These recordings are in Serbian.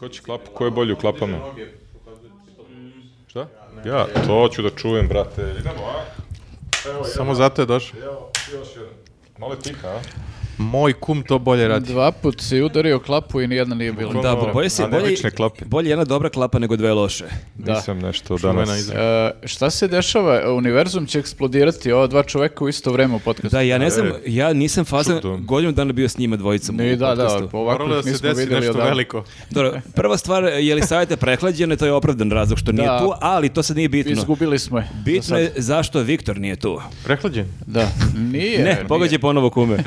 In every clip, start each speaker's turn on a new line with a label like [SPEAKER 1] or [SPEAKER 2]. [SPEAKER 1] Hoće klapu, ko je bolje u klapama? Šta? Ja, to ću da čujem, brate. Idemo, a? Evo,
[SPEAKER 2] Samo zato je došao.
[SPEAKER 1] Evo, još jedan. Malo je tiha, a?
[SPEAKER 2] Moj kum to bolje radi.
[SPEAKER 3] Dva put si udario klapu i nijedna nije bila.
[SPEAKER 1] Da,
[SPEAKER 3] Dobro.
[SPEAKER 1] bolje
[SPEAKER 4] bolje
[SPEAKER 1] si-
[SPEAKER 4] si,
[SPEAKER 1] ono, A ne bolje-
[SPEAKER 4] bolje,
[SPEAKER 1] lične klape.
[SPEAKER 4] bolje jedna dobra klapa nego dve loše.
[SPEAKER 3] Da.
[SPEAKER 1] Nisam nešto
[SPEAKER 2] Čuvena
[SPEAKER 1] danas.
[SPEAKER 2] izreka.
[SPEAKER 3] E, šta se dešava? Univerzum će eksplodirati ova dva čoveka u isto vreme u podcastu.
[SPEAKER 4] Da, ja ne znam,
[SPEAKER 1] E,
[SPEAKER 4] ja nisam fazan
[SPEAKER 1] čudo.
[SPEAKER 4] godinu dana bio s njima dvojicom
[SPEAKER 3] Ne,
[SPEAKER 4] u
[SPEAKER 3] da, da,
[SPEAKER 4] podcastu.
[SPEAKER 3] ovako
[SPEAKER 2] Moralo da
[SPEAKER 3] ih
[SPEAKER 2] se
[SPEAKER 3] nismo
[SPEAKER 2] desi
[SPEAKER 3] videli
[SPEAKER 2] nešto
[SPEAKER 3] odavno.
[SPEAKER 2] veliko.
[SPEAKER 4] Dobro, prva stvar, je li savjet je prehlađen, to je opravdan razlog što nije
[SPEAKER 3] Da.
[SPEAKER 4] tu, ali to sad nije bitno.
[SPEAKER 3] Izgubili smo je. za
[SPEAKER 4] Bitno
[SPEAKER 3] sad.
[SPEAKER 4] je zašto Viktor nije tu.
[SPEAKER 2] Prehlađen?
[SPEAKER 3] Da. Nije.
[SPEAKER 4] Ne, pa
[SPEAKER 3] nije.
[SPEAKER 4] pogađaj ponovo kume.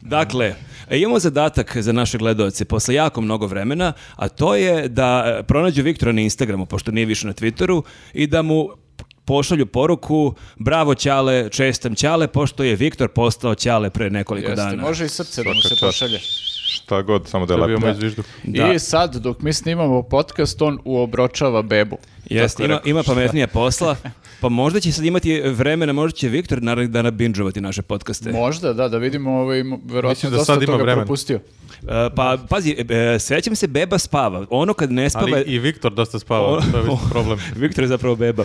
[SPEAKER 4] Dakle, imamo zadatak za naše gledaoce posle jako mnogo vremena, a to je da e, pronađu Viktora na Instagramu, pošto nije više na Twitteru, i da mu pošalju poruku bravo Ćale, čestam Ćale, pošto je Viktor postao Ćale pre nekoliko
[SPEAKER 3] Jeste,
[SPEAKER 4] dana.
[SPEAKER 3] može i srce da mu
[SPEAKER 1] Svaka
[SPEAKER 3] se
[SPEAKER 1] čast.
[SPEAKER 3] pošalje.
[SPEAKER 1] Šta god, samo da je
[SPEAKER 2] Dobio
[SPEAKER 1] lepo.
[SPEAKER 2] moj zviždu.
[SPEAKER 4] Da.
[SPEAKER 3] I sad, dok mi snimamo podcast, on uobročava bebu.
[SPEAKER 4] Jeste, ima, ima pametnija posla, pa možda će sad imati vremena, možda će Viktor narednih dana binžovati naše podcaste.
[SPEAKER 3] Možda, da, da vidimo, ovaj, m- verovatno
[SPEAKER 2] Mislim da
[SPEAKER 3] dosta
[SPEAKER 2] sad ima
[SPEAKER 3] toga
[SPEAKER 2] vremena.
[SPEAKER 3] propustio.
[SPEAKER 4] E, pa, pazi, e, sećam se, beba spava. Ono kad ne spava...
[SPEAKER 2] Ali i Viktor dosta spava, Pa, to je već problem.
[SPEAKER 4] Viktor je zapravo beba.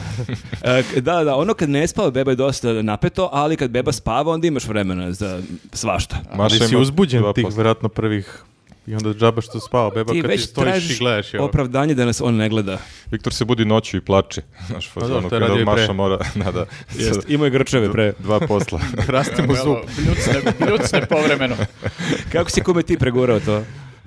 [SPEAKER 4] E, k- da, da, ono kad ne spava, beba je dosta napeto, ali kad beba spava, onda imaš vremena za svašta.
[SPEAKER 2] Ali si
[SPEAKER 1] ima
[SPEAKER 2] uzbuđen
[SPEAKER 1] dva
[SPEAKER 2] tih
[SPEAKER 1] posto.
[SPEAKER 2] vjerojatno prvih i onda džaba što spava beba
[SPEAKER 4] Ti
[SPEAKER 2] pa kad ti
[SPEAKER 4] već
[SPEAKER 2] stojiš i
[SPEAKER 4] tražiš
[SPEAKER 2] gledaš. jel?
[SPEAKER 4] opravdanje da nas on ne gleda.
[SPEAKER 1] Viktor se budi noću i plače. Znaš,
[SPEAKER 2] Pa dobro,
[SPEAKER 1] fazonu,
[SPEAKER 2] to je
[SPEAKER 1] kada
[SPEAKER 2] radio i pre.
[SPEAKER 1] Maša mora, da, da.
[SPEAKER 4] Jest, imao je grčeve pre.
[SPEAKER 1] Dva posla.
[SPEAKER 2] Raste mu zub.
[SPEAKER 3] Evo, Bljucne, bljucne povremeno.
[SPEAKER 4] Kako si kome ti pregurao to?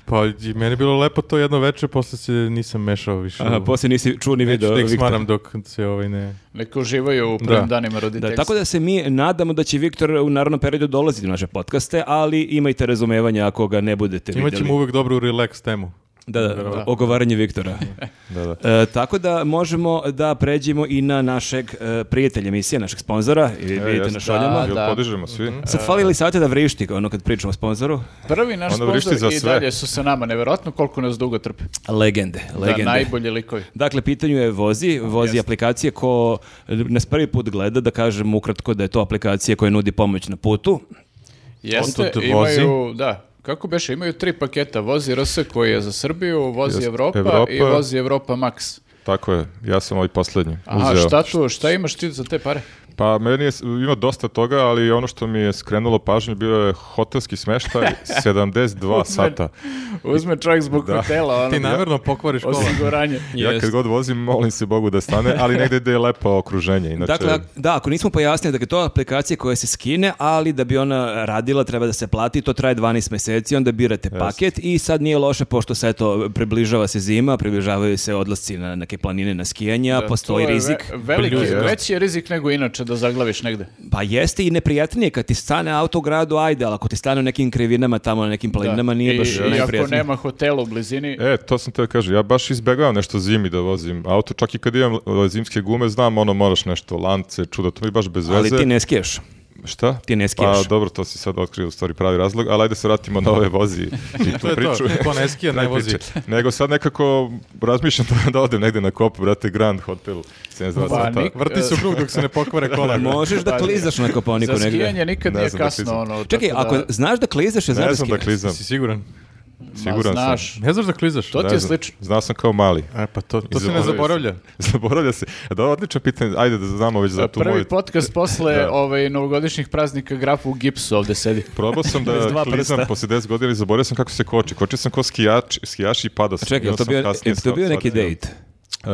[SPEAKER 2] Pa i meni je bilo lepo to jedno večer, posle se nisam mešao više.
[SPEAKER 4] Aha,
[SPEAKER 2] u-
[SPEAKER 4] poslije nisi čuo ni
[SPEAKER 2] Neću
[SPEAKER 4] video.
[SPEAKER 2] da ih
[SPEAKER 4] Viktora.
[SPEAKER 2] smaram dok se ovaj ne...
[SPEAKER 3] Neka uživaju u prvim
[SPEAKER 2] Da.
[SPEAKER 3] danima
[SPEAKER 4] Da,
[SPEAKER 3] roditeljstva.
[SPEAKER 4] tako da se mi nadamo da će Viktor u naravnom periodu dolaziti u naše podcaste, ali imajte razumevanja ako ga ne budete vidjeli.
[SPEAKER 2] Imaćemo uvek dobru relax temu.
[SPEAKER 4] Da, da, ogovaranje Viktora.
[SPEAKER 1] Da, da.
[SPEAKER 4] E, tako da možemo da pređemo i na našeg e, prijatelja emisije, našeg sponzora, ili
[SPEAKER 1] E,
[SPEAKER 4] vidite
[SPEAKER 1] jeste.
[SPEAKER 4] na šoljama.
[SPEAKER 3] Da,
[SPEAKER 1] Jel
[SPEAKER 3] da.
[SPEAKER 1] podižemo svi?
[SPEAKER 2] Mhm.
[SPEAKER 4] Sad fali li savjeta da vrišti ono kad pričamo o sponzoru?
[SPEAKER 3] Prvi naš
[SPEAKER 1] Onda vrišti
[SPEAKER 3] sponsor
[SPEAKER 1] za
[SPEAKER 3] i
[SPEAKER 1] sve.
[SPEAKER 3] dalje su sa nama. Neverovatno koliko nas dugo trpe.
[SPEAKER 4] Legende, legende.
[SPEAKER 3] Da, najbolji likovi.
[SPEAKER 4] Dakle, pitanju je Vozi, Vozi aplikacije ko nas prvi put gleda, da kažem ukratko da je to aplikacija koja nudi pomoć na putu.
[SPEAKER 3] Jeste,
[SPEAKER 2] Otud vozi.
[SPEAKER 3] imaju, da, kako beše, imaju tri paketa, vozi RS koji je za Srbiju, vozi
[SPEAKER 1] Jeste,
[SPEAKER 3] Evropa,
[SPEAKER 1] Evropa.
[SPEAKER 3] i vozi Evropa Max.
[SPEAKER 1] Tako je, ja sam ovaj poslednji.
[SPEAKER 3] Aha,
[SPEAKER 1] uzeo.
[SPEAKER 3] šta tu, šta imaš ti za te pare?
[SPEAKER 1] Pa meni je, s- ima dosta toga, ali ono što mi je skrenulo pažnju bio je hotelski smeštaj 72 sata.
[SPEAKER 3] Uzme čovjek zbog hotela, ono,
[SPEAKER 2] Ti namjerno pokvariš kola.
[SPEAKER 3] osiguranje.
[SPEAKER 1] Ja kad god vozim, molim se Bogu da stane, ali negde gde je lepo okruženje. Inače,
[SPEAKER 3] Znači-
[SPEAKER 4] Dakle, ak- da, ako nismo pojasnili, dakle, to je aplikacija koja se skine, ali da bi ona radila treba da se plati, to traje 12 meseci, onda birate paket i sad nije loše pošto se eto, približava se zima, približavaju se odlasci na neke planine, na skijanja, postoji
[SPEAKER 3] To je
[SPEAKER 4] rizik.
[SPEAKER 3] ve- veliki,
[SPEAKER 1] Jeste.
[SPEAKER 3] veći je rizik nego inače da zaglaviš negde.
[SPEAKER 4] Pa jeste i neprijatnije kad ti stane auto u gradu, ajde, ali ako ti stane u nekim krivinama tamo, na nekim
[SPEAKER 3] Da.
[SPEAKER 4] planinama, nije
[SPEAKER 3] I,
[SPEAKER 4] baš
[SPEAKER 3] I
[SPEAKER 4] neprijatno.
[SPEAKER 3] ako nema hotela u blizini,
[SPEAKER 1] E, to sam teo kažem, ja baš izbegavam nešto zimi da vozim auto, čak i kad imam e, zimske gume, znam ono moraš nešto, lance, čuda, to mi je baš bez veze.
[SPEAKER 4] Ali ti ne skiješ.
[SPEAKER 1] Šta?
[SPEAKER 4] ti ne skijaš.
[SPEAKER 1] Pa dobro, to si sad otkrio u stvari pravi razlog, ali ajde se vratimo na ove vozi i tu
[SPEAKER 2] To je to,
[SPEAKER 1] priču.
[SPEAKER 2] ko ne skija, ne
[SPEAKER 1] Kraj
[SPEAKER 2] vozi.
[SPEAKER 1] priče. Nego sad nekako razmišljam da, da odem negde na kopu, brate, Grand Hotel, 72
[SPEAKER 3] Pa,
[SPEAKER 1] sata.
[SPEAKER 3] nik-
[SPEAKER 2] Vrti se u krug dok se ne pokvare kola.
[SPEAKER 4] Možeš da
[SPEAKER 3] Pa,
[SPEAKER 4] klizaš na koponiku
[SPEAKER 3] za
[SPEAKER 4] negde.
[SPEAKER 3] skijanje nikad
[SPEAKER 1] Ne
[SPEAKER 3] nije
[SPEAKER 1] znam da
[SPEAKER 3] kasno.
[SPEAKER 1] klizam.
[SPEAKER 3] ono,
[SPEAKER 4] Čekaj,
[SPEAKER 3] tako
[SPEAKER 4] ako
[SPEAKER 3] da-
[SPEAKER 4] znaš da klizaš, ja znaš
[SPEAKER 1] Ne
[SPEAKER 4] da
[SPEAKER 1] znam da
[SPEAKER 4] skijaš.
[SPEAKER 1] klizam,
[SPEAKER 2] Si siguran?
[SPEAKER 3] ma,
[SPEAKER 1] siguran sam.
[SPEAKER 3] znaš,
[SPEAKER 2] Ne znaš da klizaš?
[SPEAKER 3] To
[SPEAKER 1] Ne
[SPEAKER 3] ti je
[SPEAKER 1] znam.
[SPEAKER 3] slično.
[SPEAKER 1] Znao sam kao mali.
[SPEAKER 2] E, pa to, to se ne
[SPEAKER 1] Zaboravio sam.
[SPEAKER 2] zaboravlja.
[SPEAKER 1] Zaboravlja se. Da, odlično pitanje. Ajde da znamo već za tu
[SPEAKER 3] Pa Prvi
[SPEAKER 1] moju...
[SPEAKER 3] podcast posle
[SPEAKER 1] Da.
[SPEAKER 3] ovaj, novogodišnjih praznika grafu u gipsu ovde sedi.
[SPEAKER 1] Probao sam
[SPEAKER 4] Bez
[SPEAKER 1] da
[SPEAKER 4] dva
[SPEAKER 1] klizam
[SPEAKER 4] prsta.
[SPEAKER 1] posle 10 godina i zaboravio sam kako se koči. Kočio sam ko skijač, skijaš i padao sam.
[SPEAKER 4] Čekaj,
[SPEAKER 1] I
[SPEAKER 4] je
[SPEAKER 1] onda
[SPEAKER 4] to
[SPEAKER 1] sam
[SPEAKER 4] bio,
[SPEAKER 1] kasnije
[SPEAKER 4] je to bio neki
[SPEAKER 1] shvatio.
[SPEAKER 4] date?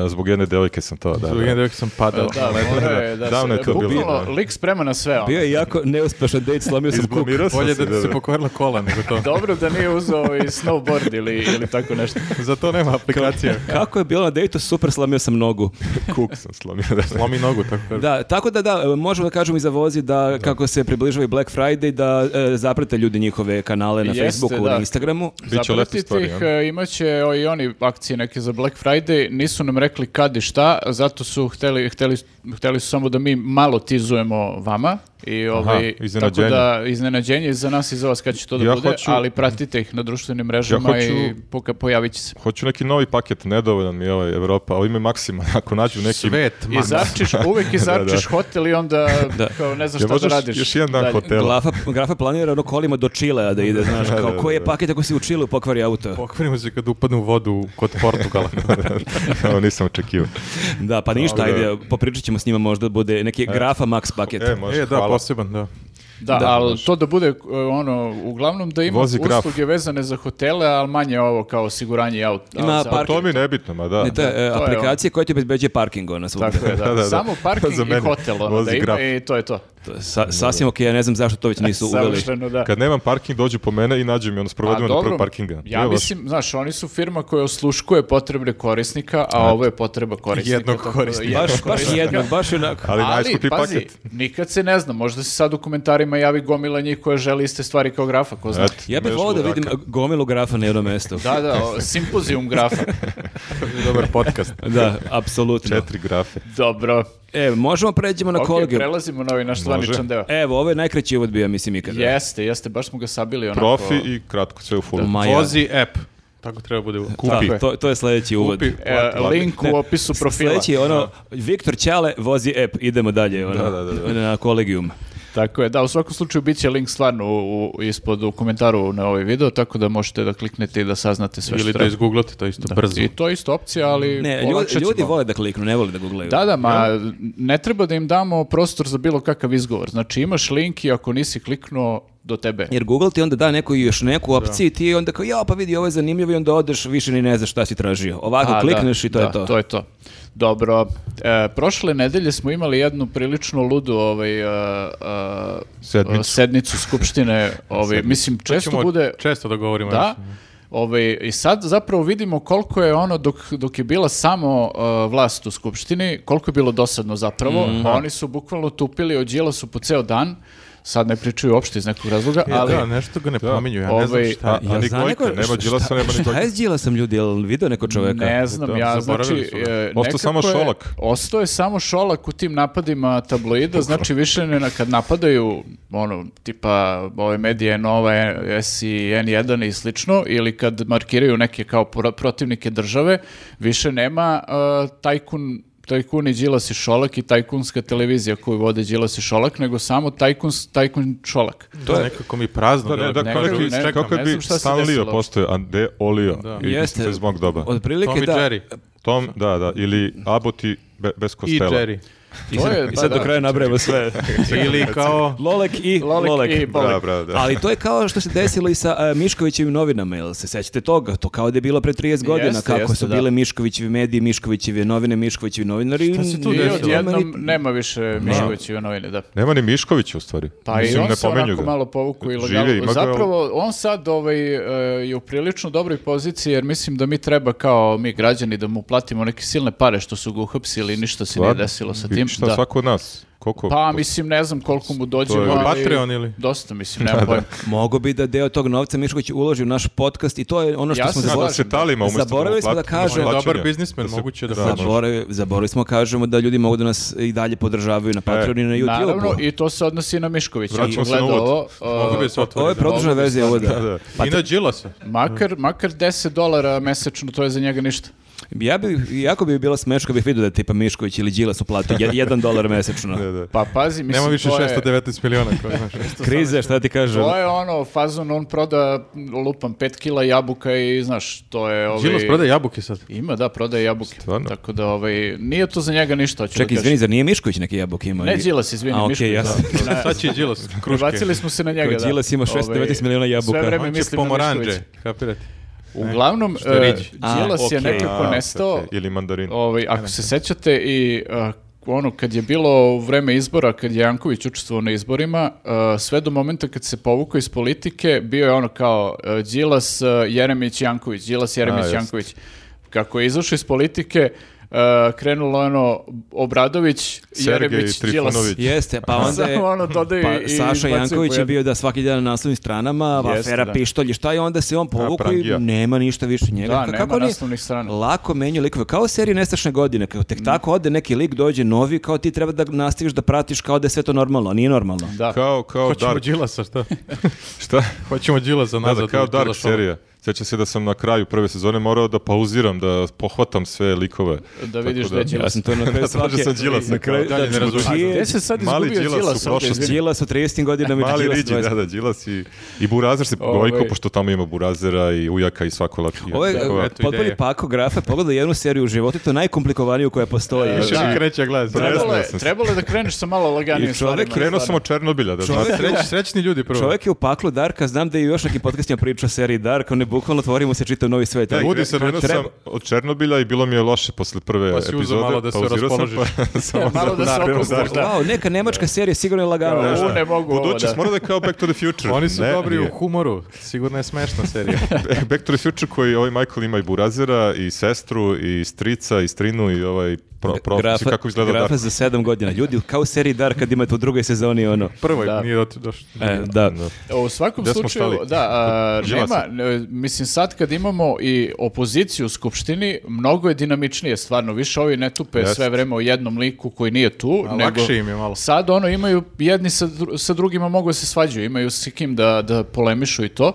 [SPEAKER 1] E, Zbog jedne devojke sam to, da.
[SPEAKER 2] Zbog jedne
[SPEAKER 1] da.
[SPEAKER 2] dok sam padao.
[SPEAKER 3] Da, morao je da
[SPEAKER 1] Davno je
[SPEAKER 3] se-
[SPEAKER 1] to bilo,
[SPEAKER 3] bukvalno
[SPEAKER 1] da.
[SPEAKER 3] lik sprema na sve. ono.
[SPEAKER 4] Bio je jako neuspešan date, slomio sam kuk.
[SPEAKER 1] Izblamirao sam
[SPEAKER 2] Bolje
[SPEAKER 1] se,
[SPEAKER 2] da ti se pokvarila kola nego to.
[SPEAKER 3] Dobro da nije uzeo i snowboard ili, ili tako nešto.
[SPEAKER 2] Za to nema aplikacije.
[SPEAKER 4] Kako je bilo na dejtu, super, slomio sam nogu.
[SPEAKER 1] Kuk sam slomio. Da.
[SPEAKER 2] Slomi nogu, tako kaže.
[SPEAKER 4] Da, tako da da, možemo da kažemo i za vozi da, kako se približava i Black Friday, da e, zaprate ljudi njihove kanale na
[SPEAKER 3] Jeste,
[SPEAKER 4] Facebooku,
[SPEAKER 3] da.
[SPEAKER 4] na Instagramu.
[SPEAKER 1] Biće lepe
[SPEAKER 3] Zapratite
[SPEAKER 1] stvari, ono.
[SPEAKER 3] ih,
[SPEAKER 1] ja.
[SPEAKER 3] e, imaće e, i oni akcije neke za Black Friday, nisu nam rekli kad i šta, zato su hteli, hteli, hteli su samo da mi malo tizujemo vama, I ovaj, tako
[SPEAKER 1] iznenađenje.
[SPEAKER 3] da iznenađenje za nas i za vas kad će to da
[SPEAKER 1] Ja
[SPEAKER 3] bude,
[SPEAKER 1] hoću-
[SPEAKER 3] ali pratite ih na društvenim mrežama
[SPEAKER 1] hoću-
[SPEAKER 3] i poka, pojavit će se.
[SPEAKER 1] Hoću neki novi paket, nedovoljan mi je ovaj Evropa, ovo ime Maksima, ako nađu neki...
[SPEAKER 2] Svet,
[SPEAKER 3] I
[SPEAKER 2] man.
[SPEAKER 3] zarčiš, uvek i zarčiš hotel i onda
[SPEAKER 4] Da.
[SPEAKER 3] kao ne znaš
[SPEAKER 1] Jel
[SPEAKER 3] šta da
[SPEAKER 1] možeš
[SPEAKER 3] radiš.
[SPEAKER 1] još jedan dan
[SPEAKER 3] dalje.
[SPEAKER 1] hotela?
[SPEAKER 4] Glafa, grafa planira ono kolima do Čilea da ide, znaš,
[SPEAKER 1] Da,
[SPEAKER 4] kao
[SPEAKER 1] da,
[SPEAKER 4] koji je
[SPEAKER 1] da.
[SPEAKER 4] paket ako si u Čileu pokvari auto.
[SPEAKER 2] Pokvarimo se kad upadne u vodu kod Portugala.
[SPEAKER 1] Evo, nisam očekivao.
[SPEAKER 4] Da, pa ništa,
[SPEAKER 1] Dobro.
[SPEAKER 4] ajde, popričat ćemo s njima možda bude neki grafa max paket.
[SPEAKER 1] E, može,
[SPEAKER 2] e, da,
[SPEAKER 1] hvala.
[SPEAKER 2] poseban, da.
[SPEAKER 3] Da,
[SPEAKER 4] Da,
[SPEAKER 3] ali to da bude e, ono, uglavnom da ima
[SPEAKER 1] Vozi graf.
[SPEAKER 3] usluge vezane za hotele, ali manje ovo kao osiguranje aut.
[SPEAKER 4] Ima
[SPEAKER 3] auta.
[SPEAKER 4] parking.
[SPEAKER 1] To mi je nebitno, ma da.
[SPEAKER 4] Ne, to je, e,
[SPEAKER 3] je ono.
[SPEAKER 4] aplikacije koje ti obezbeđuje parking, ono, ona svugde.
[SPEAKER 3] Tako je, da.
[SPEAKER 1] Da, da, da.
[SPEAKER 3] Samo parking
[SPEAKER 1] Za
[SPEAKER 3] i
[SPEAKER 1] mene.
[SPEAKER 3] hotel, ono,
[SPEAKER 1] Vozi
[SPEAKER 3] da ima
[SPEAKER 1] graf.
[SPEAKER 3] i to je to.
[SPEAKER 4] To je sa- sasvim okej, ja ne znam zašto to već nisu uveli.
[SPEAKER 3] Savršeno, da.
[SPEAKER 1] Kad nemam parking, dođu po mene i nađu mi ono sprovodimo na prvo parkinga. To
[SPEAKER 3] Ja
[SPEAKER 1] je loše.
[SPEAKER 3] mislim, znaš, oni su firma koja osluškuje potrebe korisnika, a ovo je potreba korisnika.
[SPEAKER 2] Jednog
[SPEAKER 3] tako da-
[SPEAKER 2] korisnika.
[SPEAKER 3] jednog
[SPEAKER 4] Baš, baš
[SPEAKER 3] korisnika.
[SPEAKER 4] jedno, baš onako.
[SPEAKER 1] Ali, najskuplji
[SPEAKER 3] pazi,
[SPEAKER 1] paket.
[SPEAKER 3] nikad se ne zna, možda se sad u komentarima javi gomila njih koja želi iste stvari kao grafa, ko zna.
[SPEAKER 1] Eto,
[SPEAKER 4] Ja bih
[SPEAKER 1] imaš
[SPEAKER 4] volio da
[SPEAKER 1] ludaka.
[SPEAKER 4] vidim gomilu grafa na jednom mestu.
[SPEAKER 3] Da, da, o, simpozijum grafa.
[SPEAKER 2] Dobar podcast.
[SPEAKER 4] Da, apsolutno.
[SPEAKER 1] Četiri grafe.
[SPEAKER 3] Dobro.
[SPEAKER 4] E, možemo pređemo na
[SPEAKER 3] Ok,
[SPEAKER 4] kolegium.
[SPEAKER 3] prelazimo na ovaj naš
[SPEAKER 1] Može. E,
[SPEAKER 3] zvaničan deo.
[SPEAKER 4] Evo, ovo je najkraći uvod bio, mislim, ikada.
[SPEAKER 3] Jeste, jeste, baš smo ga sabili onako.
[SPEAKER 1] Profi i kratko, sve u fullu.
[SPEAKER 4] Ma ja.
[SPEAKER 2] Vozi app. Tako treba bude.
[SPEAKER 4] Da,
[SPEAKER 1] Kupi.
[SPEAKER 4] to, to je sledeći uvod.
[SPEAKER 2] Kupi.
[SPEAKER 3] E, link u opisu profila.
[SPEAKER 4] Sledeći je ono, Viktor Ćale vozi app, idemo dalje ono,
[SPEAKER 1] Da, da, da, da.
[SPEAKER 4] na kolegijum.
[SPEAKER 3] Tako je, da, u svakom slučaju bit će link stvarno u, u- ispod u komentaru na ovaj video, tako da možete da kliknete i da saznate sve što
[SPEAKER 2] Ili da
[SPEAKER 3] treba.
[SPEAKER 2] izgooglate to isto brzo.
[SPEAKER 3] I to je isto opcija, ali
[SPEAKER 4] Ne, ljudi,
[SPEAKER 3] olakšat
[SPEAKER 4] ljudi
[SPEAKER 3] ćemo.
[SPEAKER 4] vole da kliknu, ne vole da googlaju.
[SPEAKER 3] Da, da, ma ne treba da im damo prostor za bilo kakav izgovor. Znači imaš link i ako nisi kliknuo do tebe.
[SPEAKER 4] Jer Google ti onda da neku još neku opciju i ti onda kao, ja pa vidi, ovo je zanimljivo i onda odeš, više ni ne znaš šta si tražio. Ovako
[SPEAKER 3] A,
[SPEAKER 4] klikneš
[SPEAKER 3] da,
[SPEAKER 4] i to
[SPEAKER 3] da,
[SPEAKER 4] je to.
[SPEAKER 3] to je to. Dobro, e, prošle nedelje smo imali jednu prilično ludu ovaj, e, e,
[SPEAKER 1] Sedmicu.
[SPEAKER 3] sednicu skupštine. Ovaj, mislim, često
[SPEAKER 2] Ćemo
[SPEAKER 3] bude...
[SPEAKER 2] Često da govorimo.
[SPEAKER 3] Da.
[SPEAKER 2] još.
[SPEAKER 3] Ovaj, I sad zapravo vidimo koliko je ono dok, dok je bila samo uh, vlast u Skupštini, koliko je bilo dosadno zapravo. Pa Oni su bukvalno tupili o Đilasu po ceo dan. Sad ne pričaju uopšte iz nekog razloga,
[SPEAKER 2] E,
[SPEAKER 3] ali
[SPEAKER 2] da, nešto ga ne pominju, ja ne znam
[SPEAKER 3] Ovaj,
[SPEAKER 1] A,
[SPEAKER 2] šta.
[SPEAKER 1] a ni
[SPEAKER 4] znam
[SPEAKER 1] Gojka, nema Đilasa, nema ni
[SPEAKER 4] šta
[SPEAKER 1] Gojka.
[SPEAKER 4] je s Đilasom ljudi, jel video neko čoveka?
[SPEAKER 3] ne znam, ja
[SPEAKER 2] zaboravili
[SPEAKER 3] znači...
[SPEAKER 2] su ga.
[SPEAKER 3] e,
[SPEAKER 1] Ostao
[SPEAKER 3] nekako
[SPEAKER 1] samo
[SPEAKER 3] je-
[SPEAKER 1] Šolak.
[SPEAKER 3] Ostao je samo šolak u tim napadima tabloida, znači više ne na- kad napadaju ono, tipa ove medije Nova, S i N1 i slično, ili kad markiraju neke kao pro- protivnike države, više nema e, tajkun tajkun i Đilas i Šolak i tajkunska televizija koju vode Đilas i Šolak, nego samo tajkun, tajkun Šolak.
[SPEAKER 2] To je nekako mi prazno.
[SPEAKER 1] Da, ne, da,
[SPEAKER 3] Ne,
[SPEAKER 1] kako bi,
[SPEAKER 3] ne,
[SPEAKER 1] kako
[SPEAKER 3] ne
[SPEAKER 1] bi
[SPEAKER 3] znam šta se
[SPEAKER 1] Stan Leo
[SPEAKER 3] desilo.
[SPEAKER 1] postoje, a de Olio. I mislim, to je iz mog doba.
[SPEAKER 4] Otprilike
[SPEAKER 2] Tom i
[SPEAKER 4] da.
[SPEAKER 2] Jerry.
[SPEAKER 1] Tom, da, da, ili Abbott i Be- bez
[SPEAKER 2] I
[SPEAKER 1] kostela.
[SPEAKER 2] Jerry.
[SPEAKER 4] I
[SPEAKER 3] To
[SPEAKER 4] sad,
[SPEAKER 3] je-
[SPEAKER 4] i
[SPEAKER 3] pa
[SPEAKER 4] sad do
[SPEAKER 3] da.
[SPEAKER 4] kraja nabrajamo sve.
[SPEAKER 2] Ili kao...
[SPEAKER 4] Lolek i Lolek.
[SPEAKER 3] Lolek i Bolek.
[SPEAKER 1] Bra, bra, da.
[SPEAKER 4] Ali to je kao što se desilo i sa e, Miškovićevim novinama, jel se sećate toga? To kao da je bilo pre 30 godina,
[SPEAKER 3] Jeste,
[SPEAKER 4] kako
[SPEAKER 3] jeste,
[SPEAKER 4] su
[SPEAKER 3] da.
[SPEAKER 4] bile Miškovićevi mediji, Miškovićeve novine, Miškovićevi novinari. Šta
[SPEAKER 2] se tu
[SPEAKER 3] I
[SPEAKER 2] desilo?
[SPEAKER 3] odjednom nema više Miškovića i novine, da.
[SPEAKER 1] Nema ni Miškovića u stvari.
[SPEAKER 3] Pa
[SPEAKER 1] Mislim,
[SPEAKER 3] i on
[SPEAKER 1] ne
[SPEAKER 3] se
[SPEAKER 1] pominju
[SPEAKER 3] onako
[SPEAKER 1] ga.
[SPEAKER 3] malo povuku i
[SPEAKER 1] Žive,
[SPEAKER 3] legalno.
[SPEAKER 1] ima ga-
[SPEAKER 3] Zapravo, on sad ovaj, e, je u prilično dobroj poziciji, jer mislim da mi treba kao mi građani da mu platimo neke silne pare što su ga uhapsili i ništa se nije
[SPEAKER 1] Stvarno?
[SPEAKER 3] desilo sa
[SPEAKER 1] I
[SPEAKER 3] tim.
[SPEAKER 1] Šta
[SPEAKER 3] da.
[SPEAKER 1] svako od nas? Koliko?
[SPEAKER 3] Pa mislim, ne znam koliko mu dođe.
[SPEAKER 1] To je-
[SPEAKER 3] ali
[SPEAKER 2] Patreon ili?
[SPEAKER 3] Dosta, mislim, nema pojma.
[SPEAKER 4] Mogu bi da deo tog novca Mišković uloži u naš podcast i to je ono što
[SPEAKER 3] Ja
[SPEAKER 4] smo
[SPEAKER 3] se
[SPEAKER 1] Da, da
[SPEAKER 4] zaboravili.
[SPEAKER 1] se talima umjesto
[SPEAKER 4] Zaboravili smo da
[SPEAKER 1] plaćanja.
[SPEAKER 4] kažemo-
[SPEAKER 1] Plaćanja.
[SPEAKER 2] Dobar biznismen, moguće da
[SPEAKER 1] da,
[SPEAKER 2] kaže.
[SPEAKER 4] Zaboravili, zaboravili smo kažemo da ljudi mogu da nas i dalje podržavaju na Patreonu i na
[SPEAKER 3] Naravno,
[SPEAKER 4] YouTubeu. pa.
[SPEAKER 3] i to se odnosi i na Miškovića.
[SPEAKER 1] Vraćamo se na
[SPEAKER 3] Gledao
[SPEAKER 1] uvod.
[SPEAKER 3] ovo, e,
[SPEAKER 2] Mogu bi se
[SPEAKER 4] Ovo je
[SPEAKER 2] otvoriti.
[SPEAKER 4] produžena
[SPEAKER 3] Mogu bi
[SPEAKER 4] verzija ovoga.
[SPEAKER 1] Da, da.
[SPEAKER 4] Pa
[SPEAKER 2] I na Đilasa.
[SPEAKER 3] makar, makar 10 dolara mesečno, to je za njega ništa.
[SPEAKER 4] Ja bi, jako bi bilo smešno kad bih vidio da je tipa Mišković ili Đilas uplate 1 dolar mesečno.
[SPEAKER 1] Da, da.
[SPEAKER 3] Pa pazi, mislim,
[SPEAKER 2] Nema više
[SPEAKER 3] to je...
[SPEAKER 2] 619 miliona. Koji, znaš.
[SPEAKER 4] Krize, šta ti kažem?
[SPEAKER 3] To je ono, fazon, on proda, lupam, 5 kila jabuka i, znaš, to je... Ovaj...
[SPEAKER 2] Đilas prodaje jabuke sad.
[SPEAKER 3] Ima, da, prodaje jabuke.
[SPEAKER 1] Stvarno?
[SPEAKER 3] Tako da, ovaj, nije to za njega ništa, hoću
[SPEAKER 4] Čekaj,
[SPEAKER 3] da kažem.
[SPEAKER 4] izvini, zar nije Mišković neki jabuk ima?
[SPEAKER 3] Ne, Đilas, izvini,
[SPEAKER 4] A, okej,
[SPEAKER 3] Mišković,
[SPEAKER 4] ja
[SPEAKER 3] da.
[SPEAKER 4] sam-
[SPEAKER 2] Sad će i Đilas kruške.
[SPEAKER 3] Prebacili smo se na njega,
[SPEAKER 4] Kao
[SPEAKER 3] da. Ovaj,
[SPEAKER 4] Đilas ima 619 miliona jabuka.
[SPEAKER 3] Sve vreme
[SPEAKER 2] On će
[SPEAKER 3] mislim na
[SPEAKER 2] pomoranđe,
[SPEAKER 3] Miškovića.
[SPEAKER 2] kapirate.
[SPEAKER 3] Uglavnom,
[SPEAKER 2] što je
[SPEAKER 3] e,
[SPEAKER 2] riđi.
[SPEAKER 4] A,
[SPEAKER 3] Đilas je
[SPEAKER 4] okej.
[SPEAKER 3] nekako
[SPEAKER 1] A,
[SPEAKER 3] nestao.
[SPEAKER 1] okej,
[SPEAKER 2] znači,
[SPEAKER 1] Ili mandarin.
[SPEAKER 3] Ovaj, ako se sećate i a, ono kad je bilo u vreme izbora kad je Janković učestvovao na izborima a, sve do momenta kad se povukao iz politike bio je ono kao a, Đilas a, Jeremić Janković Đilas Jeremić
[SPEAKER 1] A, jest.
[SPEAKER 3] Janković kako je izašao iz politike e, krenulo ono Obradović,
[SPEAKER 1] Sergej
[SPEAKER 3] Jerebić, Đilas.
[SPEAKER 1] Trifunović.
[SPEAKER 4] Jeste, pa onda je...
[SPEAKER 3] Samo ono dodaju
[SPEAKER 4] Pa,
[SPEAKER 3] i
[SPEAKER 4] Saša
[SPEAKER 3] izbacuju
[SPEAKER 4] Janković
[SPEAKER 3] po
[SPEAKER 4] je
[SPEAKER 3] jedno.
[SPEAKER 4] bio da svaki dan na naslovnim stranama,
[SPEAKER 3] Jeste,
[SPEAKER 4] afera
[SPEAKER 3] da.
[SPEAKER 4] pištolj i šta je onda se on povukao i
[SPEAKER 1] prangija.
[SPEAKER 4] nema ništa više njega.
[SPEAKER 3] Da,
[SPEAKER 4] Ka-
[SPEAKER 3] nema
[SPEAKER 4] oni
[SPEAKER 3] naslovnih strana. Mm.
[SPEAKER 4] Lako menju likove, kao serije Nestašne godine, kao tek tako ode neki lik, dođe novi, kao ti treba da nastaviš da pratiš kao da je sve to normalno, a nije normalno.
[SPEAKER 3] Da.
[SPEAKER 1] Kao, kao
[SPEAKER 2] Hoćemo
[SPEAKER 1] Dark.
[SPEAKER 2] Đilasa, šta?
[SPEAKER 1] Šta?
[SPEAKER 2] Hoćemo Đilasa
[SPEAKER 1] Da,
[SPEAKER 2] nazad. ono.
[SPEAKER 1] da, kao
[SPEAKER 2] u
[SPEAKER 1] Dark
[SPEAKER 2] Đilasovo.
[SPEAKER 1] serija. Sjećam se da sam na kraju prve sezone morao da pauziram, da pohvatam sve likove.
[SPEAKER 3] Da vidiš
[SPEAKER 1] Tako
[SPEAKER 3] gde će-
[SPEAKER 4] Ja sam to na kraju
[SPEAKER 1] Da,
[SPEAKER 4] svake...
[SPEAKER 1] tražio sam Đilasa,
[SPEAKER 4] na kraju,
[SPEAKER 1] kao,
[SPEAKER 4] Znači, da,
[SPEAKER 1] dalje ne razumem.
[SPEAKER 4] čije-
[SPEAKER 3] Gde se sad
[SPEAKER 1] Mali
[SPEAKER 3] izgubio
[SPEAKER 1] Đilas u
[SPEAKER 3] Đilas ovdje,
[SPEAKER 1] prošlosti.
[SPEAKER 3] izvini?
[SPEAKER 4] Đilas u 30 godina među
[SPEAKER 1] Mali
[SPEAKER 4] Đilas
[SPEAKER 1] Riđi,
[SPEAKER 4] 20.
[SPEAKER 1] da, da, Đilas i, i Burazer se
[SPEAKER 3] Ovaj.
[SPEAKER 1] gojko, pošto tamo ima Burazera i Ujaka i svakola.
[SPEAKER 4] Ovo je
[SPEAKER 1] likova.
[SPEAKER 4] e,
[SPEAKER 2] eto
[SPEAKER 4] potpuni
[SPEAKER 2] ideje.
[SPEAKER 4] pako grafa, pogledaj jednu seriju u životu, to je najkomplikovaniju koja postoji.
[SPEAKER 3] E,
[SPEAKER 2] Više
[SPEAKER 3] Da.
[SPEAKER 2] mi kreće gledati.
[SPEAKER 3] Trebalo je,
[SPEAKER 1] Tresnuo Pa, sam se.
[SPEAKER 3] trebalo je da kreneš sa malo laganijim
[SPEAKER 4] I čovek
[SPEAKER 3] stvarima.
[SPEAKER 1] Krenuo sam od Černobilja, da znate.
[SPEAKER 2] Sreć- srećni ljudi prvo.
[SPEAKER 4] Čovjek je u paklu Darka, znam da je još neki podcastima pričao o seriji Dark, on je bukvalno otvorio mu se čitav novi svet.
[SPEAKER 1] Da,
[SPEAKER 4] Ali
[SPEAKER 1] Budi
[SPEAKER 4] kre-
[SPEAKER 1] se, krenuo sam
[SPEAKER 4] treba-
[SPEAKER 1] od Černobilja i bilo mi je loše posle prve
[SPEAKER 2] Pa si uzeo
[SPEAKER 1] epizode.
[SPEAKER 2] malo da se
[SPEAKER 1] pauzirao sam,
[SPEAKER 2] raspoložiš.
[SPEAKER 1] pa samo
[SPEAKER 3] Malo da se
[SPEAKER 1] krenuo
[SPEAKER 3] opustiš,
[SPEAKER 1] dalje.
[SPEAKER 3] da.
[SPEAKER 4] Wow, neka nemačka serija sigurno je lagana.
[SPEAKER 3] Kao,
[SPEAKER 4] Znaš,
[SPEAKER 3] u, ne mogu ovo,
[SPEAKER 1] Budućnost
[SPEAKER 3] da.
[SPEAKER 1] pa mora da je kao Back to the Future.
[SPEAKER 2] Oni su
[SPEAKER 1] Ne,
[SPEAKER 2] dobri
[SPEAKER 1] nije.
[SPEAKER 2] u humoru. Sigurno je smešna serija.
[SPEAKER 1] Back to the Future koji ovaj Michael ima i Burazera i sestru i strica i strinu i ovaj pro, pro,
[SPEAKER 4] grafa,
[SPEAKER 1] kako izgleda
[SPEAKER 4] grafa
[SPEAKER 1] Dark.
[SPEAKER 4] za sedam godina. Ljudi, kao u seriji Dark kad imate u drugoj sezoni ono.
[SPEAKER 2] Prvo
[SPEAKER 3] Da.
[SPEAKER 2] je nije doti- došlo.
[SPEAKER 4] E, da.
[SPEAKER 3] U svakom
[SPEAKER 1] Gde smo
[SPEAKER 3] slučaju,
[SPEAKER 1] stali?
[SPEAKER 3] da, a,
[SPEAKER 1] Đilasa.
[SPEAKER 3] nema, ne, mislim sad kad imamo i opoziciju u Skupštini, mnogo je dinamičnije stvarno, više ovi ne tupe
[SPEAKER 1] Jeste.
[SPEAKER 3] sve vreme o jednom liku koji nije tu.
[SPEAKER 2] A
[SPEAKER 3] nego
[SPEAKER 2] lakše im je malo.
[SPEAKER 3] Sad ono imaju, jedni sa, dru- sa drugima mogu da se svađaju, imaju s kim da, da polemišu i to.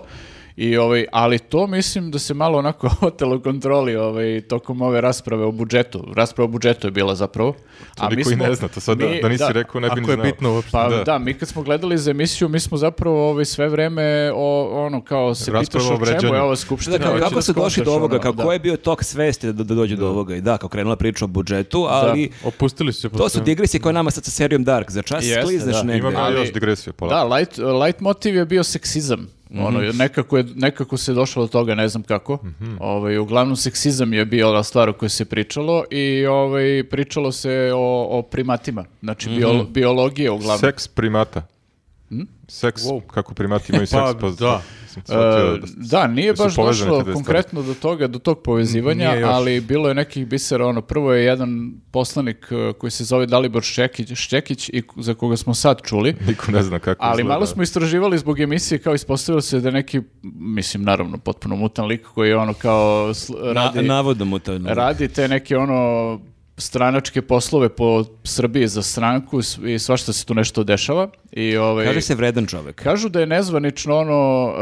[SPEAKER 3] I ovaj, ali to mislim da se malo onako otelo kontroli ovaj, tokom ove rasprave o budžetu. Rasprava o budžetu je bila zapravo.
[SPEAKER 1] A niko i ne zna, to sad da,
[SPEAKER 3] mi-
[SPEAKER 1] da nisi rekao ne bi ni
[SPEAKER 2] Ako je
[SPEAKER 1] znao.
[SPEAKER 2] bitno uopšte.
[SPEAKER 3] pa da. mi kad smo gledali za emisiju, mi smo zapravo ovaj, sve vreme o, ono kao se
[SPEAKER 1] Rasprava
[SPEAKER 3] pitaš
[SPEAKER 1] o
[SPEAKER 3] o čemu je
[SPEAKER 1] vređanju.
[SPEAKER 3] ova skupština.
[SPEAKER 4] Da, kao,
[SPEAKER 3] hoće
[SPEAKER 4] kako
[SPEAKER 3] da
[SPEAKER 4] su došli
[SPEAKER 3] skontaš,
[SPEAKER 4] do ovoga,
[SPEAKER 3] ono,
[SPEAKER 4] kako
[SPEAKER 3] da.
[SPEAKER 4] je bio tok svesti da, da dođe do ovoga i da, kao krenula priča o budžetu, ali
[SPEAKER 2] Opustili su se.
[SPEAKER 4] to su
[SPEAKER 2] potpuno.
[SPEAKER 4] digresije koje nama sad sa serijom Dark, za čas
[SPEAKER 3] Jeste,
[SPEAKER 4] sklizneš
[SPEAKER 3] da.
[SPEAKER 4] negde.
[SPEAKER 1] Imam ja
[SPEAKER 3] Ali-
[SPEAKER 1] još digresiju. Pola.
[SPEAKER 3] Da, light, light motiv je bio seksizam. ono, nekako, je, nekako se došlo do toga, ne znam kako. ovaj, uglavnom, seksizam je bio ona stvar o kojoj se pričalo i ovaj, pričalo se o, o primatima. Znači, bio, biologije uglavnom.
[SPEAKER 1] Seks primata. Seks, kako primati imaju seks.
[SPEAKER 2] Pa,
[SPEAKER 1] Pa,
[SPEAKER 2] da.
[SPEAKER 1] Mislim,
[SPEAKER 3] E,
[SPEAKER 1] shvatio da-
[SPEAKER 3] da, nije
[SPEAKER 1] da su
[SPEAKER 3] baš
[SPEAKER 1] povezane te
[SPEAKER 3] došlo
[SPEAKER 1] dve stvari.
[SPEAKER 3] konkretno do toga, do tog povezivanja,
[SPEAKER 2] Nije još.
[SPEAKER 3] ali bilo je nekih bisera, ono, prvo je jedan poslanik e, koji se zove Dalibor Šćekić, Šćekić i k- za koga smo sad čuli,
[SPEAKER 1] Niko ne zna kako
[SPEAKER 3] ali
[SPEAKER 1] izgleda.
[SPEAKER 3] malo smo istraživali zbog emisije, kao ispostavilo se da je neki, mislim, naravno, potpuno mutan lik koji je ono kao sl-
[SPEAKER 4] Na,
[SPEAKER 3] radi,
[SPEAKER 4] navodno mu to.
[SPEAKER 3] radi te neke ono stranačke poslove po Srbiji za stranku s- i svašta se tu nešto dešava. I, ovaj,
[SPEAKER 4] Kaže se vredan čovek.
[SPEAKER 3] Kažu da je nezvanično ono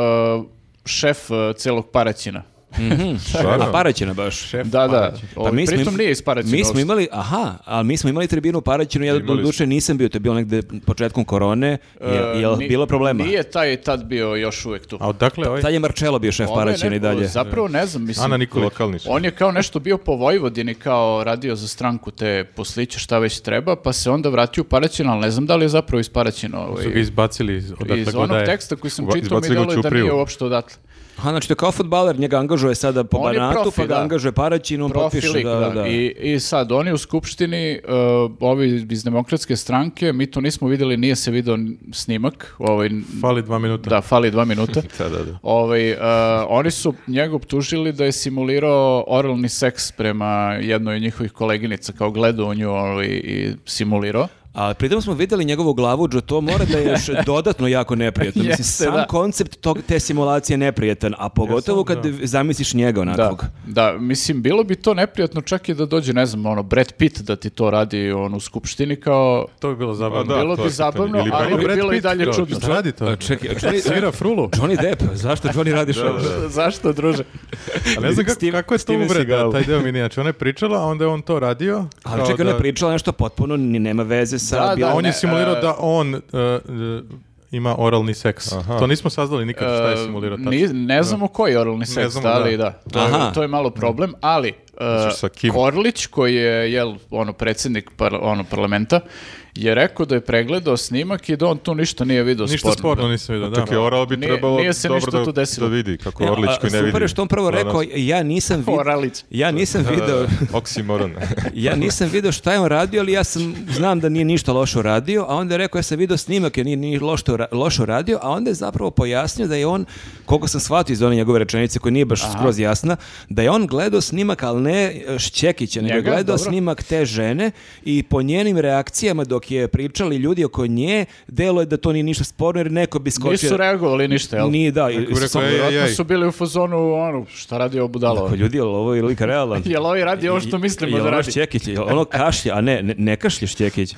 [SPEAKER 3] uh, šef uh, celog Paraćina.
[SPEAKER 1] Stvarno?
[SPEAKER 4] A Paraćina baš.
[SPEAKER 3] da, da. Ovaj, pritom
[SPEAKER 4] im-
[SPEAKER 3] nije iz Paraćina.
[SPEAKER 4] Mi Pa smo
[SPEAKER 3] uopšte.
[SPEAKER 4] imali, aha, ali mi smo imali tribinu u Paraćinu, ja do
[SPEAKER 1] Imali
[SPEAKER 4] duše nisam bio, to je bilo negde početkom korone, je,
[SPEAKER 3] E,
[SPEAKER 4] jel
[SPEAKER 3] ni-
[SPEAKER 4] bilo problema?
[SPEAKER 3] Nije taj tad bio još uvek tu.
[SPEAKER 2] A odakle ovaj?
[SPEAKER 4] Tad je Marcello bio šef
[SPEAKER 3] Ovo Ono je
[SPEAKER 4] Paraćina i
[SPEAKER 3] neko-
[SPEAKER 4] dalje.
[SPEAKER 3] Zapravo ne znam, mislim.
[SPEAKER 2] Ana Nikolić.
[SPEAKER 1] Lokalni su.
[SPEAKER 3] On je kao nešto bio po Vojvodini, kao radio za stranku te posliće, šta već treba, pa se onda vratio u Paraćin, ali ne znam da li je zapravo iz Paraćina. Ovaj,
[SPEAKER 2] Su ga izbacili iz- odakle
[SPEAKER 3] iz
[SPEAKER 2] god
[SPEAKER 3] onog
[SPEAKER 2] da je.
[SPEAKER 3] teksta koji sam
[SPEAKER 1] Uba-
[SPEAKER 3] čitao mi
[SPEAKER 1] izbacili ga u
[SPEAKER 3] djeluje da
[SPEAKER 1] Ćupriju.
[SPEAKER 3] nije uopšte odatle.
[SPEAKER 4] Aha, znači to je kao futbaler, njega angažuje sada po
[SPEAKER 3] On je
[SPEAKER 4] Banatu,
[SPEAKER 3] profi,
[SPEAKER 4] pa ga
[SPEAKER 3] da.
[SPEAKER 4] angažuje Paraćin, on potpiše.
[SPEAKER 3] Profilik,
[SPEAKER 4] Da, da.
[SPEAKER 3] I, I sad, oni u Skupštini, uh, ovi iz demokratske stranke, mi to nismo vidjeli, nije se video n- snimak. Ovaj, n-
[SPEAKER 2] Fali dva minuta.
[SPEAKER 3] da, fali dva minuta.
[SPEAKER 1] Da, da, da.
[SPEAKER 3] Ovaj, uh, oni su njega optužili da je simulirao oralni seks prema jednoj od njihovih koleginica, kao gledao u nju ovaj, i simulirao.
[SPEAKER 4] A pritom smo videli njegovu glavu, Džo, to mora da je još dodatno jako neprijatno. Mislim,
[SPEAKER 3] Jeste,
[SPEAKER 4] sam
[SPEAKER 3] da.
[SPEAKER 4] koncept tog, te simulacije je neprijetan, a pogotovo kad zamisliš njega
[SPEAKER 3] Da,
[SPEAKER 4] onakvog.
[SPEAKER 3] da, mislim, bilo bi to neprijatno čak i da dođe, ne znam, ono, Brad Pitt da ti to radi on, u skupštini kao...
[SPEAKER 2] To bi bilo
[SPEAKER 1] Pa
[SPEAKER 2] zabavno.
[SPEAKER 1] da,
[SPEAKER 3] bilo
[SPEAKER 1] to
[SPEAKER 3] bi
[SPEAKER 1] je pitanje.
[SPEAKER 3] zabavno,
[SPEAKER 1] Ili
[SPEAKER 3] ali
[SPEAKER 1] Brad
[SPEAKER 3] bi
[SPEAKER 2] Brad
[SPEAKER 3] bilo i
[SPEAKER 2] Pitt,
[SPEAKER 3] dalje
[SPEAKER 2] kao,
[SPEAKER 3] čudno.
[SPEAKER 2] šta Radi to.
[SPEAKER 4] A, čekaj, Johnny,
[SPEAKER 2] Svira frulu.
[SPEAKER 4] Johnny Depp, zašto Johnny radiš ovo?
[SPEAKER 3] Zašto, druže?
[SPEAKER 2] A ne znam kako,
[SPEAKER 4] Steve-
[SPEAKER 2] kako je to
[SPEAKER 4] Steven
[SPEAKER 2] uvreda,
[SPEAKER 4] Seagal.
[SPEAKER 2] taj deo mi nije. Znači, ona je pričala, a onda je on to radio.
[SPEAKER 4] Ali
[SPEAKER 2] kao
[SPEAKER 4] čekaj, ona
[SPEAKER 2] da-
[SPEAKER 4] je pričala nešto potpuno, ni nema veze sa...
[SPEAKER 3] Da,
[SPEAKER 4] bilo-
[SPEAKER 3] da,
[SPEAKER 2] On
[SPEAKER 3] ne,
[SPEAKER 2] je simulirao
[SPEAKER 3] e,
[SPEAKER 2] da on e, e, ima oralni seks.
[SPEAKER 1] Aha.
[SPEAKER 2] To nismo saznali nikad šta
[SPEAKER 3] E,
[SPEAKER 2] je simulirao. tačno.
[SPEAKER 3] Ni- ne znamo koji je oralni seks,
[SPEAKER 2] znamo,
[SPEAKER 3] da li
[SPEAKER 2] da. Znači
[SPEAKER 3] da. To, je,
[SPEAKER 4] Aha.
[SPEAKER 3] to je malo problem, ali uh,
[SPEAKER 1] sa kim?
[SPEAKER 3] Korlić, koji je jel, ono, predsjednik par- ono, parlamenta, je rekao da je pregledao snimak i da on tu ništa nije vidio
[SPEAKER 2] Ništa sporno nisam vidio. Da.
[SPEAKER 1] Čak i Oral bi
[SPEAKER 3] Nije-
[SPEAKER 1] trebalo
[SPEAKER 3] nije se ništa
[SPEAKER 1] dobro
[SPEAKER 3] tu
[SPEAKER 1] da,
[SPEAKER 3] desilo.
[SPEAKER 1] da vidi kako
[SPEAKER 4] Ne,
[SPEAKER 1] Orlić
[SPEAKER 4] a,
[SPEAKER 1] koji ne vidi.
[SPEAKER 4] Super je što on prvo
[SPEAKER 1] danas.
[SPEAKER 4] rekao, ja nisam video...
[SPEAKER 3] Oralić.
[SPEAKER 4] Ja nisam video...
[SPEAKER 1] Da, Oksimoron.
[SPEAKER 4] Ja nisam video šta je on radio, ali ja sam znam da nije ništa loše uradio, a onda je rekao ja sam video snimak, ja nije, nije loše, ura- loše uradio, a onda je zapravo pojasnio da je on, koliko sam shvatio iz one njegove rečenice koja nije baš skroz jasna, da je on gledao snimak, ali ne Šćekića, nego je
[SPEAKER 3] Njega,
[SPEAKER 4] gledao
[SPEAKER 3] dobro.
[SPEAKER 4] snimak te žene i po njenim reakcijama dok je pričali ljudi oko nje, delo je da to nije ništa sporno jer neko bi skočio.
[SPEAKER 3] Nisu reagovali ništa, jel?
[SPEAKER 4] Nije, da. i-
[SPEAKER 2] Neko bi rekao,
[SPEAKER 4] samo-
[SPEAKER 2] "Ej,
[SPEAKER 3] Vjerojatno
[SPEAKER 2] ej, ej."
[SPEAKER 3] su bili u fazonu, ono, šta radi ovo budalo?
[SPEAKER 4] Ako ljudi, jel ovo je lik realan?
[SPEAKER 3] Jel ovi radi ovo što mislimo da
[SPEAKER 4] Jel ono
[SPEAKER 3] radi?
[SPEAKER 4] Šćekić, jel ono kašlja, a ne, ne, ne kašlje Šćekić.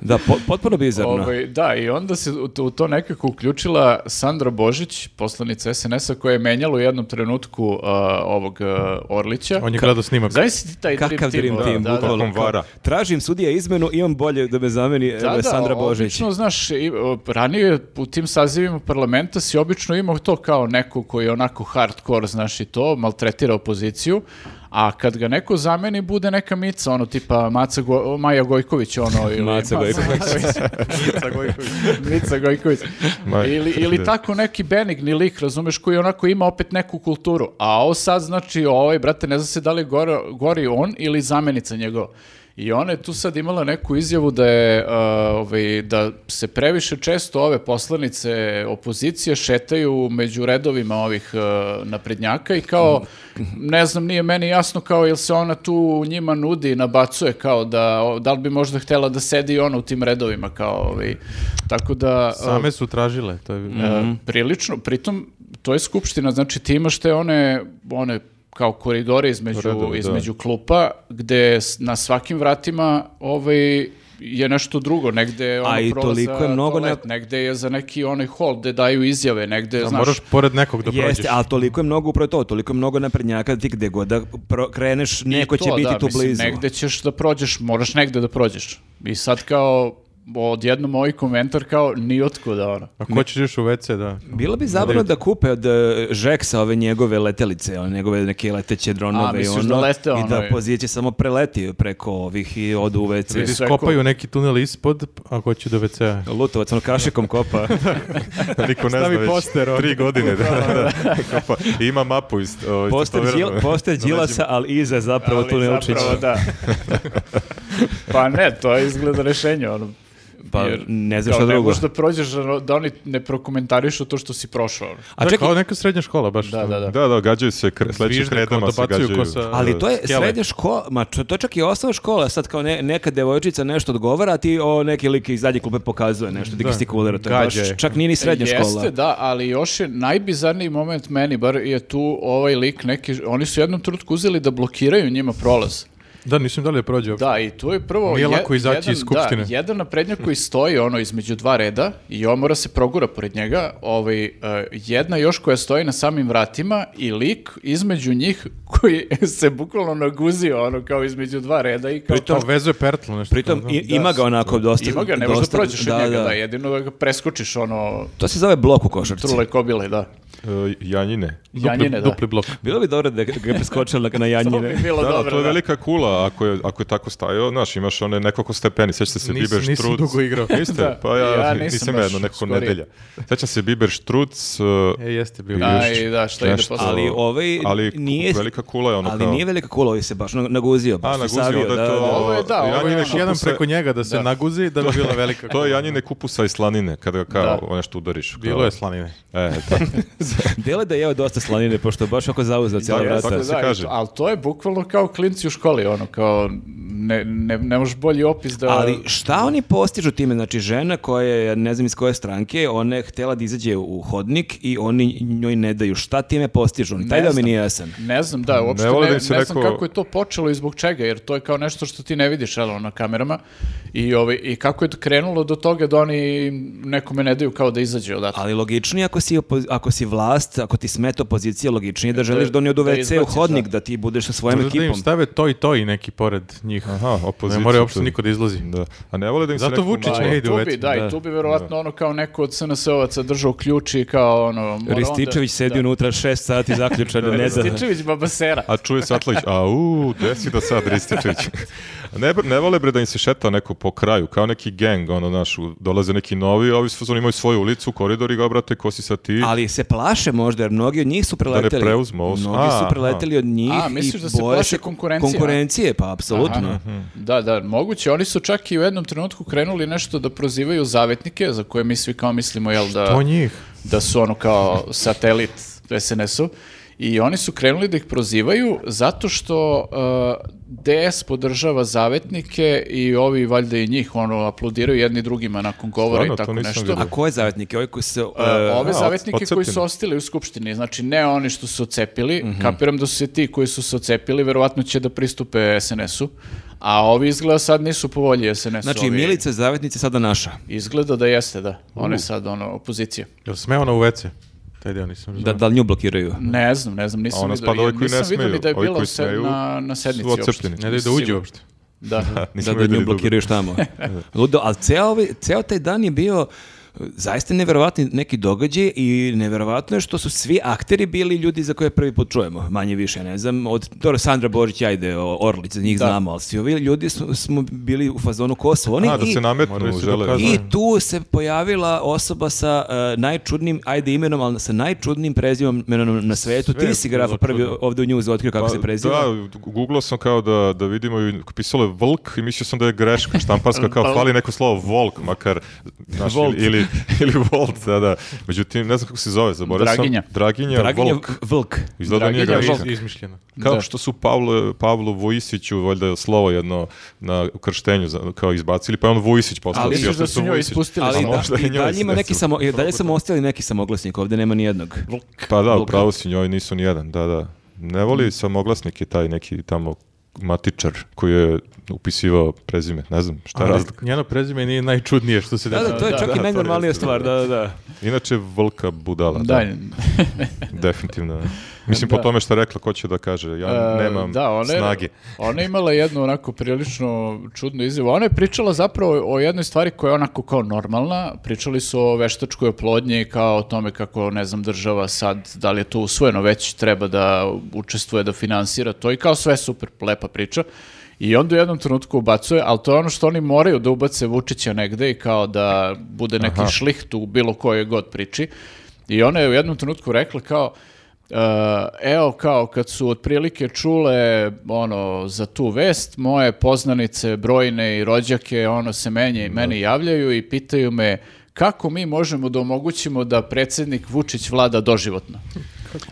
[SPEAKER 4] Da, po- potpuno bizarno.
[SPEAKER 3] Ovaj, da, i onda se u to, u to nekako uključila Sandra Božić, poslanica SNS-a, koja je menjala u jednom trenutku uh, ovog uh, Orlića.
[SPEAKER 2] On je gledao snimak.
[SPEAKER 3] Zamisli ti taj
[SPEAKER 4] Kakav dream
[SPEAKER 3] ono,
[SPEAKER 4] team,
[SPEAKER 3] da, da.
[SPEAKER 4] bukvalno.
[SPEAKER 1] Kakvom vara.
[SPEAKER 4] Tražim sudija izmenu, imam bolje da me zameni
[SPEAKER 3] Da,
[SPEAKER 4] evo,
[SPEAKER 3] da,
[SPEAKER 4] Sandra Božić.
[SPEAKER 3] obično, znaš, i, o, ranije u tim sazivima parlamenta si obično imao to kao neko koji je onako hardcore, znaš, i to, maltretira opoziciju, a kad ga neko zameni, bude neka mica, ono, tipa Maca Go- Maja Gojković, ono, ili...
[SPEAKER 4] Maca Gojković.
[SPEAKER 3] Mica Gojković. Mica Gojković.
[SPEAKER 1] Ma-
[SPEAKER 3] ili, ili tako neki benigni lik, razumeš, koji onako ima opet neku kulturu. A ovo sad znači, ovaj, brate, ne zna se da li gore, gori on ili zamenica njegova. I ona je tu sad imala neku izjavu da je, uh, ovaj, da se previše često ove poslanice opozicije šetaju među redovima ovih uh, naprednjaka i kao, ne znam, nije meni jasno kao jel se ona tu njima nudi i nabacuje kao da, o, da li bi možda htela da sedi i ona u tim redovima kao, ovaj, tako da... uh,
[SPEAKER 2] Same su tražile. To je...
[SPEAKER 4] Mhm.
[SPEAKER 3] E, prilično, pritom to je skupština, znači ti imaš te one, one kao koridore između,
[SPEAKER 1] Redove, da.
[SPEAKER 3] između klupa, gde s- na svakim vratima ovaj, je nešto drugo, negde je ono
[SPEAKER 4] A i
[SPEAKER 3] prolaz za
[SPEAKER 4] toliko je mnogo
[SPEAKER 3] toalet, negde je za neki onaj hol gde daju izjave, negde,
[SPEAKER 2] Da,
[SPEAKER 3] znaš,
[SPEAKER 2] moraš pored nekog da prođeš.
[SPEAKER 4] Jeste, ali toliko je mnogo upravo to, toliko je mnogo naprednjaka da ti gde god da pro- kreneš,
[SPEAKER 3] i
[SPEAKER 4] neko će
[SPEAKER 3] to,
[SPEAKER 4] biti
[SPEAKER 3] da,
[SPEAKER 4] tu
[SPEAKER 3] mislim,
[SPEAKER 4] blizu.
[SPEAKER 3] Negde ćeš da prođeš, moraš negde da prođeš. I sad kao, odjednom ovaj komentar kao, nijotkuda ono.
[SPEAKER 2] A ko ćeš još u WC, da.
[SPEAKER 4] Bilo bi zabavno da kupe od e, Žeksa ove njegove letelice, one njegove neke leteće dronove
[SPEAKER 3] A,
[SPEAKER 4] i
[SPEAKER 3] misliš
[SPEAKER 4] ono,
[SPEAKER 3] da lete
[SPEAKER 4] i da
[SPEAKER 3] ono, i-
[SPEAKER 4] pozicije samo preleti preko ovih i odu u WC.
[SPEAKER 3] Vidi.
[SPEAKER 2] Ljudi
[SPEAKER 3] sve ko-
[SPEAKER 2] skopaju neki tunel ispod, a ko će do WC-a.
[SPEAKER 4] Lutovac, ono kašikom kopa.
[SPEAKER 1] Niko ne zna
[SPEAKER 2] Stavi
[SPEAKER 1] već
[SPEAKER 2] poster ovdje.
[SPEAKER 1] tri godine. Da, da. Kao pa, I ima mapu iz... ovaj,
[SPEAKER 4] Poster,
[SPEAKER 1] istetoviranu.
[SPEAKER 4] Đil- poster Đilasa, ali iza zapravo
[SPEAKER 3] Ali
[SPEAKER 4] tu ne
[SPEAKER 3] zapravo da. pa ne, to je izgleda rešenje, ono.
[SPEAKER 4] Pa, ne znam
[SPEAKER 3] kao
[SPEAKER 4] šta
[SPEAKER 3] ne
[SPEAKER 4] drugo.
[SPEAKER 3] možeš da prođeš, ono, da oni ne prokomentarišu to što si prošao. ono.
[SPEAKER 4] A
[SPEAKER 2] da,
[SPEAKER 4] čekaj,
[SPEAKER 2] kao neka srednja škola baš.
[SPEAKER 3] Da, da, da.
[SPEAKER 1] Da, da, gađaju se, kre, sledeće
[SPEAKER 2] Zvižde,
[SPEAKER 1] kredama
[SPEAKER 2] kao
[SPEAKER 1] se
[SPEAKER 2] dobacuju
[SPEAKER 1] gađaju.
[SPEAKER 2] ko sa-
[SPEAKER 4] Ali to je
[SPEAKER 2] Skele.
[SPEAKER 4] srednja škola, ma čo- to je čak i osnovna škola, sad kao ne, neka devojčica nešto odgovara, a ti o neki lik iz zadnje klupe pokazuje nešto, gestikulira, to je baš,
[SPEAKER 2] Gađa je.
[SPEAKER 4] čak nije ni srednja
[SPEAKER 3] E, Jeste,
[SPEAKER 4] škola.
[SPEAKER 3] da, ali još je najbizarniji moment meni, bar je tu ovaj lik neki, oni su u jednom trenutku uzeli da blokiraju njima prolaz.
[SPEAKER 2] Da, nisam da li je prođe uopšte.
[SPEAKER 3] Da, i tu je prvo...
[SPEAKER 2] Nije
[SPEAKER 3] je-
[SPEAKER 2] lako izaći iz skupštine.
[SPEAKER 3] Da, jedan naprednjak koji stoji ono između dva reda i on mora se progura pored njega, ovaj, eh, jedna još koja stoji na samim vratima i lik između njih koji se bukvalno naguzio ono kao između dva reda i kao...
[SPEAKER 2] Pritom, vezuje pertlu nešto.
[SPEAKER 4] Pritom
[SPEAKER 2] da.
[SPEAKER 4] i- ima ga onako dosta.
[SPEAKER 3] Ima ga, ne možeš da
[SPEAKER 4] dosta-
[SPEAKER 3] prođeš
[SPEAKER 4] da,
[SPEAKER 3] od njega,
[SPEAKER 4] da.
[SPEAKER 3] da, jedino da ga preskočiš ono
[SPEAKER 4] To se zove blok u košarci.
[SPEAKER 3] trule kobile, da.
[SPEAKER 1] E, Janjine.
[SPEAKER 2] Dupli,
[SPEAKER 3] Janjine, da.
[SPEAKER 2] dupli blok.
[SPEAKER 4] Bilo bi dobro da ga ga je preskočila na
[SPEAKER 3] To bi
[SPEAKER 4] janjine.
[SPEAKER 3] bilo
[SPEAKER 1] Da, da,
[SPEAKER 3] dobro,
[SPEAKER 1] to je
[SPEAKER 3] da.
[SPEAKER 1] velika kula ako je, ako je tako stajao. Znaš, imaš one nekoliko stepeni. Sećate se
[SPEAKER 2] Nisam-
[SPEAKER 1] Biber Štruc.
[SPEAKER 2] nisam dugo igrao.
[SPEAKER 1] Niste?
[SPEAKER 3] Da.
[SPEAKER 1] Pa ja,
[SPEAKER 3] Ja nisam
[SPEAKER 1] nisam,
[SPEAKER 3] baš
[SPEAKER 1] jedno, neko
[SPEAKER 3] skorije.
[SPEAKER 1] nedelja. Sećam se Biber Štruc. e,
[SPEAKER 2] E, jeste bio.
[SPEAKER 1] Da,
[SPEAKER 2] Još.
[SPEAKER 3] Aj, da, šta ide
[SPEAKER 1] nešto-
[SPEAKER 3] posle?
[SPEAKER 4] Ali ovaj
[SPEAKER 1] Ali
[SPEAKER 4] nije...
[SPEAKER 1] velika kula je ono
[SPEAKER 4] ali
[SPEAKER 1] kao-
[SPEAKER 4] nije velika kula, ovaj se baš na- naguzio. Baš
[SPEAKER 1] A,
[SPEAKER 4] se
[SPEAKER 1] naguzio,
[SPEAKER 4] savio,
[SPEAKER 1] onda je to...
[SPEAKER 3] Ovo je, da, ovo je
[SPEAKER 1] Janjine
[SPEAKER 3] ono-
[SPEAKER 2] Još jedan
[SPEAKER 1] kupusa-
[SPEAKER 2] preko njega da se
[SPEAKER 3] Da.
[SPEAKER 2] naguzi da bi bila velika.
[SPEAKER 1] To je Janjine kupusa i slanine, kada ga kao nešto udariš. Kao-
[SPEAKER 2] Bilo je slanine.
[SPEAKER 1] E, da.
[SPEAKER 4] Dele da je jeo dosta slanine, pošto je baš ako zauzeo cijela
[SPEAKER 1] Tako-
[SPEAKER 4] vrata.
[SPEAKER 1] tako se
[SPEAKER 3] i
[SPEAKER 1] kaže.
[SPEAKER 3] to- ali to je bukvalno kao klinci u školi, ono, kao ne, ne, ne možeš bolji opis da...
[SPEAKER 4] Ali šta oni postižu time? Znači, žena koja je, ne znam iz koje stranke, ona je htjela da izađe u hodnik i oni njoj ne daju. Šta time postižu? Oni, taj
[SPEAKER 3] Ne
[SPEAKER 4] da mi
[SPEAKER 3] znam.
[SPEAKER 4] nije jasan.
[SPEAKER 3] Ne znam, da, uopšte
[SPEAKER 1] Ne
[SPEAKER 3] ne,
[SPEAKER 1] vole da
[SPEAKER 3] ne,
[SPEAKER 1] im se
[SPEAKER 3] znam
[SPEAKER 1] neko-
[SPEAKER 3] kako je to počelo i zbog čega, jer to je kao nešto što ti ne vidiš, jel, ono, na kamerama. I, ovaj, I kako je to krenulo do toga da oni nekome ne daju kao da izađe odatle.
[SPEAKER 4] Ali logičnije ako si, opo- ako si vlast, ako ti smeta opozicija, logičnije
[SPEAKER 3] E,
[SPEAKER 4] da želiš da oni odu
[SPEAKER 3] da
[SPEAKER 4] WC u
[SPEAKER 3] izbaciš,
[SPEAKER 4] hodnik,
[SPEAKER 3] da.
[SPEAKER 4] da ti budeš sa svojim
[SPEAKER 2] Možda da im
[SPEAKER 4] ekipom.
[SPEAKER 2] stave to i to i neki pored njih.
[SPEAKER 1] Aha, opozicija.
[SPEAKER 2] Ne mora uopšte
[SPEAKER 1] to-
[SPEAKER 2] niko da izlazi.
[SPEAKER 1] Da. A ne vole da im se
[SPEAKER 2] Zato
[SPEAKER 1] neko
[SPEAKER 2] Vučić
[SPEAKER 1] malo-
[SPEAKER 2] ne
[SPEAKER 3] Pa i
[SPEAKER 2] ide
[SPEAKER 3] tu
[SPEAKER 2] u
[SPEAKER 3] bi,
[SPEAKER 2] WC.
[SPEAKER 3] da, i tu bi verovatno ono kao neko od SNS-ovaca držao ključ i kao ono... mora
[SPEAKER 4] Rističević
[SPEAKER 3] onda-
[SPEAKER 4] sedi unutra šest sati zaključan, ne
[SPEAKER 3] Da.
[SPEAKER 4] da.
[SPEAKER 3] Rističević babasera.
[SPEAKER 1] A čuje se Atlajić, a u, gde si do sad, Rističević? Ne, br- ne vole bre da im se šeta neko po kraju, kao neki gang, ono, znaš, u- dolaze neki novi, a ovi su fazon, imaju svoju ulicu, koridor i ga, brate, ko si sad ti?
[SPEAKER 4] Ali se plaše možda, jer mnogi od njih su preleteli.
[SPEAKER 1] preuzmu ovo.
[SPEAKER 4] Mnogi su
[SPEAKER 1] A,
[SPEAKER 4] preleteli od njih
[SPEAKER 3] A, misliš
[SPEAKER 4] i
[SPEAKER 3] da se
[SPEAKER 4] boje
[SPEAKER 3] plaše konkurencije, a?
[SPEAKER 4] Konkurencije, pa apsolutno.
[SPEAKER 3] Aha. Da, da, moguće. Oni su čak i u jednom trenutku krenuli nešto da prozivaju zavetnike, za koje mi svi kao mislimo, jel, da,
[SPEAKER 2] To njih.
[SPEAKER 3] da su ono kao satelit SNS-u. I oni su krenuli da ih prozivaju zato što uh, DS podržava zavetnike i ovi valjda i njih ono aplodiraju jedni drugima nakon govora
[SPEAKER 1] Stvarno,
[SPEAKER 3] i
[SPEAKER 1] to
[SPEAKER 3] tako
[SPEAKER 1] nisam
[SPEAKER 3] nešto.
[SPEAKER 1] vidio.
[SPEAKER 4] A ko je zavetnik? Ovi koji se... e,
[SPEAKER 3] Uh, ove
[SPEAKER 1] od-
[SPEAKER 3] zavetnike koji su
[SPEAKER 1] odcepljeni. Mhm.
[SPEAKER 3] ostali u skupštini, znači ne oni što su se ocepili, kapiram da su se ti koji su se ocepili, verovatno će da pristupe SNS-u, a ovi izgleda sad nisu po volji SNS-u.
[SPEAKER 4] znači,
[SPEAKER 3] ovi-
[SPEAKER 4] Milica je zavetnica sada naša.
[SPEAKER 3] Izgleda da jeste, da. Ona je sad ono, opozicija.
[SPEAKER 2] Jel sme ona u WC? Taj deo nisam
[SPEAKER 4] Da,
[SPEAKER 2] razumio.
[SPEAKER 4] da li nju blokiraju?
[SPEAKER 3] Ne znam, ne znam,
[SPEAKER 1] A
[SPEAKER 3] nisam
[SPEAKER 1] ona
[SPEAKER 3] vidio.
[SPEAKER 1] spada ovi koji ne
[SPEAKER 3] Nisam vidio
[SPEAKER 1] smeju,
[SPEAKER 3] ni da je
[SPEAKER 1] ovi
[SPEAKER 3] bila
[SPEAKER 1] koji
[SPEAKER 3] se-
[SPEAKER 1] smeju
[SPEAKER 3] na, na sednici
[SPEAKER 1] su
[SPEAKER 3] uopšte.
[SPEAKER 1] odcepljeni.
[SPEAKER 2] Ne daju da uđe uopšte.
[SPEAKER 3] Da.
[SPEAKER 1] Nismo
[SPEAKER 4] da, da
[SPEAKER 1] videli
[SPEAKER 4] nju blokiraš tamo. Ludo, ali ceo, ovi- ceo taj dan je bio e, zaista neverovatni neki događaj i neverovatno je što su svi akteri bili ljudi za koje prvi put čujemo, manje više, ne znam, od dobro, Sandra Borić, ajde, o- Orlić, za njih
[SPEAKER 3] Da.
[SPEAKER 4] znamo, ali svi ovi ljudi su, smo bili u fazonu ko su oni
[SPEAKER 1] A, da
[SPEAKER 4] i,
[SPEAKER 1] se
[SPEAKER 2] Moraju
[SPEAKER 1] nametnu,
[SPEAKER 2] se
[SPEAKER 1] žele.
[SPEAKER 2] dokazati.
[SPEAKER 4] i tu se pojavila osoba sa e, najčudnim, ajde imenom, ali sa najčudnim prezimenom na svetu.
[SPEAKER 2] Sve
[SPEAKER 4] Ti
[SPEAKER 2] je
[SPEAKER 4] si
[SPEAKER 2] bilo
[SPEAKER 4] grafa prvi
[SPEAKER 2] čudno.
[SPEAKER 4] ovdje u nju otkrio kako
[SPEAKER 1] Pa,
[SPEAKER 4] se preziva.
[SPEAKER 1] Da, googlao sam kao da, da vidimo, i pisalo je Volk i mislio sam da je greška štamparska, kao fali neko slovo Volk, makar, znaš,
[SPEAKER 4] Volt.
[SPEAKER 1] ili, ili, ili Volt, da, da. Međutim, ne znam kako se zove, zaboravio sam.
[SPEAKER 3] Draginja.
[SPEAKER 1] Draginja,
[SPEAKER 4] Draginja
[SPEAKER 1] Volk.
[SPEAKER 4] V- Vlk.
[SPEAKER 1] Izgleda da nije
[SPEAKER 3] Draginja
[SPEAKER 1] greška.
[SPEAKER 2] Iz- Izmišljeno.
[SPEAKER 1] Kao
[SPEAKER 3] Da.
[SPEAKER 1] što su Pavlo, Pavlu Vujisiću, valjda slovo jedno na krštenju za- kao izbacili, pa je on Vujisić postao.
[SPEAKER 4] Ali
[SPEAKER 1] Sio
[SPEAKER 3] misliš
[SPEAKER 1] sam
[SPEAKER 3] da su
[SPEAKER 1] sam
[SPEAKER 3] njoj
[SPEAKER 1] Vujisić.
[SPEAKER 3] ispustili
[SPEAKER 1] A
[SPEAKER 4] Ali
[SPEAKER 3] samo?
[SPEAKER 1] možda
[SPEAKER 4] da, i
[SPEAKER 1] i njoj
[SPEAKER 4] dalje
[SPEAKER 1] se
[SPEAKER 4] ima neki
[SPEAKER 1] desilo.
[SPEAKER 4] samo, i dalje samo ostali neki samoglasnik, ovdje nema ni jednog.
[SPEAKER 1] Pa da,
[SPEAKER 4] Vlk.
[SPEAKER 1] upravo si njoj nisu nijedan, da, da. Ne
[SPEAKER 3] Mm.
[SPEAKER 1] voli samoglasnik je taj neki tamo matičar koji je upisivao prezime, ne znam šta je
[SPEAKER 2] Ali
[SPEAKER 1] razlika.
[SPEAKER 2] njeno prezime nije najčudnije što se
[SPEAKER 4] Da,
[SPEAKER 2] desilo.
[SPEAKER 4] da, to je
[SPEAKER 3] Da,
[SPEAKER 4] čak
[SPEAKER 1] da,
[SPEAKER 4] i
[SPEAKER 1] to
[SPEAKER 4] najnormalnija
[SPEAKER 1] jeste,
[SPEAKER 4] stvar, da, da, da.
[SPEAKER 1] Inače, Vlka budala, da,
[SPEAKER 3] Da,
[SPEAKER 1] definitivno. Mislim, po
[SPEAKER 3] Da.
[SPEAKER 1] tome što je rekla, ko će da kaže, ja
[SPEAKER 3] e,
[SPEAKER 1] nemam
[SPEAKER 3] da, ona je-
[SPEAKER 1] snage.
[SPEAKER 3] Ona je imala jednu onako prilično čudnu izjavu. Ona je pričala zapravo o jednoj stvari koja je onako kao normalna. Pričali su o veštačkoj oplodnji kao o tome kako, ne znam, država sad, da li je to usvojeno, već treba da učestvuje, da finansira to i kao sve super, lepa priča. I onda u jednom trenutku ubacuje, ali to je ono što oni moraju da ubace Vučića negde i kao da bude neki šliht u bilo kojoj god priči. I ona je u jednom trenutku rekla kao, Uh, evo kao kad su otprilike čule ono za tu vest moje poznanice brojne i rođake ono se meni, meni javljaju i pitaju me kako mi možemo da omogućimo da predsjednik Vučić vlada doživotno. Eh,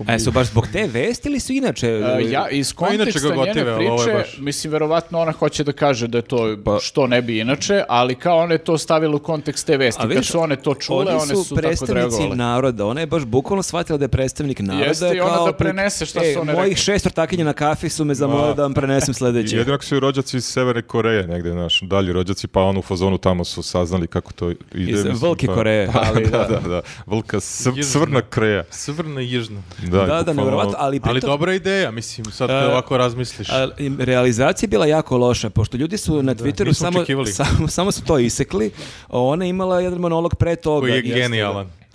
[SPEAKER 4] A su baš zbog te vesti ili su inače? e,
[SPEAKER 3] Uh, ja iz
[SPEAKER 2] Pa inače
[SPEAKER 3] konteksta
[SPEAKER 2] ga gotive,
[SPEAKER 3] njene
[SPEAKER 2] ali ovo je
[SPEAKER 3] priče,
[SPEAKER 2] baš- Pa-
[SPEAKER 3] mislim verovatno ona hoće da kaže da je to što ne bi inače, ali kao ona je to stavila u kontekst te vesti.
[SPEAKER 4] A
[SPEAKER 3] Kad
[SPEAKER 4] vidiš,
[SPEAKER 3] su one to čule,
[SPEAKER 4] oni
[SPEAKER 3] one su tako
[SPEAKER 4] predstavnici
[SPEAKER 3] reagovale.
[SPEAKER 4] naroda. Ona je baš bukvalno shvatila da je predstavnik naroda.
[SPEAKER 3] Jeste, i ona
[SPEAKER 4] kao
[SPEAKER 3] da
[SPEAKER 4] pri-
[SPEAKER 3] prenese šta su
[SPEAKER 4] E,
[SPEAKER 3] one
[SPEAKER 4] Mojih
[SPEAKER 3] rekle.
[SPEAKER 4] šest ortakinja na kafi su me zamolili da vam prenesem
[SPEAKER 1] I
[SPEAKER 4] sljedeće.
[SPEAKER 1] jedino ako su i rođaci iz Severne Koreje negde, naš, dalji rođaci, pa on u fazonu tamo su saznali kako to ide.
[SPEAKER 4] Iz
[SPEAKER 1] mislim,
[SPEAKER 4] Vlke
[SPEAKER 1] pa-
[SPEAKER 4] Koreje.
[SPEAKER 1] Pa,
[SPEAKER 3] Ali
[SPEAKER 1] da,
[SPEAKER 3] da.
[SPEAKER 1] da, da. Vlka sv-
[SPEAKER 2] Južna.
[SPEAKER 1] svrna kreja.
[SPEAKER 2] Svrna i jižna.
[SPEAKER 1] Da, i
[SPEAKER 4] Da, da,
[SPEAKER 1] bukvalno- ono.
[SPEAKER 4] nevjerovatno, ali
[SPEAKER 2] Ali
[SPEAKER 4] pritom-
[SPEAKER 2] dobra ideja, mislim, sad kad
[SPEAKER 4] E,
[SPEAKER 2] ovako razmisliš.
[SPEAKER 4] A, im, realizacija je bila jako loša, pošto ljudi su na Twitteru
[SPEAKER 2] nismo
[SPEAKER 4] samo,
[SPEAKER 2] očekivali.
[SPEAKER 4] samo, samo su to isekli. a Ona je imala jedan monolog pre toga.
[SPEAKER 2] Koji je
[SPEAKER 4] Jeste, da.
[SPEAKER 2] genijalan.
[SPEAKER 4] A,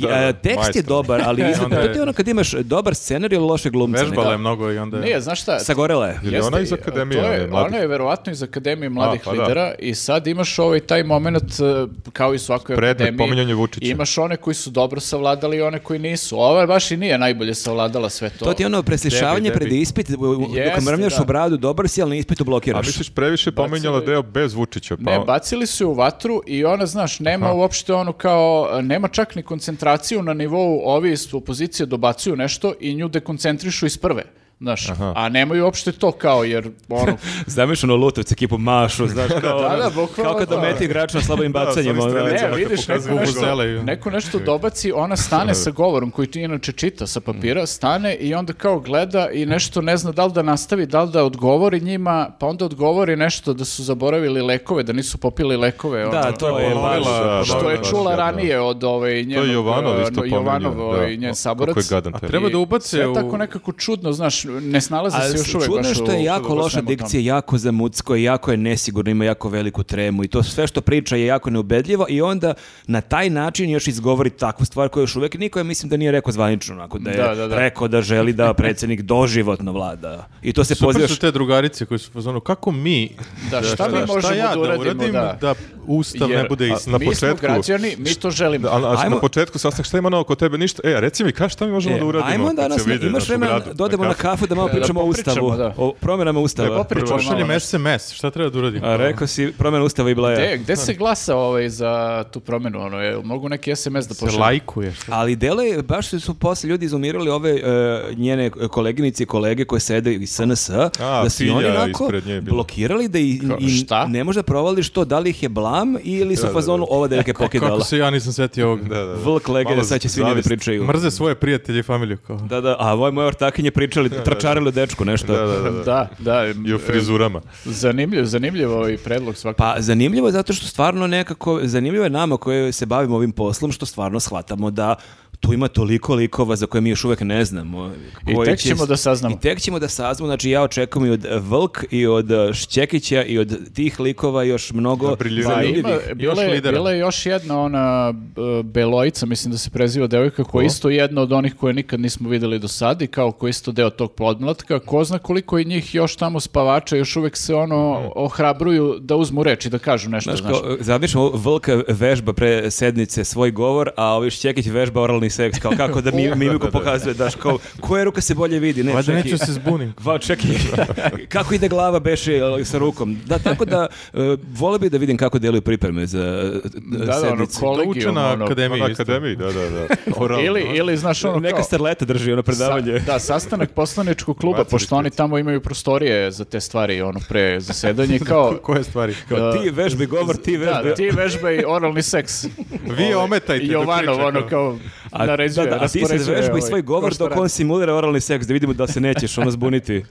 [SPEAKER 1] Da,
[SPEAKER 4] a,
[SPEAKER 1] da,
[SPEAKER 4] tekst je
[SPEAKER 1] majstor.
[SPEAKER 4] dobar, ali izgled,
[SPEAKER 2] Onda
[SPEAKER 4] to
[SPEAKER 2] je-
[SPEAKER 4] ti je ono kad imaš dobar scenarij ili loše glumce.
[SPEAKER 2] Vežbala je mnogo i onda je...
[SPEAKER 3] Nije, znaš šta?
[SPEAKER 4] Sagorela je.
[SPEAKER 1] Ili ona
[SPEAKER 3] Jeste,
[SPEAKER 1] iz Akademije.
[SPEAKER 3] to
[SPEAKER 1] one
[SPEAKER 3] je,
[SPEAKER 1] mladih?
[SPEAKER 3] ona je verovatno iz Akademije mladih
[SPEAKER 1] A, pa da.
[SPEAKER 3] lidera i sad imaš ovaj taj moment eh, kao i u svakoj
[SPEAKER 1] Predmet
[SPEAKER 3] akademiji.
[SPEAKER 1] pominjanja Vučića.
[SPEAKER 3] Imaš one koji su dobro savladali i one koji nisu. Ova baš i nije najbolje savladala sve to.
[SPEAKER 4] To ti je ono preslišavanje
[SPEAKER 2] Debi,
[SPEAKER 4] pred
[SPEAKER 2] debi.
[SPEAKER 4] ispit, u- u- dok
[SPEAKER 3] Jeste,
[SPEAKER 4] mrmljaš
[SPEAKER 3] da.
[SPEAKER 4] u bradu, dobar si, ali na ispitu
[SPEAKER 1] A
[SPEAKER 4] blokiraš.
[SPEAKER 1] misliš previše pominjala deo bez Vučića, pa
[SPEAKER 3] Ne, bacili su je u vatru i ona, znaš, nema uopšte ono kao, nema čak ni koncentraciju na nivou ovi iz opozicije dobacuju nešto i nju dekoncentrišu iz prve. Znaš, a nemaju uopšte to kao, jer ono,
[SPEAKER 4] Zamiš ono Lutovci ekipu mašu, znaš, kao,
[SPEAKER 3] Da,
[SPEAKER 4] ono,
[SPEAKER 3] da, bukvalno
[SPEAKER 4] kao kad
[SPEAKER 3] to.
[SPEAKER 4] ometi igrača na slabim
[SPEAKER 1] Da,
[SPEAKER 4] bacanjima.
[SPEAKER 1] sa onim
[SPEAKER 4] ono,
[SPEAKER 1] strelcima.
[SPEAKER 3] Ne,
[SPEAKER 1] Kako
[SPEAKER 3] vidiš, neko
[SPEAKER 1] pokazuju
[SPEAKER 3] nešto,
[SPEAKER 2] vuvuzele i-
[SPEAKER 3] neko nešto dobaci, ona stane sa govorom koji ti inače čita sa papira, stane i onda kao gleda i nešto ne zna da li da nastavi, da li da odgovori njima, pa onda odgovori nešto da su zaboravili lekove, da nisu popili lekove.
[SPEAKER 4] Da,
[SPEAKER 3] ono,
[SPEAKER 4] to je
[SPEAKER 2] ponovila,
[SPEAKER 4] baš-
[SPEAKER 1] da,
[SPEAKER 3] Što je
[SPEAKER 1] da,
[SPEAKER 3] čula
[SPEAKER 1] da.
[SPEAKER 3] ranije od ove
[SPEAKER 1] To
[SPEAKER 3] njenog...
[SPEAKER 1] je Jovanov
[SPEAKER 3] e,
[SPEAKER 1] isto pominjao.
[SPEAKER 3] Jovanov,
[SPEAKER 1] da.
[SPEAKER 3] i njen
[SPEAKER 1] O,
[SPEAKER 3] saborac.
[SPEAKER 1] Kako je gadan taj.
[SPEAKER 2] Treba da ubace
[SPEAKER 3] Sve je
[SPEAKER 2] u-
[SPEAKER 3] tako nekako čudno, znaš, ne snalaze se
[SPEAKER 4] Ali
[SPEAKER 3] još uvek
[SPEAKER 4] čudno je
[SPEAKER 3] baš
[SPEAKER 4] što je
[SPEAKER 3] u-
[SPEAKER 4] jako
[SPEAKER 3] u
[SPEAKER 4] loša
[SPEAKER 3] svemu tome.
[SPEAKER 4] dikcija, jako zamucko, i jako je nesigurno, ima jako veliku tremu i to sve što priča je jako neubedljivo i onda na taj način još izgovori takvu stvar koju još uvek niko je mislim da nije rekao zvanično, onako da je
[SPEAKER 3] Da, da, da.
[SPEAKER 4] rekao da želi da predsjednik doživotno vlada. I to se
[SPEAKER 2] Super
[SPEAKER 4] pozivaš
[SPEAKER 2] su te drugarice koje su u fazonu, kako mi...
[SPEAKER 3] Da, šta mi možemo
[SPEAKER 2] ja
[SPEAKER 3] da uradimo,
[SPEAKER 2] uradim
[SPEAKER 3] da.
[SPEAKER 2] da ustav
[SPEAKER 3] Jer,
[SPEAKER 2] ne bude
[SPEAKER 1] a,
[SPEAKER 2] isti.
[SPEAKER 1] na
[SPEAKER 3] mi
[SPEAKER 1] početku-
[SPEAKER 3] smo građani, mi to želimo.
[SPEAKER 1] Da, a, a
[SPEAKER 4] Ajmo-
[SPEAKER 1] na početku sastanak šta ima novo kod tebe ništa. E, a reci mi, ka, šta mi možemo
[SPEAKER 4] E,
[SPEAKER 1] da uradimo?
[SPEAKER 4] ajmo
[SPEAKER 1] kad se
[SPEAKER 4] danas, na-
[SPEAKER 1] vide,
[SPEAKER 4] imaš
[SPEAKER 1] znaš, u
[SPEAKER 4] vremena,
[SPEAKER 1] gradu,
[SPEAKER 4] da odemo na kafu da malo
[SPEAKER 3] Da, da
[SPEAKER 4] pričamo o
[SPEAKER 3] popričamo,
[SPEAKER 4] Ustavu,
[SPEAKER 3] da.
[SPEAKER 4] o promjenama
[SPEAKER 1] Da
[SPEAKER 4] Ustava.
[SPEAKER 3] popričamo.
[SPEAKER 2] Pošaljem
[SPEAKER 3] malo, da.
[SPEAKER 2] SMS, šta treba da uradim?
[SPEAKER 4] A, rekao si promjena Ustava i
[SPEAKER 3] E,
[SPEAKER 4] Blaja.
[SPEAKER 3] gde se glasa ovaj za tu promenu? Ono, jel mogu neki SMS da
[SPEAKER 2] se
[SPEAKER 3] pošalju?
[SPEAKER 2] lajkuje. šta?
[SPEAKER 4] Ali dele, baš su- su posle ljudi izumirali ove e, njene koleginice i kolege koje sede iz SNS, da su i oni
[SPEAKER 1] Pilja
[SPEAKER 4] onako
[SPEAKER 1] ispred nje je bila.
[SPEAKER 4] blokirali da i,
[SPEAKER 3] Kao,
[SPEAKER 4] i
[SPEAKER 3] šta?
[SPEAKER 4] ne može da provali što, da li ih je blam ili su u
[SPEAKER 1] da,
[SPEAKER 4] fazonu ova delike
[SPEAKER 2] Kako
[SPEAKER 4] pokidala.
[SPEAKER 2] se ja nisam setio ovog.
[SPEAKER 1] Da, da, da.
[SPEAKER 4] Vlk legere,
[SPEAKER 1] Malo
[SPEAKER 4] sad će svi njeni da
[SPEAKER 1] zavist.
[SPEAKER 4] pričaju.
[SPEAKER 2] Mrze svoje prijatelje i familiju. Kao.
[SPEAKER 4] Da, da, a ovaj moj ortakinje pričali, tračarili o dečku nešto.
[SPEAKER 1] Da, da, da, da.
[SPEAKER 3] Da, da. em,
[SPEAKER 1] e. I o frizurama.
[SPEAKER 4] e,
[SPEAKER 3] Zanimljiv, zanimljiv ovaj predlog svakako.
[SPEAKER 4] Pa zanimljivo je zato što stvarno nekako, zanimljivo je nama koji se bavimo ovim poslom što stvarno shvatamo da tu ima toliko likova za koje mi još uvek ne znamo.
[SPEAKER 3] I
[SPEAKER 4] koji
[SPEAKER 3] tek
[SPEAKER 4] će-
[SPEAKER 3] ćemo da saznamo.
[SPEAKER 4] I tek ćemo da saznamo, znači ja očekujem i od eh, Vlk i od eh, Šćekića i od tih likova još mnogo
[SPEAKER 1] briljiraju.
[SPEAKER 3] Pa,
[SPEAKER 4] zanimljivih.
[SPEAKER 3] ima,
[SPEAKER 2] još
[SPEAKER 3] bila, je,
[SPEAKER 2] lidera.
[SPEAKER 3] bila je još jedna ona b- Belojica, mislim da se preziva devojka, koja je isto jedna od onih koje nikad nismo videli do sad i kao koja je isto deo tog podmlatka. Ko zna koliko je njih još tamo spavača, još uvek se ono ohrabruju da uzmu reč i da kažu nešto.
[SPEAKER 4] Znaš,
[SPEAKER 3] Znaš,
[SPEAKER 4] kao, zamišljamo, Vlka vežba pre sednice svoj govor, a ovi Šćekić vežba oralni seks, kao kako da mi, mimiku pokazuje, daš, kao, koja ruka se bolje vidi, ne,
[SPEAKER 2] Valjda
[SPEAKER 4] čekaj.
[SPEAKER 2] neću se zbunim.
[SPEAKER 4] Va, čekaj, kako ide glava beše e, sa rukom? Da, tako da, e, vole bi da vidim kako deluju pripreme za e,
[SPEAKER 3] da, da, ono,
[SPEAKER 4] sednicu.
[SPEAKER 2] Da
[SPEAKER 3] kolegijum,
[SPEAKER 2] uče na
[SPEAKER 3] ono.
[SPEAKER 2] akademiji.
[SPEAKER 1] Na
[SPEAKER 2] isto.
[SPEAKER 1] akademiji, da, da, da. Oralno.
[SPEAKER 3] Ili, ili, znaš, ono
[SPEAKER 4] Neka
[SPEAKER 3] kao-
[SPEAKER 4] starleta drži ono predavanje.
[SPEAKER 3] Sa- da, sastanak poslaničkog kluba,
[SPEAKER 1] Bacili
[SPEAKER 3] pošto oni
[SPEAKER 1] špric.
[SPEAKER 3] tamo imaju prostorije za te stvari, ono, pre zasedanje, kao...
[SPEAKER 2] Koje stvari?
[SPEAKER 4] Kao, ti vežbi govor, ti vežbi.
[SPEAKER 3] E, Da, ti vežbaj oralni seks. Ovaj,
[SPEAKER 2] Vi ometajte dok
[SPEAKER 3] Jovanov,
[SPEAKER 2] priča,
[SPEAKER 3] ono, kao,
[SPEAKER 4] A,
[SPEAKER 3] naređuje,
[SPEAKER 4] da, da, a ti se
[SPEAKER 3] raspoređuje,
[SPEAKER 4] vežba i
[SPEAKER 3] ovaj,
[SPEAKER 4] svoj govor
[SPEAKER 3] ko šta
[SPEAKER 4] dok on
[SPEAKER 3] radi,
[SPEAKER 4] simulira oralni seks, da vidimo da se nećeš ono zbuniti.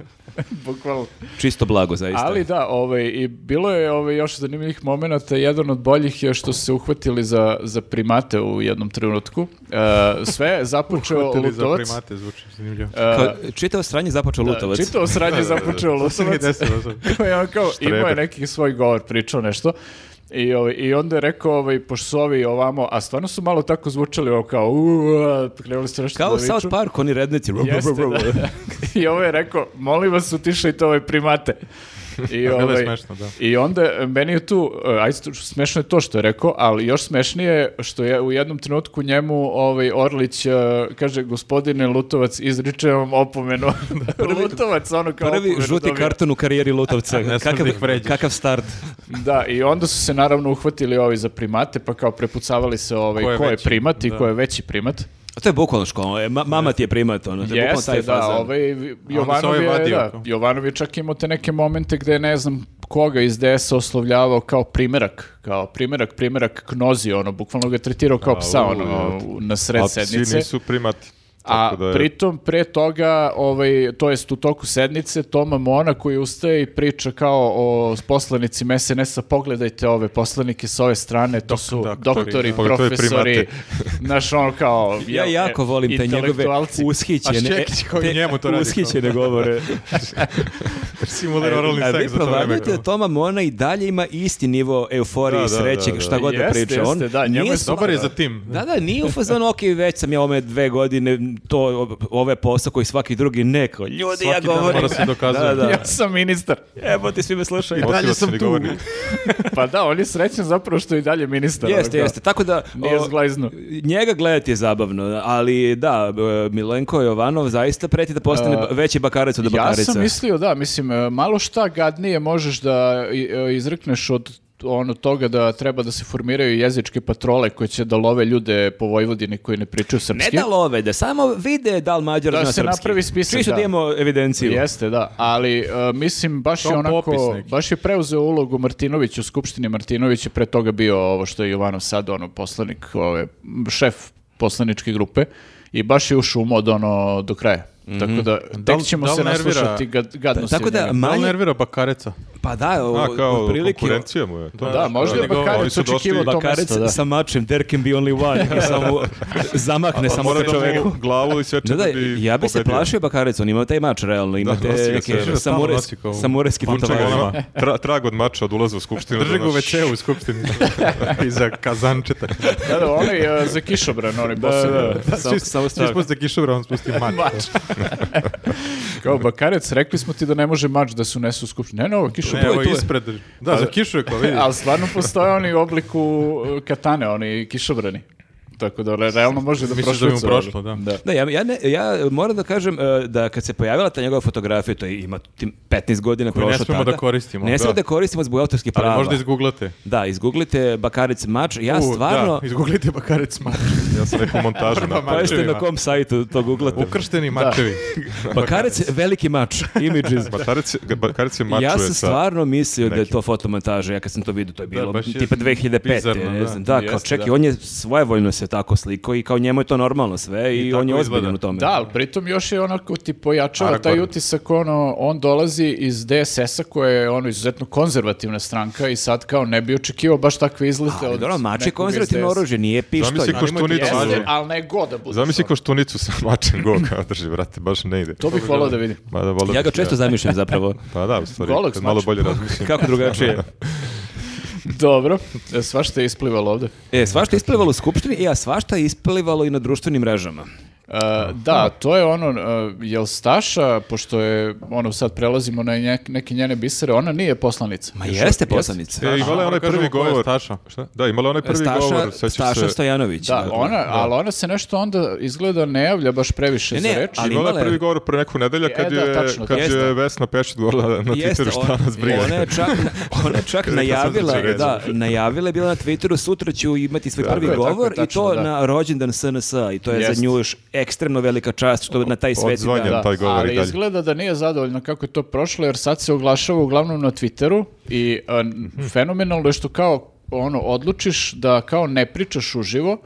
[SPEAKER 3] bukvalno.
[SPEAKER 4] Čisto blago, zaista.
[SPEAKER 3] Ali da, ovaj, i bilo je ovaj, još zanimljivih momenata, jedan od boljih je što su se uhvatili za, za primate u jednom trenutku. E, sve je započeo
[SPEAKER 2] Hoteli za
[SPEAKER 3] Lutovac.
[SPEAKER 2] primate, zvuči zanimljivo.
[SPEAKER 3] E,
[SPEAKER 4] Kao, čitao sranje započeo
[SPEAKER 3] da,
[SPEAKER 4] lutovac.
[SPEAKER 3] čitao sranje je započeo
[SPEAKER 2] To mi je
[SPEAKER 3] Lutovac.
[SPEAKER 2] desilo sad.
[SPEAKER 3] I on kao, imao je
[SPEAKER 1] Štreber.
[SPEAKER 3] neki svoj govor, pričao nešto. I, ovaj, I onda je rekao, ovaj, pošto su ovi ovamo, a stvarno su malo tako zvučali, ovo kao, uuu, krenuli su nešto
[SPEAKER 4] Kao u
[SPEAKER 3] da
[SPEAKER 4] South
[SPEAKER 3] viču.
[SPEAKER 4] Park, oni rednici.
[SPEAKER 3] Jeste, da. I ovo je rekao, molim vas utišajte ove primate. I,
[SPEAKER 2] je
[SPEAKER 3] ovaj,
[SPEAKER 2] smešno, da.
[SPEAKER 3] I onda e, meni je tu, e, aj, stu- smešno je to što je rekao, ali još smešnije je što je u jednom trenutku njemu ovaj Orlić e, kaže, gospodine Lutovac, izričem vam opomenu. Lutovac, ono kao
[SPEAKER 4] Prvi
[SPEAKER 3] opomenu
[SPEAKER 4] žuti
[SPEAKER 3] dobio.
[SPEAKER 4] karton u karijeri Lutovca.
[SPEAKER 2] smeš
[SPEAKER 4] kakav,
[SPEAKER 2] da ih vređaš.
[SPEAKER 4] kakav start?
[SPEAKER 3] Da, i onda su se naravno uhvatili ovi za primate, pa kao prepucavali se ovaj, ko
[SPEAKER 2] Ko
[SPEAKER 3] je,
[SPEAKER 2] je
[SPEAKER 3] primati primat i
[SPEAKER 2] veći, da.
[SPEAKER 3] ko je veći primat.
[SPEAKER 4] A to je bukvalno škola. e, ma- mama ti je primat, ono, to je bukvalno taj
[SPEAKER 3] Jeste, da,
[SPEAKER 4] fazan.
[SPEAKER 3] ovaj,
[SPEAKER 2] se
[SPEAKER 3] Jovanov
[SPEAKER 2] ovaj
[SPEAKER 3] je,
[SPEAKER 2] vadio.
[SPEAKER 3] da, Jovanov je čak imao te neke momente gde ne znam koga iz DS oslovljavao kao primerak, kao primerak, primerak knozi, ono, bukvalno ga je tretirao kao psa,
[SPEAKER 1] u,
[SPEAKER 3] ono, u- na sred
[SPEAKER 1] A psi
[SPEAKER 3] sednice.
[SPEAKER 1] nisu primati.
[SPEAKER 3] A
[SPEAKER 1] Tako da je-
[SPEAKER 3] pritom, pre toga, ovaj, to jest u toku sednice, Toma Mona koji ustaje i priča kao o poslanici SNS-a, pogledajte ove poslanike s ove strane, to su
[SPEAKER 2] doktori,
[SPEAKER 3] doktori,
[SPEAKER 1] da. Pogledajte
[SPEAKER 3] profesori, znaš ono kao...
[SPEAKER 4] Ja
[SPEAKER 3] jel,
[SPEAKER 4] jako
[SPEAKER 3] e,
[SPEAKER 4] volim te njegove
[SPEAKER 3] intelektualci.
[SPEAKER 4] ushićene... e,
[SPEAKER 2] A Šćekić koji
[SPEAKER 4] te
[SPEAKER 2] njemu to radi,
[SPEAKER 4] Ushićene govore.
[SPEAKER 2] Simulir oralni
[SPEAKER 4] A vi
[SPEAKER 2] seks za ono? to vreme.
[SPEAKER 4] provaljujete da Toma Mona i dalje ima isti nivo euforije
[SPEAKER 1] Da,
[SPEAKER 4] i
[SPEAKER 1] da,
[SPEAKER 4] sreće,
[SPEAKER 1] da, da.
[SPEAKER 4] šta god da
[SPEAKER 3] Jeste,
[SPEAKER 4] priča. On
[SPEAKER 3] jeste, da, njemu
[SPEAKER 4] nije
[SPEAKER 3] je
[SPEAKER 4] sva-
[SPEAKER 2] Dobar je za tim.
[SPEAKER 4] Da, da, nije u fazonu, ok, već sam ja ome dve godine, to, ove posao koji svaki drugi neko. Ljudi,
[SPEAKER 2] Svaki
[SPEAKER 4] ja
[SPEAKER 2] dan
[SPEAKER 4] govorim.
[SPEAKER 2] mora se dokazuje.
[SPEAKER 4] Da, da.
[SPEAKER 3] Ja sam ministar.
[SPEAKER 4] Evo ti svi me slušaju.
[SPEAKER 1] Motivacioni
[SPEAKER 2] dalje sam tu.
[SPEAKER 1] govornik.
[SPEAKER 3] Pa da, on je srećan zapravo što je i dalje ministar. ono
[SPEAKER 4] Jeste,
[SPEAKER 3] kao,
[SPEAKER 4] jeste. Tako da...
[SPEAKER 3] Nije
[SPEAKER 4] o,
[SPEAKER 3] zglajzno.
[SPEAKER 4] Njega gledati je zabavno, ali da, e, Milenko Jovanov zaista preti da postane ba- veći bakarac od
[SPEAKER 3] E, Ja
[SPEAKER 4] bakarica.
[SPEAKER 3] sam mislio, da, mislim, e, malo šta gadnije možeš da i- e, izrekneš od ono toga da treba da se formiraju jezičke patrole koje će da love ljude po Vojvodini koji ne pričaju
[SPEAKER 4] Ne
[SPEAKER 3] srpski.
[SPEAKER 4] da love, da samo vide da li Mađar
[SPEAKER 3] Da
[SPEAKER 4] zna
[SPEAKER 3] se
[SPEAKER 4] srpski.
[SPEAKER 3] napravi spisak,
[SPEAKER 4] Čisto
[SPEAKER 3] da.
[SPEAKER 4] da imamo evidenciju.
[SPEAKER 3] Jeste, da, ali e, mislim baš je
[SPEAKER 2] Kao popis
[SPEAKER 3] onako,
[SPEAKER 2] neki.
[SPEAKER 3] baš je preuzeo ulogu Martinović u Skupštini. Martinović je pre toga bio ovo što je Jovanov sad, ono, poslanik, ove, m, šef poslaničke grupe i baš je ušao u mod, ono, do kraja. Tako da,
[SPEAKER 2] Da li-
[SPEAKER 3] tek ćemo
[SPEAKER 2] da li
[SPEAKER 3] se
[SPEAKER 2] nervira-
[SPEAKER 3] naslušati gad, gadnosti
[SPEAKER 4] Tako
[SPEAKER 3] od
[SPEAKER 4] da,
[SPEAKER 3] njega.
[SPEAKER 2] Da li
[SPEAKER 4] manje,
[SPEAKER 2] nervira Bakareca?
[SPEAKER 4] pa da, o,
[SPEAKER 1] A, kao
[SPEAKER 4] otprilike-
[SPEAKER 1] konkurencija mu je. To je
[SPEAKER 3] Da,
[SPEAKER 1] nešto.
[SPEAKER 3] možda je
[SPEAKER 1] Oni su
[SPEAKER 3] Bakarec
[SPEAKER 1] došli- Pa
[SPEAKER 3] očekivao to
[SPEAKER 4] Bakarec
[SPEAKER 3] mesto, da.
[SPEAKER 4] sa mačem, there can be only one, i samo
[SPEAKER 3] pa
[SPEAKER 4] zamakne samo
[SPEAKER 1] Mora
[SPEAKER 4] sa
[SPEAKER 1] da
[SPEAKER 4] čoveku.
[SPEAKER 1] mu glavu i sve
[SPEAKER 4] Da,
[SPEAKER 1] čega
[SPEAKER 4] da,
[SPEAKER 1] bi
[SPEAKER 4] ja bi se
[SPEAKER 1] pobedio.
[SPEAKER 4] plašio Bakarec, on ima taj mač, realno, ima
[SPEAKER 1] Da,
[SPEAKER 4] te
[SPEAKER 1] nosi ga
[SPEAKER 4] neke
[SPEAKER 1] sve vreme.
[SPEAKER 4] samurajs-
[SPEAKER 2] Nosi kao u
[SPEAKER 4] samurajski
[SPEAKER 2] punčegama.
[SPEAKER 4] tatuaže.
[SPEAKER 1] Čega ima tra- trag od mača od ulaza u skupštinu.
[SPEAKER 2] Drži
[SPEAKER 1] do
[SPEAKER 2] ga u
[SPEAKER 1] naš-
[SPEAKER 2] večeru u skupštini. Iza kazančeta.
[SPEAKER 3] Da, da, onaj e, za kišobran, onaj posebno.
[SPEAKER 2] Da,
[SPEAKER 4] Samo-
[SPEAKER 2] svi-
[SPEAKER 4] samo
[SPEAKER 2] Svi
[SPEAKER 4] strah.
[SPEAKER 2] smo se kišobra, on spusti mač.
[SPEAKER 3] Kao Bakarec, rekli smo ti da ne može mač da se unese u skupštinu. Ne, ne, ovo kišu.
[SPEAKER 2] Ne,
[SPEAKER 4] je,
[SPEAKER 2] evo
[SPEAKER 4] tu je.
[SPEAKER 2] ispred. Da, za kišu je kao vidi.
[SPEAKER 3] Ali stvarno postoje oni u obliku e, katane, oni kišobrani. Tako da re- realno može da
[SPEAKER 2] Misliš da bi mu
[SPEAKER 3] prošvercuje.
[SPEAKER 2] prošlo, da.
[SPEAKER 4] Da, ja, ja, ne, ja moram da kažem e, da kad se pojavila ta njegova fotografija, to je ima tim 15 godina
[SPEAKER 2] Koju ne
[SPEAKER 4] prošlo
[SPEAKER 2] smemo
[SPEAKER 4] tada.
[SPEAKER 2] da koristimo,
[SPEAKER 4] Ne smemo da,
[SPEAKER 2] da.
[SPEAKER 4] koristimo zbog autorskih prava.
[SPEAKER 2] Ali možda izguglate.
[SPEAKER 4] Da, izguglite Bakaric Mač. Ja
[SPEAKER 2] U,
[SPEAKER 4] stvarno...
[SPEAKER 2] Da, izguglite Bakarec mač.
[SPEAKER 1] Ja sam rekao montažu.
[SPEAKER 2] Prva
[SPEAKER 1] napravio.
[SPEAKER 4] Pa jeste na
[SPEAKER 2] mačevima.
[SPEAKER 4] kom sajtu to googlate?
[SPEAKER 2] Ukršteni mačevi.
[SPEAKER 4] Bakarec, veliki mač, images.
[SPEAKER 1] Bakarec, je- Bakarec je mačuje
[SPEAKER 4] ja sam
[SPEAKER 1] sa-
[SPEAKER 4] stvarno mislio da je to fotomontaža, ja kad sam to vidio, to je bilo
[SPEAKER 2] baš je
[SPEAKER 4] tipa 2005.
[SPEAKER 2] bizarno,
[SPEAKER 4] ne
[SPEAKER 2] da.
[SPEAKER 4] znam, da, kao
[SPEAKER 3] Jeste,
[SPEAKER 4] čekaj,
[SPEAKER 3] da.
[SPEAKER 4] on je svojevoljno se tako slikao i kao njemu je to normalno sve i,
[SPEAKER 2] I
[SPEAKER 4] on je
[SPEAKER 2] tako
[SPEAKER 4] ozbiljan
[SPEAKER 2] izgleda.
[SPEAKER 4] u tome.
[SPEAKER 3] Da, ali pritom još je onako ti pojačava
[SPEAKER 1] Hardcore.
[SPEAKER 3] taj utisak, ono, on dolazi iz DSS-a koja je ono izuzetno konzervativna stranka i sad kao ne bi očekivao baš takve izlete
[SPEAKER 4] Ali
[SPEAKER 3] od
[SPEAKER 4] dobro, mač je
[SPEAKER 3] nekog
[SPEAKER 4] konzervativno
[SPEAKER 3] iz DSS.
[SPEAKER 4] oružje, nije pištolj.
[SPEAKER 1] Zamisli ko štunicu.
[SPEAKER 2] Jeste,
[SPEAKER 1] drži.
[SPEAKER 3] Jeste, ali ne god da bude.
[SPEAKER 1] Zamisli
[SPEAKER 3] stvarno.
[SPEAKER 1] ko štunicu sa mačem go kao drži, brate, baš ne ide.
[SPEAKER 3] To bih volao da vidim.
[SPEAKER 1] Ma da volim.
[SPEAKER 4] Ja ga često zamišljam zapravo.
[SPEAKER 1] Pa da, u stvari,
[SPEAKER 3] Golog
[SPEAKER 1] kad
[SPEAKER 3] s
[SPEAKER 1] malo
[SPEAKER 3] mačem.
[SPEAKER 1] bolje E, razmišljam.
[SPEAKER 4] Kako drugačije?
[SPEAKER 3] Dobro, e, svašta je isplivalo ovde.
[SPEAKER 4] E, svašta je isplivalo u skupštini, e, a svašta je isplivalo i na društvenim mrežama.
[SPEAKER 3] E, da, to je ono, e, jel Staša, pošto je, ono, sad prelazimo na nje- neke njene bisere, ona nije poslanica.
[SPEAKER 4] Ma
[SPEAKER 3] Još
[SPEAKER 4] jeste
[SPEAKER 3] uvijek,
[SPEAKER 4] poslanica.
[SPEAKER 1] E, imala je onaj
[SPEAKER 2] Kažemo
[SPEAKER 1] prvi
[SPEAKER 2] ko je
[SPEAKER 1] govor.
[SPEAKER 2] Staša.
[SPEAKER 1] Šta? Da, imala je onaj prvi
[SPEAKER 4] Staša,
[SPEAKER 1] govor. sećaš
[SPEAKER 4] Staša
[SPEAKER 1] se-
[SPEAKER 4] Stojanović. Dakle,
[SPEAKER 3] Da, ona, ali ona se nešto onda izgleda ne javlja baš previše
[SPEAKER 4] Ne, ne,
[SPEAKER 3] za reč.
[SPEAKER 4] ali
[SPEAKER 1] Imala
[SPEAKER 4] imala je-
[SPEAKER 1] je prvi govor pre neku nedelja kad
[SPEAKER 3] E,
[SPEAKER 1] je,
[SPEAKER 3] da, tačno,
[SPEAKER 1] kad
[SPEAKER 4] jeste.
[SPEAKER 1] je Vesna Pešet govorila na
[SPEAKER 4] Jeste,
[SPEAKER 1] Twitteru šta
[SPEAKER 4] ona-
[SPEAKER 1] nas briga.
[SPEAKER 4] Ona je čak, ona je čak
[SPEAKER 1] Kad je to
[SPEAKER 4] najavila,
[SPEAKER 1] sad reći.
[SPEAKER 4] da, najavila je bila na Twitteru, sutra ću imati svoj prvi
[SPEAKER 3] je, tako je,
[SPEAKER 4] govor i
[SPEAKER 3] tačno,
[SPEAKER 4] to
[SPEAKER 3] da.
[SPEAKER 4] na rođendan SNS i to je za
[SPEAKER 3] Jeste.
[SPEAKER 4] nju još ekstremno velika čast što na taj sveti
[SPEAKER 1] Odzvanja.
[SPEAKER 4] dan.
[SPEAKER 1] Da. taj govor i
[SPEAKER 3] ali
[SPEAKER 1] dalje.
[SPEAKER 3] izgleda da nije zadovoljno kako je to prošlo, jer sad se oglašava uglavnom na Twitteru i a, n- fenomenalno je što kao ono, odlučiš da kao ne pričaš uživo,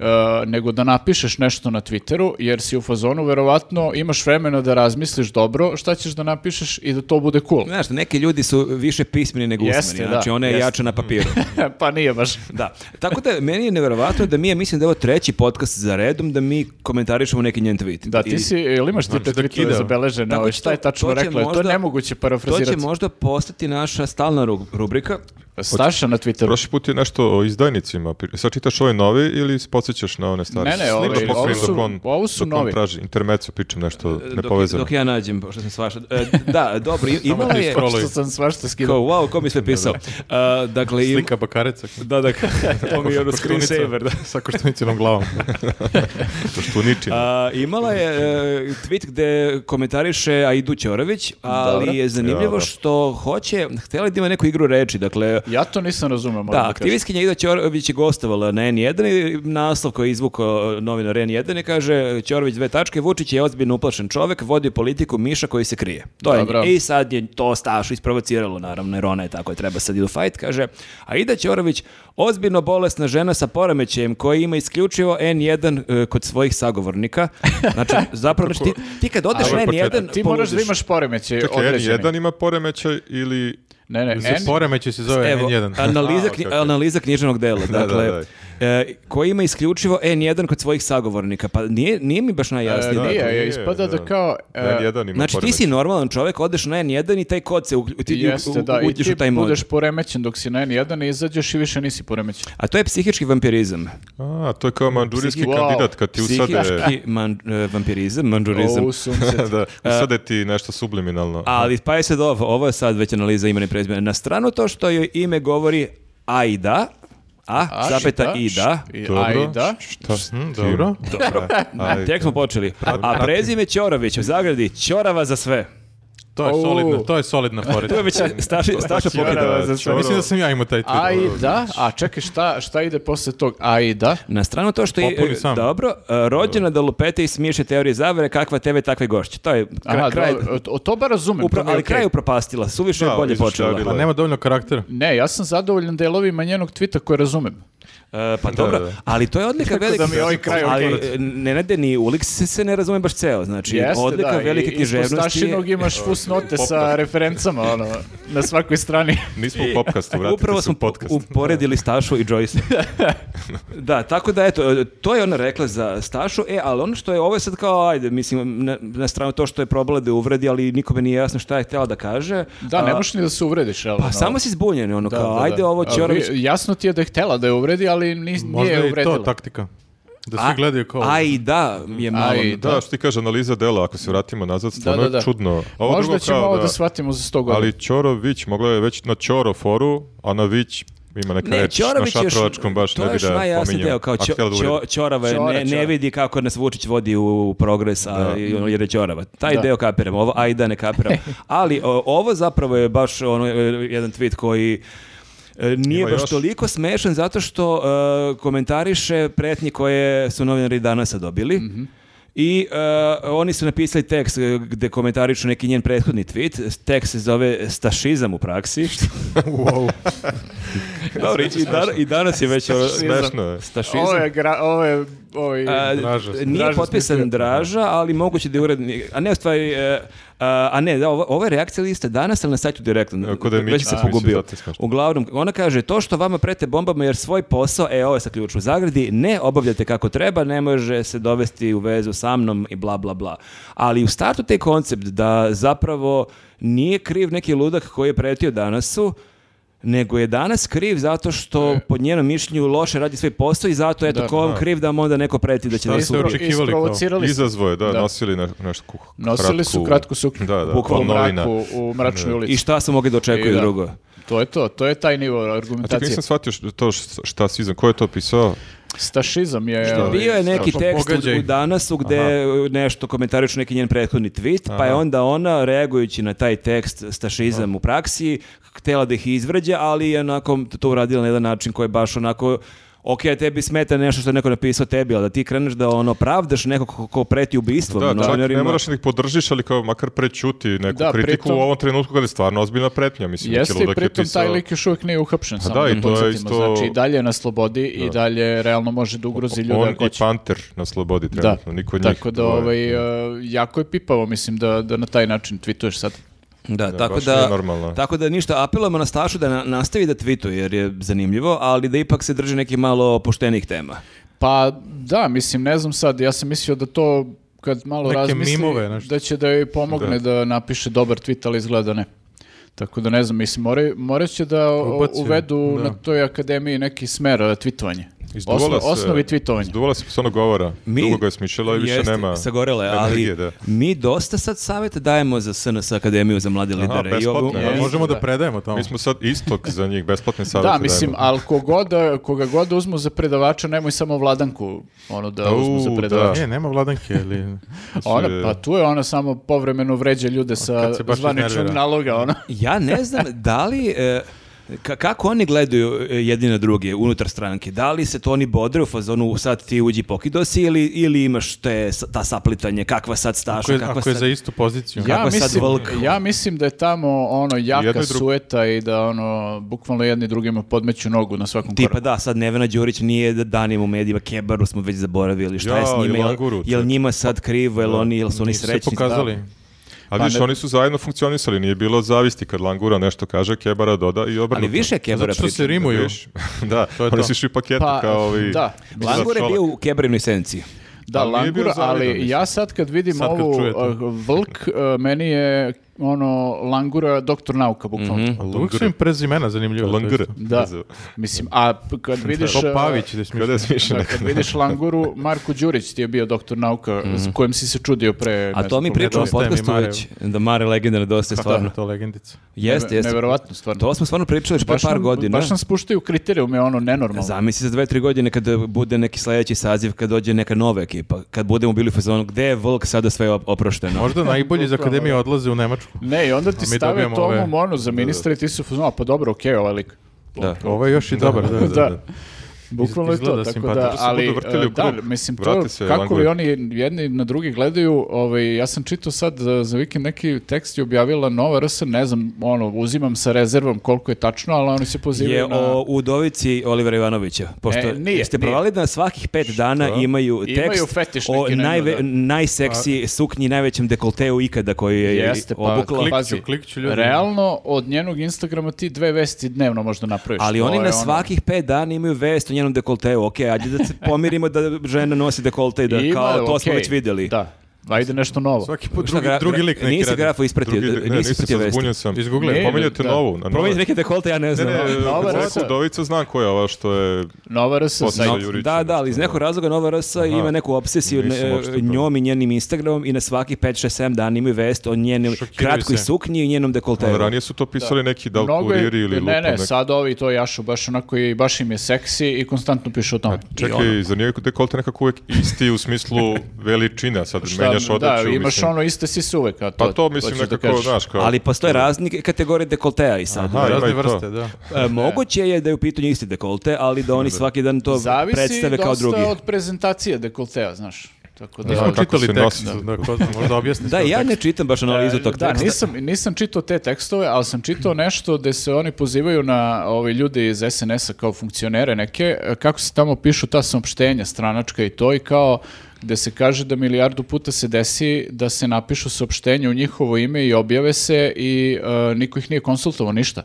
[SPEAKER 3] e, nego da napišeš nešto na Twitteru, jer si u fazonu, verovatno imaš vremena da razmisliš dobro šta ćeš da napišeš i da to bude cool.
[SPEAKER 4] Znaš, neki ljudi su više pismeni nego
[SPEAKER 3] Jeste,
[SPEAKER 4] usmeni,
[SPEAKER 3] da,
[SPEAKER 4] znači ona je
[SPEAKER 3] jeste.
[SPEAKER 4] jača na papiru.
[SPEAKER 3] pa nije baš.
[SPEAKER 4] Da. Tako da meni je neverovatno da mi, ja mislim da je ovo treći podcast za redom, da mi komentarišemo neki njen tweet.
[SPEAKER 3] Da, ti
[SPEAKER 4] I-
[SPEAKER 3] si, ili imaš ti te
[SPEAKER 2] da
[SPEAKER 3] tweetove
[SPEAKER 2] kida.
[SPEAKER 3] zabeležene,
[SPEAKER 4] Tako
[SPEAKER 3] ovaj,
[SPEAKER 4] što
[SPEAKER 3] šta je tačno
[SPEAKER 4] to će
[SPEAKER 3] rekla, to
[SPEAKER 4] možda-
[SPEAKER 3] je nemoguće
[SPEAKER 4] To će
[SPEAKER 3] parafrazirati.
[SPEAKER 4] možda postati naša stalna ru- rubrika.
[SPEAKER 3] Staša na Twitteru.
[SPEAKER 1] Prošli put je nešto o izdajnicima. pri- Sad čitaš ove novi ili se podsjećaš na one stare?
[SPEAKER 3] Ne, ne,
[SPEAKER 1] Snimka
[SPEAKER 3] ove-
[SPEAKER 1] pokrenim
[SPEAKER 3] ovo
[SPEAKER 1] dok
[SPEAKER 3] su-
[SPEAKER 1] on-
[SPEAKER 3] ovo su
[SPEAKER 1] dok on
[SPEAKER 3] novi. Eh,
[SPEAKER 1] traži. Intermezzo pičem nešto
[SPEAKER 4] Dok,
[SPEAKER 1] nepovezano.
[SPEAKER 4] dok ja nađem, pošto sam svašta. E, da, dobro, i- imala
[SPEAKER 2] ti
[SPEAKER 4] je...
[SPEAKER 2] scroll-
[SPEAKER 3] Što sam svašta skidao.
[SPEAKER 4] Kao, wow, ko mi je sve pisao? A, dakle, im,
[SPEAKER 2] Slika Bakareca.
[SPEAKER 4] Da, da, to mi je ono
[SPEAKER 2] Koštunica.
[SPEAKER 4] screensaver, da.
[SPEAKER 2] Sa koštunicinom glavom.
[SPEAKER 1] Što ničim.
[SPEAKER 4] A, imala je e, tweet gde komentariše Aidu Ćorović, ali
[SPEAKER 3] Dobro.
[SPEAKER 4] je zanimljivo
[SPEAKER 1] Ja, da.
[SPEAKER 4] što hoće, htjela je da ima neku igru reči, dakle,
[SPEAKER 3] Ja to nisam razumeo, moram
[SPEAKER 4] Da,
[SPEAKER 3] da kažem.
[SPEAKER 4] aktivistkinja Ida Ćorović je gostovala na N1 i naslov koji je izvukao e, novinar N1 i kaže Ćorović dve tačke, Vučić je ozbiljno uplašen čovek, vodi politiku miša koji se krije. To je,
[SPEAKER 3] Dobro.
[SPEAKER 4] I sad je to Stašu isprovociralo, naravno, jer ona je tako, treba sad idu fajt, kaže. A Ida Ćorović, ozbiljno bolesna žena sa poremećajem koji ima isključivo N1 e, kod svojih sagovornika. Znači, zapravo, znači, ti, ti kad odeš na
[SPEAKER 1] Ali
[SPEAKER 4] N1,
[SPEAKER 1] početak.
[SPEAKER 3] Ti moraš da
[SPEAKER 4] poludiš.
[SPEAKER 3] imaš poremećaj
[SPEAKER 1] Čekaj,
[SPEAKER 3] određeni.
[SPEAKER 1] N1 ima poremećaj ili...
[SPEAKER 3] Ne, ne,
[SPEAKER 2] Se
[SPEAKER 3] N-
[SPEAKER 2] poremeće se
[SPEAKER 1] Pa
[SPEAKER 2] zove
[SPEAKER 4] Evo,
[SPEAKER 2] N1.
[SPEAKER 4] Analiza,
[SPEAKER 1] A, okej,
[SPEAKER 4] knji-
[SPEAKER 1] okej.
[SPEAKER 4] analiza književnog dela,
[SPEAKER 1] Da,
[SPEAKER 4] dakle,
[SPEAKER 1] da,
[SPEAKER 4] e, koji ima isključivo N1 kod svojih sagovornika, pa nije, nije mi baš
[SPEAKER 3] e,
[SPEAKER 4] najjasnije.
[SPEAKER 1] da,
[SPEAKER 3] nije,
[SPEAKER 1] to nije,
[SPEAKER 3] ispada da,
[SPEAKER 1] da.
[SPEAKER 3] kao... e,
[SPEAKER 1] N1 ima
[SPEAKER 4] Znači, ti si
[SPEAKER 1] poremećaj.
[SPEAKER 4] normalan čovjek, odeš na N1 i taj kod se uklju- ti u-
[SPEAKER 3] Jeste,
[SPEAKER 4] u-
[SPEAKER 3] da, i
[SPEAKER 4] uđeš u
[SPEAKER 3] ti
[SPEAKER 4] taj mod.
[SPEAKER 3] budeš poremećen dok si na N1 i izađeš i više nisi poremećen.
[SPEAKER 4] A to je psihički vampirizam.
[SPEAKER 1] A, to je kao manđurijski
[SPEAKER 3] Psihi- Wow.
[SPEAKER 1] kandidat kad ti usade...
[SPEAKER 4] Psihički man, e, vampirizam, manđurizam.
[SPEAKER 3] O, sunce.
[SPEAKER 1] da,
[SPEAKER 4] Eh,
[SPEAKER 1] usade ti nešto subliminalno.
[SPEAKER 4] Ali pa je sad ovo, ovo je sad već analiza imena i prezimena. Na stranu to što joj ime govori Aida, a,
[SPEAKER 3] A,
[SPEAKER 4] zapeta
[SPEAKER 3] šta?
[SPEAKER 4] Ida.
[SPEAKER 3] I-
[SPEAKER 1] Dobro.
[SPEAKER 3] A i da?
[SPEAKER 1] Šta?
[SPEAKER 2] Hm, dobro.
[SPEAKER 1] Dobro.
[SPEAKER 4] E, Tek smo počeli. A prezime Ćorović u zagradi Ćorava za sve.
[SPEAKER 2] To je
[SPEAKER 3] Au.
[SPEAKER 2] solidna, to je solidna
[SPEAKER 4] To je
[SPEAKER 2] poreda.
[SPEAKER 4] već staša, staša pokida.
[SPEAKER 3] Ćorava za sve.
[SPEAKER 2] Mislim da sam ja imao taj
[SPEAKER 3] A i
[SPEAKER 2] tweet.
[SPEAKER 3] da? A čekaj, šta, šta ide posle tog a i da?
[SPEAKER 4] Na stranu to što je
[SPEAKER 2] Popuni
[SPEAKER 4] e,
[SPEAKER 2] sam.
[SPEAKER 4] dobro, e, rođena da lupete i smiješe teorije zavere, kakva tebe takve gošće. To je kra-
[SPEAKER 3] Aha,
[SPEAKER 4] kraj,
[SPEAKER 3] dobro, o- o- to bar razumem.
[SPEAKER 4] upra-
[SPEAKER 3] to mi je
[SPEAKER 4] ali
[SPEAKER 3] okej.
[SPEAKER 4] kraj je upropastila, suviše je
[SPEAKER 1] Da,
[SPEAKER 4] bolje
[SPEAKER 1] izašla je
[SPEAKER 4] počela.
[SPEAKER 1] bila.
[SPEAKER 2] A nema dovoljno karaktera.
[SPEAKER 3] Ne, ja sam zadovoljan delovima njenog tvita koje razumem.
[SPEAKER 4] E, pa dobro,
[SPEAKER 1] da.
[SPEAKER 4] ali to je odlika velike...
[SPEAKER 3] da mi je ovaj kraj
[SPEAKER 4] ali
[SPEAKER 3] odgovarac.
[SPEAKER 4] e, Nenade ni Uliks se, se ne razume baš ceo. Znači,
[SPEAKER 3] Jeste,
[SPEAKER 4] odlika
[SPEAKER 3] da,
[SPEAKER 4] velike
[SPEAKER 3] i- Ispod
[SPEAKER 4] književnosti je...
[SPEAKER 3] Stašinog imaš fusnote sa referencama, ono, na svakoj strani.
[SPEAKER 1] Nismo u popkastu, vratite
[SPEAKER 4] Upravo
[SPEAKER 1] se u
[SPEAKER 4] smo
[SPEAKER 1] podcast.
[SPEAKER 4] uporedili Stašu i Joyce. da, tako da eto, to je ona rekla za Stašu, e, ali ono što je, ovo je sad kao, ajde, mislim, na, na stranu to što je probala da je uvredi, ali nikome nije jasno šta je htjela da kaže.
[SPEAKER 3] Da, ne
[SPEAKER 4] A,
[SPEAKER 3] možeš ni da se uvrediš, jel?
[SPEAKER 4] Pa samo si zbunjen, ono, kao, ajde ovo
[SPEAKER 3] A,
[SPEAKER 4] Ćorović,
[SPEAKER 3] vi- Jasno ti je da je htela da je uvredi, ali ni,
[SPEAKER 2] Možda
[SPEAKER 3] nije
[SPEAKER 2] je i
[SPEAKER 3] uvredila.
[SPEAKER 2] to taktika. Da svi gledaju kao...
[SPEAKER 4] A i da, je malo...
[SPEAKER 3] i
[SPEAKER 1] Da, što ti kaže, analiza dela, ako se vratimo nazad, stvarno
[SPEAKER 3] da, da.
[SPEAKER 1] je čudno. A ovo
[SPEAKER 3] Možda
[SPEAKER 1] drugo
[SPEAKER 3] ćemo
[SPEAKER 1] kao
[SPEAKER 3] ovo da, shvatimo za 100 godina.
[SPEAKER 1] Ali Ćorović, mogla je već na Ćoro foru, a na Vić ima neka
[SPEAKER 4] Ne,
[SPEAKER 1] reč
[SPEAKER 4] Ćorović
[SPEAKER 1] na
[SPEAKER 4] još,
[SPEAKER 1] šatrovačkom baš
[SPEAKER 4] to
[SPEAKER 1] ne
[SPEAKER 4] je
[SPEAKER 1] bi
[SPEAKER 4] još
[SPEAKER 1] da je
[SPEAKER 4] najjasniji deo,
[SPEAKER 1] pominjao.
[SPEAKER 4] kao
[SPEAKER 1] Ako
[SPEAKER 4] Ćo-
[SPEAKER 1] htjela da
[SPEAKER 4] Ćo-
[SPEAKER 1] uredi.
[SPEAKER 4] Ćorava je,
[SPEAKER 3] Ćora,
[SPEAKER 4] ne, ne
[SPEAKER 3] Ćora.
[SPEAKER 4] vidi kako nas Vučić vodi u progres, a, i ono, jer je Ćorava. Taj
[SPEAKER 3] Da.
[SPEAKER 4] deo kapiram, ovo ajda ne kapiram. Ali o, ovo zapravo je baš ono, e, jedan tweet koji e, nije
[SPEAKER 1] Ima
[SPEAKER 4] baš
[SPEAKER 1] još?
[SPEAKER 4] toliko smešan zato što e, komentariše pretnje koje su novinari danas dobili. I e, oni su napisali tekst e, gde komentarišu neki njen prethodni tweet. Tekst se zove Stašizam u praksi. Dobro, i, dan- i danas je već ovo-
[SPEAKER 1] Smešno je.
[SPEAKER 4] Stašizam.
[SPEAKER 3] Ovo je, gra, ovo je, ovo je-
[SPEAKER 4] A,
[SPEAKER 2] Draža.
[SPEAKER 4] Nije
[SPEAKER 3] Draža
[SPEAKER 4] potpisan
[SPEAKER 3] smislio.
[SPEAKER 4] Draža, ali moguće da je urednik. A ne, u stvari, e, a, a ne, da, ovo, ovo je reakcija lista danas, ali na sajtu direktno.
[SPEAKER 1] E, ko da je
[SPEAKER 4] Već
[SPEAKER 1] Mićić
[SPEAKER 4] se
[SPEAKER 1] napisao,
[SPEAKER 4] pogubio.
[SPEAKER 1] zato je smešno.
[SPEAKER 4] Uglavnom, ona kaže, to što vama prete bombama jer svoj posao, e, ovo je sa ključ u zagradi, ne obavljate kako treba, ne može se dovesti u vezu sa mnom i bla, bla, bla. Ali u startu taj koncept da zapravo nije kriv neki ludak koji je pretio danasu, nego je danas kriv zato što po njenom mišljenju loše radi svoj posao i zato eto
[SPEAKER 3] E. Da.
[SPEAKER 4] ko vam kriv da vam onda neko preti da će
[SPEAKER 2] Da,
[SPEAKER 4] nas
[SPEAKER 2] se
[SPEAKER 4] ubiti.
[SPEAKER 2] očekivali kao-
[SPEAKER 3] isprovocirali su
[SPEAKER 1] Izazvo je, da,
[SPEAKER 3] Da.
[SPEAKER 1] nosili na, nešto kratku...
[SPEAKER 3] Nosili su kratku suknju.
[SPEAKER 1] Da, da,
[SPEAKER 3] u
[SPEAKER 4] Bukvalno
[SPEAKER 1] kao novina.
[SPEAKER 3] mraku, u mračnoj ulici.
[SPEAKER 4] I šta se mogli da očekuju
[SPEAKER 3] I E, da.
[SPEAKER 4] drugo?
[SPEAKER 3] To je to, to je taj nivo
[SPEAKER 1] A čekaj,
[SPEAKER 3] argumentacije.
[SPEAKER 1] nisam shvatio što- to š- šta si izam, ko je to pisao?
[SPEAKER 3] Stašizam je... ovaj,
[SPEAKER 4] Bio je neki
[SPEAKER 2] Pa
[SPEAKER 4] tekst
[SPEAKER 2] pogađaj.
[SPEAKER 4] u danasu gde e, nešto komentarišu neki njen prethodni tweet, pa je onda ona, reagujući na taj tekst stašizam u praksi, htela da ih izvrđe, ali je onako to uradila na jedan način koji je baš onako ok, tebi smeta nešto što je neko napisao tebi, ali da ti kreneš da ono pravdaš nekog ko, ko preti ubistvom.
[SPEAKER 1] Da, čak
[SPEAKER 4] novinarima.
[SPEAKER 1] ne moraš da ih podržiš, ali kao makar prećuti neku
[SPEAKER 3] Da,
[SPEAKER 1] kritiku
[SPEAKER 3] pritom-
[SPEAKER 1] u ovom trenutku kada je stvarno ozbiljna pretnja. Mislim, neki
[SPEAKER 3] Jeste, i
[SPEAKER 1] znači, ludak je
[SPEAKER 3] pritom taj
[SPEAKER 1] pisao- Pa
[SPEAKER 3] lik još uvijek nije uhapšen, samo
[SPEAKER 1] da,
[SPEAKER 3] da,
[SPEAKER 1] i to je
[SPEAKER 3] podsjetimo.
[SPEAKER 1] isto-
[SPEAKER 3] Znači, i dalje je na slobodi i dalje realno može da ugrozi ljude
[SPEAKER 1] On
[SPEAKER 3] ako
[SPEAKER 1] i
[SPEAKER 3] će.
[SPEAKER 1] Panter na slobodi
[SPEAKER 3] Da,
[SPEAKER 1] trenutno, niko od njih.
[SPEAKER 3] tako da
[SPEAKER 1] dvoje.
[SPEAKER 3] ovaj, e, jako je pipavo, mislim, da, da na taj način tweetuješ sad.
[SPEAKER 4] Da, tako
[SPEAKER 1] baš
[SPEAKER 4] da,
[SPEAKER 1] nije normalno.
[SPEAKER 4] tako da ništa, apelujemo na Stašu da na- nastavi da tweetuje jer je zanimljivo, ali da ipak se drži neki malo poštenih tema.
[SPEAKER 3] Pa da, mislim, ne znam sad, ja sam mislio da to kad malo
[SPEAKER 2] Neke
[SPEAKER 3] razmisli,
[SPEAKER 2] mimove, nešto.
[SPEAKER 3] da će da joj pomogne da. napiše dobar tweet, ali izgleda da ne. Tako da ne znam, mislim, moraju- morat će da o-
[SPEAKER 2] Ubaci,
[SPEAKER 3] uvedu
[SPEAKER 2] da.
[SPEAKER 3] na toj akademiji neki smer e, tweetovanje.
[SPEAKER 1] Izduvala
[SPEAKER 3] Osno-
[SPEAKER 1] se-
[SPEAKER 3] osnovi tweetovanja.
[SPEAKER 1] Izduvala se persona govora. Dugo ga je smišljala i više
[SPEAKER 4] Jeste,
[SPEAKER 1] nema
[SPEAKER 4] sagorela je, ali
[SPEAKER 1] energije, da.
[SPEAKER 4] mi dosta sad savjeta dajemo za SNS Akademiju za mlade lidere.
[SPEAKER 1] besplatno,
[SPEAKER 4] ovu-
[SPEAKER 1] da.
[SPEAKER 2] Da,
[SPEAKER 3] Jeste,
[SPEAKER 2] možemo da
[SPEAKER 3] da.
[SPEAKER 2] predajemo tamo.
[SPEAKER 1] Mi smo sad istok za njih, besplatne savjete.
[SPEAKER 3] Da, mislim,
[SPEAKER 1] dajemo.
[SPEAKER 3] ali koga god, koga god uzmu za predavača, nemoj samo vladanku ono da
[SPEAKER 1] Au,
[SPEAKER 3] uzmu za
[SPEAKER 1] da.
[SPEAKER 3] predavača.
[SPEAKER 2] Ne, E, nema vladanke, ali...
[SPEAKER 3] Ona, pa tu je ona samo povremeno vređa ljude sa
[SPEAKER 2] Kad se baš
[SPEAKER 3] zvaničnog
[SPEAKER 2] iznervira.
[SPEAKER 3] naloga, ono. ona.
[SPEAKER 4] Ja ne znam da li... e, ka- kako oni gledaju e, jedni na druge unutar stranke? Da li se to oni bodre u fazonu sad ti uđi pokidosi ili, ili imaš te, sa- ta saplitanje, kakva sad staša,
[SPEAKER 2] Ako je,
[SPEAKER 4] kakva
[SPEAKER 2] ako je
[SPEAKER 4] sad...
[SPEAKER 2] za istu poziciju.
[SPEAKER 3] Ja
[SPEAKER 4] Kako je sad
[SPEAKER 3] mislim,
[SPEAKER 4] Vlk?
[SPEAKER 3] ja mislim da je tamo ono jaka
[SPEAKER 1] Jedno i drugo.
[SPEAKER 3] sueta i da ono bukvalno jedni drugima podmeću nogu na svakom
[SPEAKER 4] Tipa
[SPEAKER 3] koraku.
[SPEAKER 4] da, sad Nevena Đurić nije da danima u medijima, Kebaru smo već zaboravili, šta je s
[SPEAKER 1] Ja,
[SPEAKER 4] njima,
[SPEAKER 1] i
[SPEAKER 4] jel,
[SPEAKER 1] Languru,
[SPEAKER 4] jel
[SPEAKER 1] čak.
[SPEAKER 4] njima sad krivo, jel oni, jel su oni
[SPEAKER 2] Nisu se
[SPEAKER 4] srećni?
[SPEAKER 2] pokazali.
[SPEAKER 1] A vidiš,
[SPEAKER 3] pa ne-
[SPEAKER 1] oni su zajedno funkcionisali, nije bilo zavisti kad Langura nešto kaže, Kebara doda i obrnuto.
[SPEAKER 4] Ali više je Kebara
[SPEAKER 2] Zato što se
[SPEAKER 4] pričao.
[SPEAKER 2] rimuju.
[SPEAKER 1] Viš? da,
[SPEAKER 2] To je
[SPEAKER 1] oni
[SPEAKER 2] to.
[SPEAKER 1] su išli u paketu
[SPEAKER 3] Pa,
[SPEAKER 1] kao ovi...
[SPEAKER 3] da.
[SPEAKER 4] Langur je
[SPEAKER 1] Šolak.
[SPEAKER 4] bio u Kebarinoj senci.
[SPEAKER 3] Da,
[SPEAKER 1] Ali nije bio
[SPEAKER 3] Langura,
[SPEAKER 1] zavidan,
[SPEAKER 3] ali
[SPEAKER 1] mislim.
[SPEAKER 3] ja sad kad vidim
[SPEAKER 2] Sad kad
[SPEAKER 3] ovu
[SPEAKER 2] čujete.
[SPEAKER 3] eh, Vlk, eh, meni je ono Langura doktor nauka bukvalno.
[SPEAKER 4] Mhm.
[SPEAKER 2] Uvijek su im prezimena zanimljiva. to
[SPEAKER 1] Langr.
[SPEAKER 2] isto.
[SPEAKER 3] Da. Mislim, a p- kad vidiš...
[SPEAKER 2] Ko
[SPEAKER 4] e,
[SPEAKER 3] eh,
[SPEAKER 2] Pavić, da je smišljen.
[SPEAKER 1] Kada je smišljeno?
[SPEAKER 3] Da, kad vidiš Languru, Marko Đurić ti je bio doktor nauka s kojim si se čudio pre...
[SPEAKER 4] Mhm. A
[SPEAKER 3] ne
[SPEAKER 4] to
[SPEAKER 3] znam,
[SPEAKER 4] mi
[SPEAKER 3] koliko
[SPEAKER 4] pričamo u
[SPEAKER 2] Nedostaje mi
[SPEAKER 4] podcastu
[SPEAKER 2] Mare.
[SPEAKER 4] već, da Mare legenda nedostaje stvarno.
[SPEAKER 2] Stvarno, to legendica.
[SPEAKER 4] Jeste,
[SPEAKER 3] Pa
[SPEAKER 4] jeste.
[SPEAKER 3] Neverovatno, stvarno.
[SPEAKER 4] To smo stvarno pričali još pre
[SPEAKER 3] Baš
[SPEAKER 4] par
[SPEAKER 3] nam-
[SPEAKER 4] godina.
[SPEAKER 3] Baš nam spuštaju kriterijume, ono, nenormalno.
[SPEAKER 4] Zamisli za dve, tri godine kada bude neki sljedeći saziv, kad dođe neka nova ekipa, kad budemo bili u fazonu, gde je Volk sada sve op- oprošteno?
[SPEAKER 2] Možda najbolji iz akademije odlaze u Nemačku.
[SPEAKER 3] Ne, i onda ti
[SPEAKER 2] mi
[SPEAKER 3] stave
[SPEAKER 2] dobijamo
[SPEAKER 3] Tomu
[SPEAKER 2] ove-
[SPEAKER 3] Monu ono, za ministra i ti su fuzno, pa dobro, okej, ovaj lik.
[SPEAKER 4] Da.
[SPEAKER 2] Ovo je još i dobar. Da, Znači,
[SPEAKER 3] Da, bukvalno je to,
[SPEAKER 2] Izgleda
[SPEAKER 3] tako
[SPEAKER 2] simpatično.
[SPEAKER 3] da,
[SPEAKER 1] To se
[SPEAKER 3] ali,
[SPEAKER 1] budu vrteli u
[SPEAKER 3] e, da,
[SPEAKER 1] krug.
[SPEAKER 3] mislim, to,
[SPEAKER 1] Vrati se
[SPEAKER 3] kako li
[SPEAKER 1] Languri.
[SPEAKER 3] oni jedni na drugi gledaju, ovaj, ja sam čitao sad e, za vikend neki tekst je objavila Nova RS, ne znam, ono, uzimam sa rezervom koliko je tačno, ali oni se pozivaju
[SPEAKER 4] je
[SPEAKER 3] na...
[SPEAKER 4] o Udovici Olivera Ivanovića. Pošto
[SPEAKER 3] E, nije,
[SPEAKER 4] jeste
[SPEAKER 3] nije.
[SPEAKER 4] provali da na svakih pet dana imaju
[SPEAKER 3] Imaju
[SPEAKER 4] tekst
[SPEAKER 3] fetiš
[SPEAKER 4] o
[SPEAKER 3] neki na nju,
[SPEAKER 4] najve,
[SPEAKER 3] da. Pa-
[SPEAKER 4] najseksi suknji i najvećem dekolteu ikada koji je
[SPEAKER 3] Jeste, pa,
[SPEAKER 4] obukla.
[SPEAKER 2] klik-
[SPEAKER 3] pazi,
[SPEAKER 2] klikću ljudi.
[SPEAKER 3] realno od njenog Instagrama ti dve vesti dnevno možda napraviš.
[SPEAKER 4] Ali
[SPEAKER 3] To
[SPEAKER 4] oni
[SPEAKER 3] je
[SPEAKER 4] na
[SPEAKER 3] ono-
[SPEAKER 4] svakih pet dana imaju vest o njenom dekolteu. Ok, ajde da se pomirimo da žena nosi dekolte i da
[SPEAKER 3] Ima,
[SPEAKER 4] kao to smo
[SPEAKER 3] okej,
[SPEAKER 4] već vidjeli.
[SPEAKER 3] Da. Ajde nešto novo.
[SPEAKER 2] Svaki put
[SPEAKER 4] Šta,
[SPEAKER 2] drugi,
[SPEAKER 4] gra-
[SPEAKER 2] drugi lik neki
[SPEAKER 4] nisi
[SPEAKER 2] radi.
[SPEAKER 4] grafu ispratio,
[SPEAKER 1] Pa Drugi, ne,
[SPEAKER 4] nisi
[SPEAKER 1] nisam
[SPEAKER 4] ispratio
[SPEAKER 1] sam
[SPEAKER 4] vesti.
[SPEAKER 1] zbunjen sam.
[SPEAKER 2] Izgooglaj.
[SPEAKER 1] Ne, Pominjete
[SPEAKER 3] da.
[SPEAKER 1] novu. na
[SPEAKER 4] Promijenite
[SPEAKER 1] nove.
[SPEAKER 4] neke dekolte, ja ne
[SPEAKER 1] Ne,
[SPEAKER 4] znam.
[SPEAKER 1] ne,
[SPEAKER 3] Nova
[SPEAKER 1] kad sam
[SPEAKER 3] rasa.
[SPEAKER 1] rekao Udovica, znam koja je ova što je...
[SPEAKER 3] Nova RS
[SPEAKER 1] Posle-
[SPEAKER 3] sajt.
[SPEAKER 1] Nova Jurić,
[SPEAKER 4] da, da, ali iz
[SPEAKER 1] nešto,
[SPEAKER 4] nekog razloga Nova RS ima neku obsesiju
[SPEAKER 1] nisam
[SPEAKER 4] ne,
[SPEAKER 1] uopšte to.
[SPEAKER 4] njom i njenim Instagramom i na svaki 5, 6, 7 dana imaju vest o njenoj
[SPEAKER 2] Šokiraju
[SPEAKER 4] kratkoj
[SPEAKER 2] se.
[SPEAKER 4] suknji i njenom dekolteju.
[SPEAKER 1] Ali Ono ranije su to pisali neki da li
[SPEAKER 3] Mnogo je-
[SPEAKER 1] kuriri ili lupa.
[SPEAKER 3] ne, ne,
[SPEAKER 1] neki.
[SPEAKER 3] sad ovi to jašu baš onako i baš im je seksi i konstantno pišu o tome.
[SPEAKER 1] Čekaj, zar nije dekolte nekako uvek isti u smislu veličine, a sad
[SPEAKER 3] Šta,
[SPEAKER 1] menjaš odeću.
[SPEAKER 3] Da, imaš
[SPEAKER 1] mislim.
[SPEAKER 3] ono iste sise uvek, a to,
[SPEAKER 1] Pa to mislim
[SPEAKER 3] hoćeš da
[SPEAKER 1] nekako,
[SPEAKER 3] kažeš.
[SPEAKER 1] znaš, kao...
[SPEAKER 4] Ali postoje razne kategorije dekolteja i sad.
[SPEAKER 1] Aha, ima
[SPEAKER 2] Razne
[SPEAKER 1] i to.
[SPEAKER 2] vrste, da.
[SPEAKER 4] E, moguće je da je u pitanju isti dekolte, ali da oni svaki dan to
[SPEAKER 3] Zavisi
[SPEAKER 4] predstave kao
[SPEAKER 3] dosta
[SPEAKER 4] drugi.
[SPEAKER 3] od prezentacije dekoltea, znaš. Tako da,
[SPEAKER 2] Nismo
[SPEAKER 1] kako
[SPEAKER 2] čitali
[SPEAKER 1] se
[SPEAKER 2] tekst,
[SPEAKER 1] nosi.
[SPEAKER 2] da, ko zna, možda objasniš.
[SPEAKER 4] Da,
[SPEAKER 2] kao
[SPEAKER 4] ja
[SPEAKER 2] tekst.
[SPEAKER 4] ne čitam baš analizu tog
[SPEAKER 3] E, da,
[SPEAKER 4] teksta.
[SPEAKER 3] nisam, nisam čitao te tekstove, ali sam čitao nešto gde se oni pozivaju na ove ljude iz SNS-a kao funkcionere neke, e, kako se tamo pišu ta saopštenja stranačka i to i kao gde se kaže da milijardu puta se desi da se napišu saopštenja u njihovo ime i objave se i e, niko ih nije konsultovao ništa.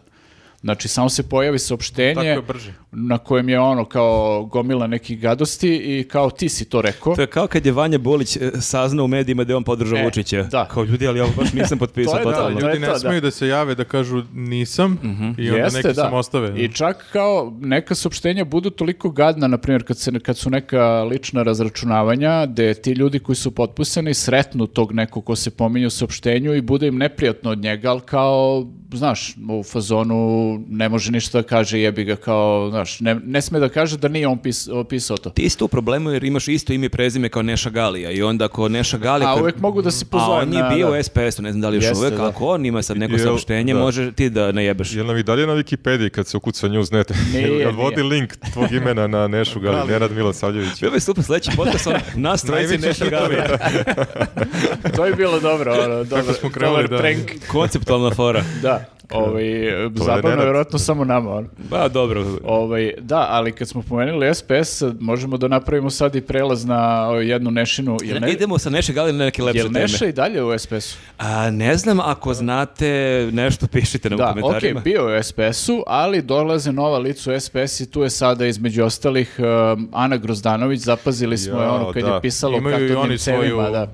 [SPEAKER 3] Znači, samo se pojavi
[SPEAKER 2] Tako
[SPEAKER 3] saopštenje
[SPEAKER 2] je brže.
[SPEAKER 3] na kojem je ono kao gomila nekih gadosti i kao ti si to rekao.
[SPEAKER 4] To je kao kad je Vanja Bolić e, saznao u medijima da je on podržao
[SPEAKER 3] E,
[SPEAKER 4] Vučića.
[SPEAKER 3] da.
[SPEAKER 4] Kao ljudi, ali ja ovo baš nisam potpisao.
[SPEAKER 3] To je da,
[SPEAKER 2] Da,
[SPEAKER 4] totalno.
[SPEAKER 3] to je
[SPEAKER 2] ljudi
[SPEAKER 3] to,
[SPEAKER 2] ne
[SPEAKER 3] da.
[SPEAKER 2] smeju da se jave da kažu nisam
[SPEAKER 4] Mhm.
[SPEAKER 2] i onda
[SPEAKER 3] Jeste,
[SPEAKER 2] neki
[SPEAKER 3] da.
[SPEAKER 2] samo ostave. e,
[SPEAKER 3] I čak kao neka saopštenja budu toliko gadna, na primjer kad, se, kad su neka lična razračunavanja, gde ti ljudi koji su potpisani sretnu tog nekog ko se pominje u saopštenju i bude im neprijatno od njega, ali kao, znaš, u fazonu ne može ništa da kaže, jebi ga kao, znaš, ne, ne sme da kaže da nije on pis, pisao to.
[SPEAKER 4] Ti isto u problemu jer imaš isto ime i prezime kao Neša Galija i onda ako Neša Galija...
[SPEAKER 3] A
[SPEAKER 4] kad-
[SPEAKER 3] uvek mogu da se pozove
[SPEAKER 4] A on je
[SPEAKER 3] na-
[SPEAKER 4] bio
[SPEAKER 3] da.
[SPEAKER 4] u SPS-u, ne znam da li još
[SPEAKER 3] Jeste,
[SPEAKER 4] uvek,
[SPEAKER 3] da.
[SPEAKER 4] ako on ima sad neko
[SPEAKER 1] Jel-
[SPEAKER 4] saopštenje,
[SPEAKER 1] da.
[SPEAKER 4] može ti da najebeš.
[SPEAKER 1] Jel nam i dalje na Wikipediji kad se ukuca news net?
[SPEAKER 3] Nije,
[SPEAKER 1] Jel
[SPEAKER 3] nije.
[SPEAKER 1] vodi link tvog imena na Nešu Gali, Nenad Milosavljević?
[SPEAKER 4] Bilo bi super sledeći podcast, ono, nas trojici
[SPEAKER 1] Najveći
[SPEAKER 4] Neša Galija.
[SPEAKER 3] To je bilo dobro, ono, dobar,
[SPEAKER 2] smo krenuli,
[SPEAKER 3] dobar
[SPEAKER 2] da.
[SPEAKER 3] prank.
[SPEAKER 4] Konceptualna fora.
[SPEAKER 3] Da, ovaj, zabavno je
[SPEAKER 1] nerad.
[SPEAKER 3] vjerojatno samo nama. ono.
[SPEAKER 4] Ba, dobro.
[SPEAKER 3] Ovaj, da, ali kad smo pomenuli SPS, možemo da napravimo sad i prelaz na o, jednu nešinu. Jel, ne,
[SPEAKER 4] Idemo sa Neša Galija na neke lepše
[SPEAKER 3] jel
[SPEAKER 4] teme.
[SPEAKER 3] Neša i dalje u SPS-u?
[SPEAKER 4] A, ne znam, ako znate nešto, pišite nam u
[SPEAKER 3] Da, ok,
[SPEAKER 4] komentarima.
[SPEAKER 3] bio je u SPS-u, ali dolaze nova lica u SPS i tu je sada između ostalih um, Ana Grozdanović, zapazili smo je
[SPEAKER 1] Jao,
[SPEAKER 3] ono kad
[SPEAKER 1] da.
[SPEAKER 3] je pisalo o
[SPEAKER 2] Imaju i
[SPEAKER 3] katodnim
[SPEAKER 2] oni svoju
[SPEAKER 3] cevima. Da.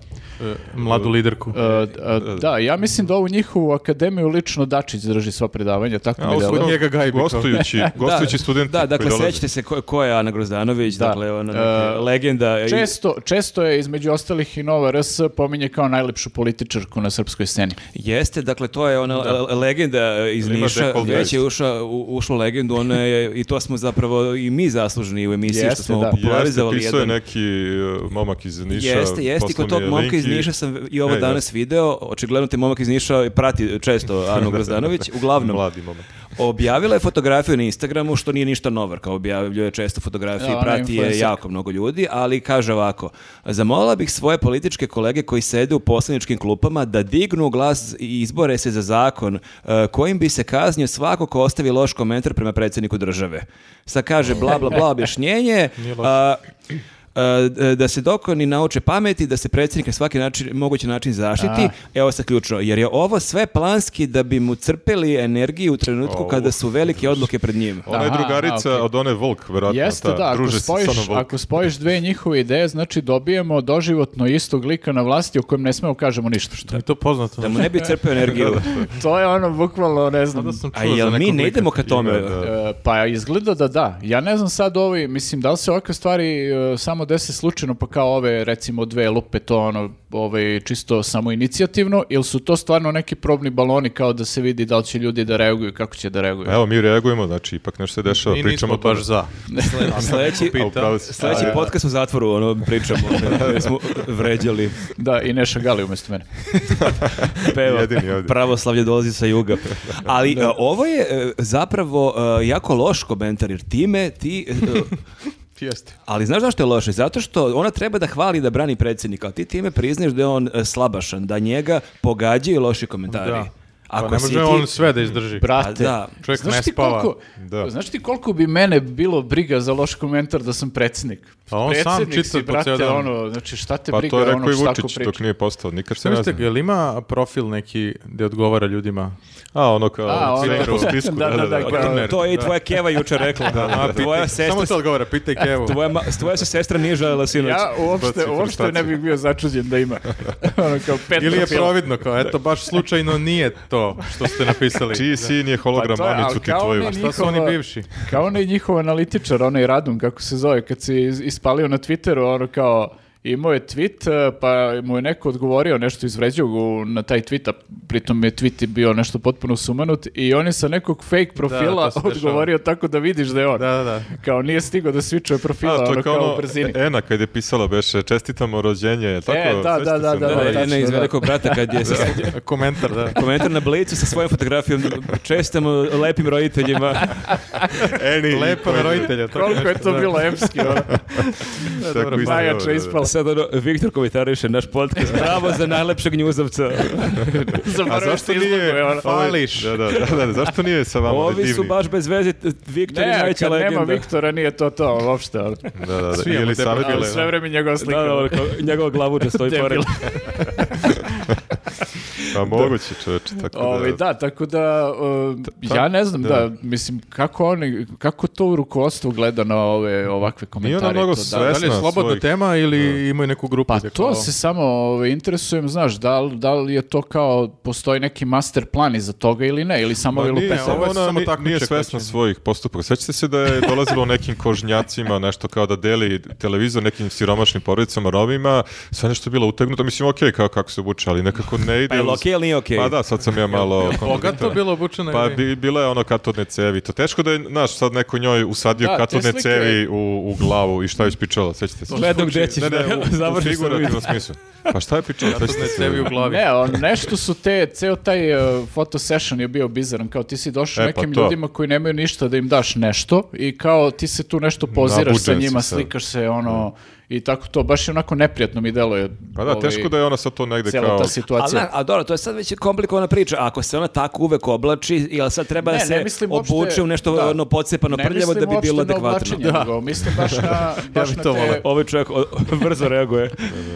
[SPEAKER 2] e, mladu liderku.
[SPEAKER 3] E, d- e, da, ja mislim da ovu njihovu akademiju lično Dačić drži sva predavanja, tako mi
[SPEAKER 1] A,
[SPEAKER 3] delo.
[SPEAKER 1] uskoro
[SPEAKER 2] njega gajbi kao.
[SPEAKER 1] Gostujući, gostujući student
[SPEAKER 4] Da, dakle,
[SPEAKER 1] koji dolaze.
[SPEAKER 4] sećate se ko, ko je Ana Grozdanović,
[SPEAKER 3] Da.
[SPEAKER 4] dakle, ona neka
[SPEAKER 3] E,
[SPEAKER 4] legenda. i-
[SPEAKER 3] Često, često je između ostalih i Nova RS pominje kao najlepšu političarku na srpskoj sceni.
[SPEAKER 4] Jeste, dakle, to je ona le- legenda iz
[SPEAKER 1] Ima
[SPEAKER 4] Niša,
[SPEAKER 1] dekolte.
[SPEAKER 4] već je ušla, u, ušla u legendu, ona je, i to smo zapravo i mi zaslužni u emisiji, što
[SPEAKER 3] Jeste,
[SPEAKER 4] smo
[SPEAKER 3] da.
[SPEAKER 1] Jeste,
[SPEAKER 4] popularizovali
[SPEAKER 1] pisao je
[SPEAKER 4] jedan...
[SPEAKER 1] neki e, momak iz Niša.
[SPEAKER 4] Jeste, jeste, i
[SPEAKER 1] poslao
[SPEAKER 4] kod
[SPEAKER 1] mi
[SPEAKER 4] tog
[SPEAKER 1] je
[SPEAKER 4] momka
[SPEAKER 1] link
[SPEAKER 4] iz
[SPEAKER 1] i-
[SPEAKER 4] Niša sam i ovo
[SPEAKER 1] E,
[SPEAKER 4] danas video, očigledno te momak iz Niša prati često Anu Grozdanović, uglavnom.
[SPEAKER 1] Mladi momak.
[SPEAKER 4] Objavila je fotografiju na Instagramu, što nije ništa novar, kao objavljuje često fotografije,
[SPEAKER 3] Da, ona je
[SPEAKER 4] prati je
[SPEAKER 3] influencerka.
[SPEAKER 4] jako mnogo ljudi, ali kaže ovako, zamolila bih svoje političke kolege koji sede u poslaničkim klupama da dignu glas i izbore se za zakon eh, kojim bi se kaznio svako ko ostavi loš komentar prema predsjedniku države. Sad kaže bla bla bla objašnjenje, a, a, d- da se dokoni nauče pameti, da se predsjednik na svaki način, mogući način zaštiti. Evo sad ključno, jer je ovo sve planski da bi mu crpeli energiju u trenutku kada su velike odluke pred njim.
[SPEAKER 1] Ona je
[SPEAKER 3] Aha,
[SPEAKER 1] drugarica
[SPEAKER 3] a, okej.
[SPEAKER 1] od one Volk, verovatno.
[SPEAKER 3] Jeste,
[SPEAKER 1] ta,
[SPEAKER 3] da, ako
[SPEAKER 1] druže se sa
[SPEAKER 3] spojiš,
[SPEAKER 1] onom Volk.
[SPEAKER 3] ako spojiš dve njihove ideje, znači dobijemo doživotno istog lika na vlasti o kojem ne smemo kažemo ništa. Što
[SPEAKER 2] Mi to poznato.
[SPEAKER 4] Da mu ne bi crpeo energiju.
[SPEAKER 3] To je ono, bukvalno, ne znam.
[SPEAKER 2] Da sam
[SPEAKER 4] A
[SPEAKER 2] čuo za
[SPEAKER 4] jel mi
[SPEAKER 2] nekog
[SPEAKER 4] ne
[SPEAKER 2] lika.
[SPEAKER 4] idemo ka tome?
[SPEAKER 1] Ime, da.
[SPEAKER 3] E, pa izgleda da da. Ja ne znam sad ovi, mislim, da li se ovakve stvari e, samo dese slučajno, pa kao ove, recimo, dve lupe, to ono, ove, čisto samo inicijativno, ili su to stvarno neki probni baloni kao da se vidi da li će ljudi da reaguju, kako će da reaguju?
[SPEAKER 1] Evo, mi reagujemo, znači, ipak nešto se dešava,
[SPEAKER 2] Mi
[SPEAKER 1] pričamo
[SPEAKER 2] nismo
[SPEAKER 1] o tome.
[SPEAKER 2] baš za.
[SPEAKER 4] Sljedeći,
[SPEAKER 1] A, upravo si.
[SPEAKER 4] sljedeći podcast u zatvoru, ono, pričamo, jer smo vređali,
[SPEAKER 3] Da, i Neša Gali umjesto mene.
[SPEAKER 4] peva,
[SPEAKER 1] Jedini ovdje.
[SPEAKER 4] pravoslavlje dolazi sa juga. Ali e, ovo je e, zapravo e, jako loš komentar, jer time ti e,
[SPEAKER 2] Jeste.
[SPEAKER 4] Ali znaš zašto je loše? Zato što ona treba da hvali i da brani predsjednika, a ti time priznaš da je on e, slabašan, da njega pogađaju loši komentari.
[SPEAKER 2] Da. Pa
[SPEAKER 4] Ako
[SPEAKER 2] ne
[SPEAKER 4] si
[SPEAKER 2] može
[SPEAKER 4] ti-
[SPEAKER 2] on sve da izdrži.
[SPEAKER 4] A
[SPEAKER 3] Brate,
[SPEAKER 4] da.
[SPEAKER 2] Čovjek
[SPEAKER 3] znaš
[SPEAKER 2] ne
[SPEAKER 3] ti
[SPEAKER 2] spava.
[SPEAKER 3] koliko,
[SPEAKER 1] Da.
[SPEAKER 3] Znaš ti koliko bi mene bilo briga za loš komentar da sam predsjednik?
[SPEAKER 2] Pa on sam
[SPEAKER 3] Predsjednik
[SPEAKER 2] čita
[SPEAKER 3] si,
[SPEAKER 2] po
[SPEAKER 3] brate,
[SPEAKER 2] ceo dan.
[SPEAKER 3] ono, znači šta te
[SPEAKER 1] Pa
[SPEAKER 3] briga
[SPEAKER 1] to je rekao
[SPEAKER 3] ono
[SPEAKER 1] i
[SPEAKER 3] šta ko
[SPEAKER 1] Vučić
[SPEAKER 3] priča.
[SPEAKER 1] dok nije postao, nikad se
[SPEAKER 2] Šta
[SPEAKER 1] ne
[SPEAKER 2] mislite,
[SPEAKER 1] zna.
[SPEAKER 2] jel ima profil neki gde odgovara ljudima?
[SPEAKER 1] A, ono kao
[SPEAKER 3] A, ono,
[SPEAKER 1] sve po spisku.
[SPEAKER 3] da, da, da,
[SPEAKER 1] da. ono
[SPEAKER 3] kao-
[SPEAKER 2] Turner.
[SPEAKER 4] To je i tvoja keva jučer rekla.
[SPEAKER 2] A,
[SPEAKER 4] Tvoja
[SPEAKER 2] pitaj,
[SPEAKER 4] sestra,
[SPEAKER 2] samo to odgovara, pitaj Kevu.
[SPEAKER 4] tvoja, ma- tvoja se sestra nije želela sinoć.
[SPEAKER 3] Ja uopšte,
[SPEAKER 1] Izbacio
[SPEAKER 3] uopšte ne
[SPEAKER 1] frustraciju.
[SPEAKER 3] bih bio začuđen da ima. ono kao pet
[SPEAKER 2] Ili je
[SPEAKER 3] profila.
[SPEAKER 2] providno, kao, eto, baš slučajno nije to što ste napisali.
[SPEAKER 1] Čiji sin je hologram
[SPEAKER 3] Pa to je, ali
[SPEAKER 1] mamicu ti
[SPEAKER 3] kao
[SPEAKER 1] tvoju?
[SPEAKER 3] meni-
[SPEAKER 2] Šta su oni
[SPEAKER 3] Njihova-
[SPEAKER 2] bivši?
[SPEAKER 3] Kao onaj njihov analitičar, onaj Radun, kako se zove, kad se is- ispalio na Twitteru, ono kao, imao je tweet, e, pa mu je neko odgovorio nešto izvređao ga na taj tweet, a pritom je tweet i bio nešto potpuno sumanut i on je sa nekog fake profila
[SPEAKER 2] to se dešava.
[SPEAKER 3] odgovorio tako da vidiš da je on.
[SPEAKER 2] Da, da, da.
[SPEAKER 3] Kao nije stigao da svičuje profila,
[SPEAKER 1] A, to
[SPEAKER 3] ono
[SPEAKER 1] je kao
[SPEAKER 3] kao u
[SPEAKER 1] ono,
[SPEAKER 3] brzini.
[SPEAKER 1] Ena kad je pisala beše, čestitamo rođenje, je li tako?
[SPEAKER 3] E,
[SPEAKER 1] Sećate
[SPEAKER 3] da, da,
[SPEAKER 1] se,
[SPEAKER 3] da,
[SPEAKER 4] Da,
[SPEAKER 3] da,
[SPEAKER 4] da,
[SPEAKER 3] tačno,
[SPEAKER 4] ne, iz
[SPEAKER 3] da.
[SPEAKER 4] velikog brata kad je se
[SPEAKER 2] Komentar, da.
[SPEAKER 4] komentar na blicu sa svojom fotografijom. Čestamo lepim roditeljima.
[SPEAKER 1] Eni,
[SPEAKER 2] Lepo na roditelja. tako
[SPEAKER 3] Koliko je
[SPEAKER 1] e,
[SPEAKER 2] nešto,
[SPEAKER 3] to
[SPEAKER 2] da.
[SPEAKER 3] bilo epski, ono.
[SPEAKER 1] Tako
[SPEAKER 2] Da, dobro,
[SPEAKER 1] isto.
[SPEAKER 2] pa,
[SPEAKER 3] Najjače ispalo.
[SPEAKER 4] Sad ono, Viktor komentariše naš podcast. Bravo za najlepšeg njuzavca.
[SPEAKER 1] A
[SPEAKER 3] Zaboravio
[SPEAKER 1] zašto
[SPEAKER 3] se izlogove,
[SPEAKER 1] nije...
[SPEAKER 3] ono.
[SPEAKER 2] Fališ.
[SPEAKER 1] Da, da, da, da, zašto nije sa vama
[SPEAKER 4] Ovi su
[SPEAKER 1] divni?
[SPEAKER 4] baš bez veze. Viktor je
[SPEAKER 3] Ne,
[SPEAKER 4] najveća
[SPEAKER 3] kad nema
[SPEAKER 4] legenda.
[SPEAKER 3] Viktora nije to to, uopšte. Ono.
[SPEAKER 1] Da, da, da.
[SPEAKER 2] Svi imamo
[SPEAKER 1] Ili
[SPEAKER 2] te
[SPEAKER 1] savjet-
[SPEAKER 2] profile.
[SPEAKER 3] Ali sve vreme njegova slika.
[SPEAKER 4] Da, da, ono, kao, njegova glavuđa stoji
[SPEAKER 3] Debil.
[SPEAKER 4] pored.
[SPEAKER 1] Pa moguće čoveče, tako
[SPEAKER 3] Ovaj,
[SPEAKER 1] da...
[SPEAKER 3] da, tako da, uh, ja ne znam, da. mislim, kako, oni, kako to rukovodstvo gleda na ove ovakve
[SPEAKER 1] Nije
[SPEAKER 3] komentare.
[SPEAKER 1] ona mnogo
[SPEAKER 3] to, da-
[SPEAKER 2] Da li je
[SPEAKER 1] svesna
[SPEAKER 2] slobodna
[SPEAKER 1] svojih-
[SPEAKER 2] tema ili imaju neku grupu?
[SPEAKER 3] Pa
[SPEAKER 2] gde
[SPEAKER 3] to
[SPEAKER 2] kao-
[SPEAKER 3] se samo ovaj, interesujem, znaš, da li, da li je to kao, postoji neki master plan iza toga ili ne, ili
[SPEAKER 1] Ma
[SPEAKER 3] samo ovi
[SPEAKER 1] Pa nije,
[SPEAKER 3] lupe se.
[SPEAKER 2] ovo je
[SPEAKER 1] ona
[SPEAKER 2] samo
[SPEAKER 1] ni-
[SPEAKER 2] takmičak znači.
[SPEAKER 1] nije
[SPEAKER 2] koji
[SPEAKER 1] svesna
[SPEAKER 2] će-
[SPEAKER 1] svojih postupaka. Sećate se da je dolazilo nekim kožnjacima, nešto kao da deli televizor nekim siromašnim porodicama, Romima, sve nešto je bilo utegnuto. Mislim, okej, kao kako se obuče, ali nekako ne ide.
[SPEAKER 4] Pa je
[SPEAKER 1] uz-
[SPEAKER 4] okej ili nije okej?
[SPEAKER 1] Pa da, sad sam ja malo...
[SPEAKER 2] Bogato bilo obučeno.
[SPEAKER 1] Pa
[SPEAKER 2] ili-
[SPEAKER 1] bi, bila je ono katodne cevi. To teško da je, znaš, sad neko njoj usadio
[SPEAKER 3] Da, te
[SPEAKER 1] katodne
[SPEAKER 3] slike-
[SPEAKER 1] cevi u, u glavu i šta je ispičala, sećate se?
[SPEAKER 4] Gledam gde ćeš
[SPEAKER 1] Ne, ne,
[SPEAKER 4] da
[SPEAKER 1] u, u
[SPEAKER 4] završiš sa
[SPEAKER 1] figurativnom smislu. Pa šta je pičala?
[SPEAKER 2] Katodne cevi u glavi.
[SPEAKER 3] Ne, on, nešto su te, ceo taj uh, foto session je bio bizaran, kao ti si došao
[SPEAKER 1] E, pa
[SPEAKER 3] nekim
[SPEAKER 1] to.
[SPEAKER 3] ljudima koji nemaju ništa da im daš nešto i kao ti se tu nešto poziraš sa
[SPEAKER 1] Nabuđen si
[SPEAKER 3] njima,
[SPEAKER 1] sad.
[SPEAKER 3] slikaš se, ono, i tako to, baš je onako neprijatno mi deluje. ovaj,
[SPEAKER 1] Pa da, teško da je ona sad to negde
[SPEAKER 3] Cijela
[SPEAKER 1] kao...
[SPEAKER 3] ta
[SPEAKER 4] A,
[SPEAKER 3] situacija.
[SPEAKER 4] a dobro, to je sad već komplikovana priča. Ako se ona tako uvek oblači, jel sad treba
[SPEAKER 3] Ne,
[SPEAKER 4] da
[SPEAKER 3] ne
[SPEAKER 4] se
[SPEAKER 3] mislim uopšte-
[SPEAKER 4] obuče u nešto
[SPEAKER 3] da.
[SPEAKER 4] ono pocepano prljavo da bi bilo adekvatno?
[SPEAKER 3] mislim uopšte na oblačenje, nego mislim baš na, baš
[SPEAKER 2] bih
[SPEAKER 3] na
[SPEAKER 2] to
[SPEAKER 3] te...
[SPEAKER 2] voleo.
[SPEAKER 4] Ovaj čovjek o- brzo reaguje.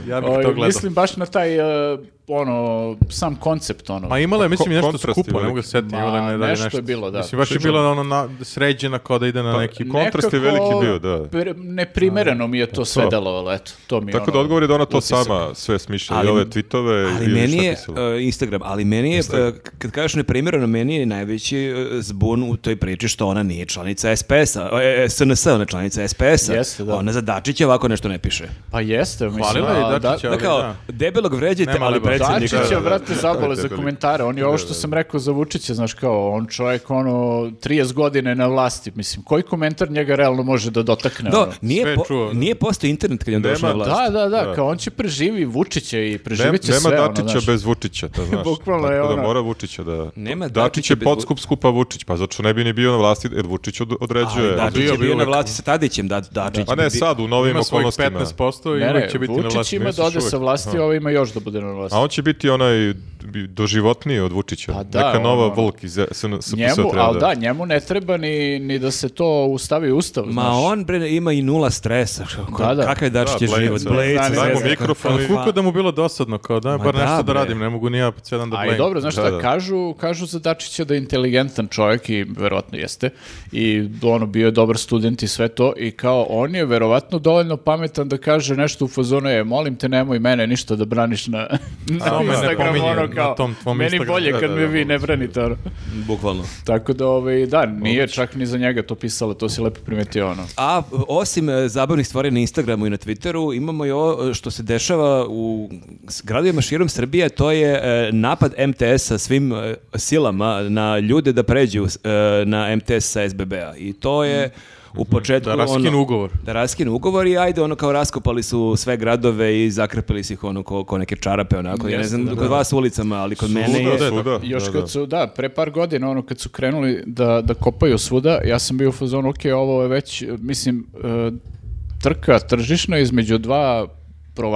[SPEAKER 2] Ja bih
[SPEAKER 3] ovaj,
[SPEAKER 2] to gledao.
[SPEAKER 3] mislim baš na taj, e, ono, sam koncept, ono.
[SPEAKER 2] Ma
[SPEAKER 1] Pa
[SPEAKER 2] imala je, mislim, i nešto
[SPEAKER 1] kontrasti
[SPEAKER 2] skupo, ne mogu
[SPEAKER 1] veliki.
[SPEAKER 2] se setiti.
[SPEAKER 3] Ma,
[SPEAKER 2] imala je da
[SPEAKER 3] nešto je bilo, da. Pa,
[SPEAKER 2] Mislim, baš je bilo ono na, sređena kao da ide na neki...
[SPEAKER 1] kontrast je
[SPEAKER 3] Nekako
[SPEAKER 1] veliki bio, da. Pa
[SPEAKER 3] pre- neprimereno mi je to sve delovalo, eto. To mi je
[SPEAKER 1] Tako
[SPEAKER 3] ono,
[SPEAKER 1] da odgovor je da ona to
[SPEAKER 3] utisak.
[SPEAKER 1] sama sve smišlja
[SPEAKER 4] Ali-
[SPEAKER 1] i ove tweetove
[SPEAKER 4] Ali
[SPEAKER 1] E, i
[SPEAKER 4] meni
[SPEAKER 1] šta
[SPEAKER 4] je,
[SPEAKER 1] pisala.
[SPEAKER 4] e, Instagram, ali meni je, e, kad kažeš neprimjereno, meni je najveći e, zbun u toj priči što ona nije članica SPS-a, e, e, SNS-a, ona je članica SPS-a.
[SPEAKER 3] Jeste, da.
[SPEAKER 4] Ona za Dačića ovako nešto ne piše.
[SPEAKER 3] Pa jeste, mislim.
[SPEAKER 2] Hvalila je
[SPEAKER 3] a,
[SPEAKER 2] Dačića,
[SPEAKER 4] Da
[SPEAKER 2] Ali
[SPEAKER 4] kao,
[SPEAKER 2] da.
[SPEAKER 4] debelog vređajte,
[SPEAKER 2] Nema
[SPEAKER 4] ali
[SPEAKER 2] leba.
[SPEAKER 4] predsjednika.
[SPEAKER 1] Da,
[SPEAKER 3] Dačića,
[SPEAKER 1] da, da.
[SPEAKER 3] vrate, zabole za
[SPEAKER 1] Debeli.
[SPEAKER 3] komentare. On je ovo što sam rekao za Vučića, znaš, kao, on čovjek, ono, 30 godine na vlasti, mislim, koji komentar njega realno može da dotakne?
[SPEAKER 4] Da,
[SPEAKER 3] ono?
[SPEAKER 4] nije,
[SPEAKER 2] sve
[SPEAKER 4] po,
[SPEAKER 2] čuo, da.
[SPEAKER 4] nije postao internet kad je on
[SPEAKER 1] Nema-
[SPEAKER 4] došao na vlast.
[SPEAKER 3] Da, da, da,
[SPEAKER 1] Da.
[SPEAKER 3] kao on će preživi Vučića i
[SPEAKER 1] Nema,
[SPEAKER 3] preživit će
[SPEAKER 1] nema
[SPEAKER 3] sve, ono,
[SPEAKER 1] Dačića
[SPEAKER 3] znaš.
[SPEAKER 1] bez Vučića, to znaš.
[SPEAKER 3] Bukvalno je
[SPEAKER 1] Tako da
[SPEAKER 3] ono-
[SPEAKER 1] mora Vučića da...
[SPEAKER 4] Nema
[SPEAKER 1] Dačić
[SPEAKER 4] Dačića
[SPEAKER 1] je
[SPEAKER 4] bez Vu-
[SPEAKER 1] podskup skupa Vučić, pa zato ne bi ni bio na vlasti, jer Vučić od- određuje.
[SPEAKER 4] Ali Dačić je
[SPEAKER 2] bio bi
[SPEAKER 4] bio na
[SPEAKER 2] uvek-
[SPEAKER 4] vlasti sa Tadićem, da, Dačić.
[SPEAKER 1] Pa
[SPEAKER 4] bi bio-
[SPEAKER 1] ne, sad, u novim
[SPEAKER 2] Ima svojih
[SPEAKER 1] okolnostima.
[SPEAKER 2] 15% i
[SPEAKER 3] Ne, ne,
[SPEAKER 2] uvijek će biti na
[SPEAKER 3] Vučić
[SPEAKER 2] vlasti.
[SPEAKER 3] ima da
[SPEAKER 1] misliš
[SPEAKER 3] ode sa
[SPEAKER 1] uvek.
[SPEAKER 3] vlasti, ovo ima još da bude na vlasti.
[SPEAKER 1] A on će biti onaj doživotniji od Vučića.
[SPEAKER 3] Pa da,
[SPEAKER 1] Neka nova
[SPEAKER 3] ono-
[SPEAKER 1] Vulk iz SNS
[SPEAKER 3] Njemu,
[SPEAKER 1] treba
[SPEAKER 3] ali da, njemu ne treba ni, ni da se to ustavi u ustav,
[SPEAKER 4] Ma
[SPEAKER 3] znaš.
[SPEAKER 4] on bre, ima i nula stresa. Ko-
[SPEAKER 3] Da, da.
[SPEAKER 4] Kakav je Dačić
[SPEAKER 1] Da,
[SPEAKER 4] život?
[SPEAKER 1] Blejca.
[SPEAKER 3] Daj
[SPEAKER 4] Blejca,
[SPEAKER 3] mu
[SPEAKER 4] zvezda.
[SPEAKER 1] mikrofon i-
[SPEAKER 4] Pa-
[SPEAKER 2] Koliko da mu bilo dosadno, kao da,
[SPEAKER 4] Ma
[SPEAKER 2] bar
[SPEAKER 4] da,
[SPEAKER 2] nešto da
[SPEAKER 4] bre.
[SPEAKER 2] radim, ne mogu ni ja cijel dan da
[SPEAKER 3] A
[SPEAKER 2] blejim.
[SPEAKER 3] i dobro, znaš
[SPEAKER 1] Da,
[SPEAKER 3] šta,
[SPEAKER 1] da.
[SPEAKER 3] kažu, kažu za Dačića da je inteligentan čovjek i verovatno jeste. I ono, bio je dobar student i sve to. I kao, on je verovatno dovoljno pametan da kaže nešto u fazonu je, molim te, nemoj mene ništa da braniš na, na
[SPEAKER 2] to me ne
[SPEAKER 3] Instagramu,
[SPEAKER 2] pominje,
[SPEAKER 3] ono
[SPEAKER 2] na
[SPEAKER 3] kao,
[SPEAKER 2] tom tvom
[SPEAKER 3] meni
[SPEAKER 2] Instagramu."
[SPEAKER 3] bolje
[SPEAKER 1] Da,
[SPEAKER 3] kad
[SPEAKER 1] da,
[SPEAKER 3] me
[SPEAKER 1] da,
[SPEAKER 3] vi ne
[SPEAKER 1] moguće.
[SPEAKER 3] branite, ono.
[SPEAKER 4] Bukvalno.
[SPEAKER 3] Tako da, ovaj, da, nije čak ni za njega to pisalo, to si lepo primetio, ono.
[SPEAKER 4] A osim e, zabavnih stvari na Instagramu i na Twitteru, imamo i ovo e, što se dešava u s- gradovima širom Srbije, to je e, napad MTS-a svim e, silama na ljude da pređu s- e, na MTS sa SBB-a. I to je
[SPEAKER 1] Mm. Mhm.
[SPEAKER 4] u početku...
[SPEAKER 2] Da raskinu
[SPEAKER 4] ono-
[SPEAKER 2] ugovor.
[SPEAKER 4] Da raskinu ugovor i ajde, ono kao raskopali su sve gradove i zakrpili su ih ono ko, ko neke čarape, onako. Ja ne znam, kod vas ulicama, ali kod mene je...
[SPEAKER 1] Svuda, svuda.
[SPEAKER 3] Još
[SPEAKER 1] da, da.
[SPEAKER 3] kad su, da, pre par godina, ono, kad su krenuli da, da kopaju svuda, ja sam bio u fazonu, ok, ovo je već, mislim, e, trka tržišna između dva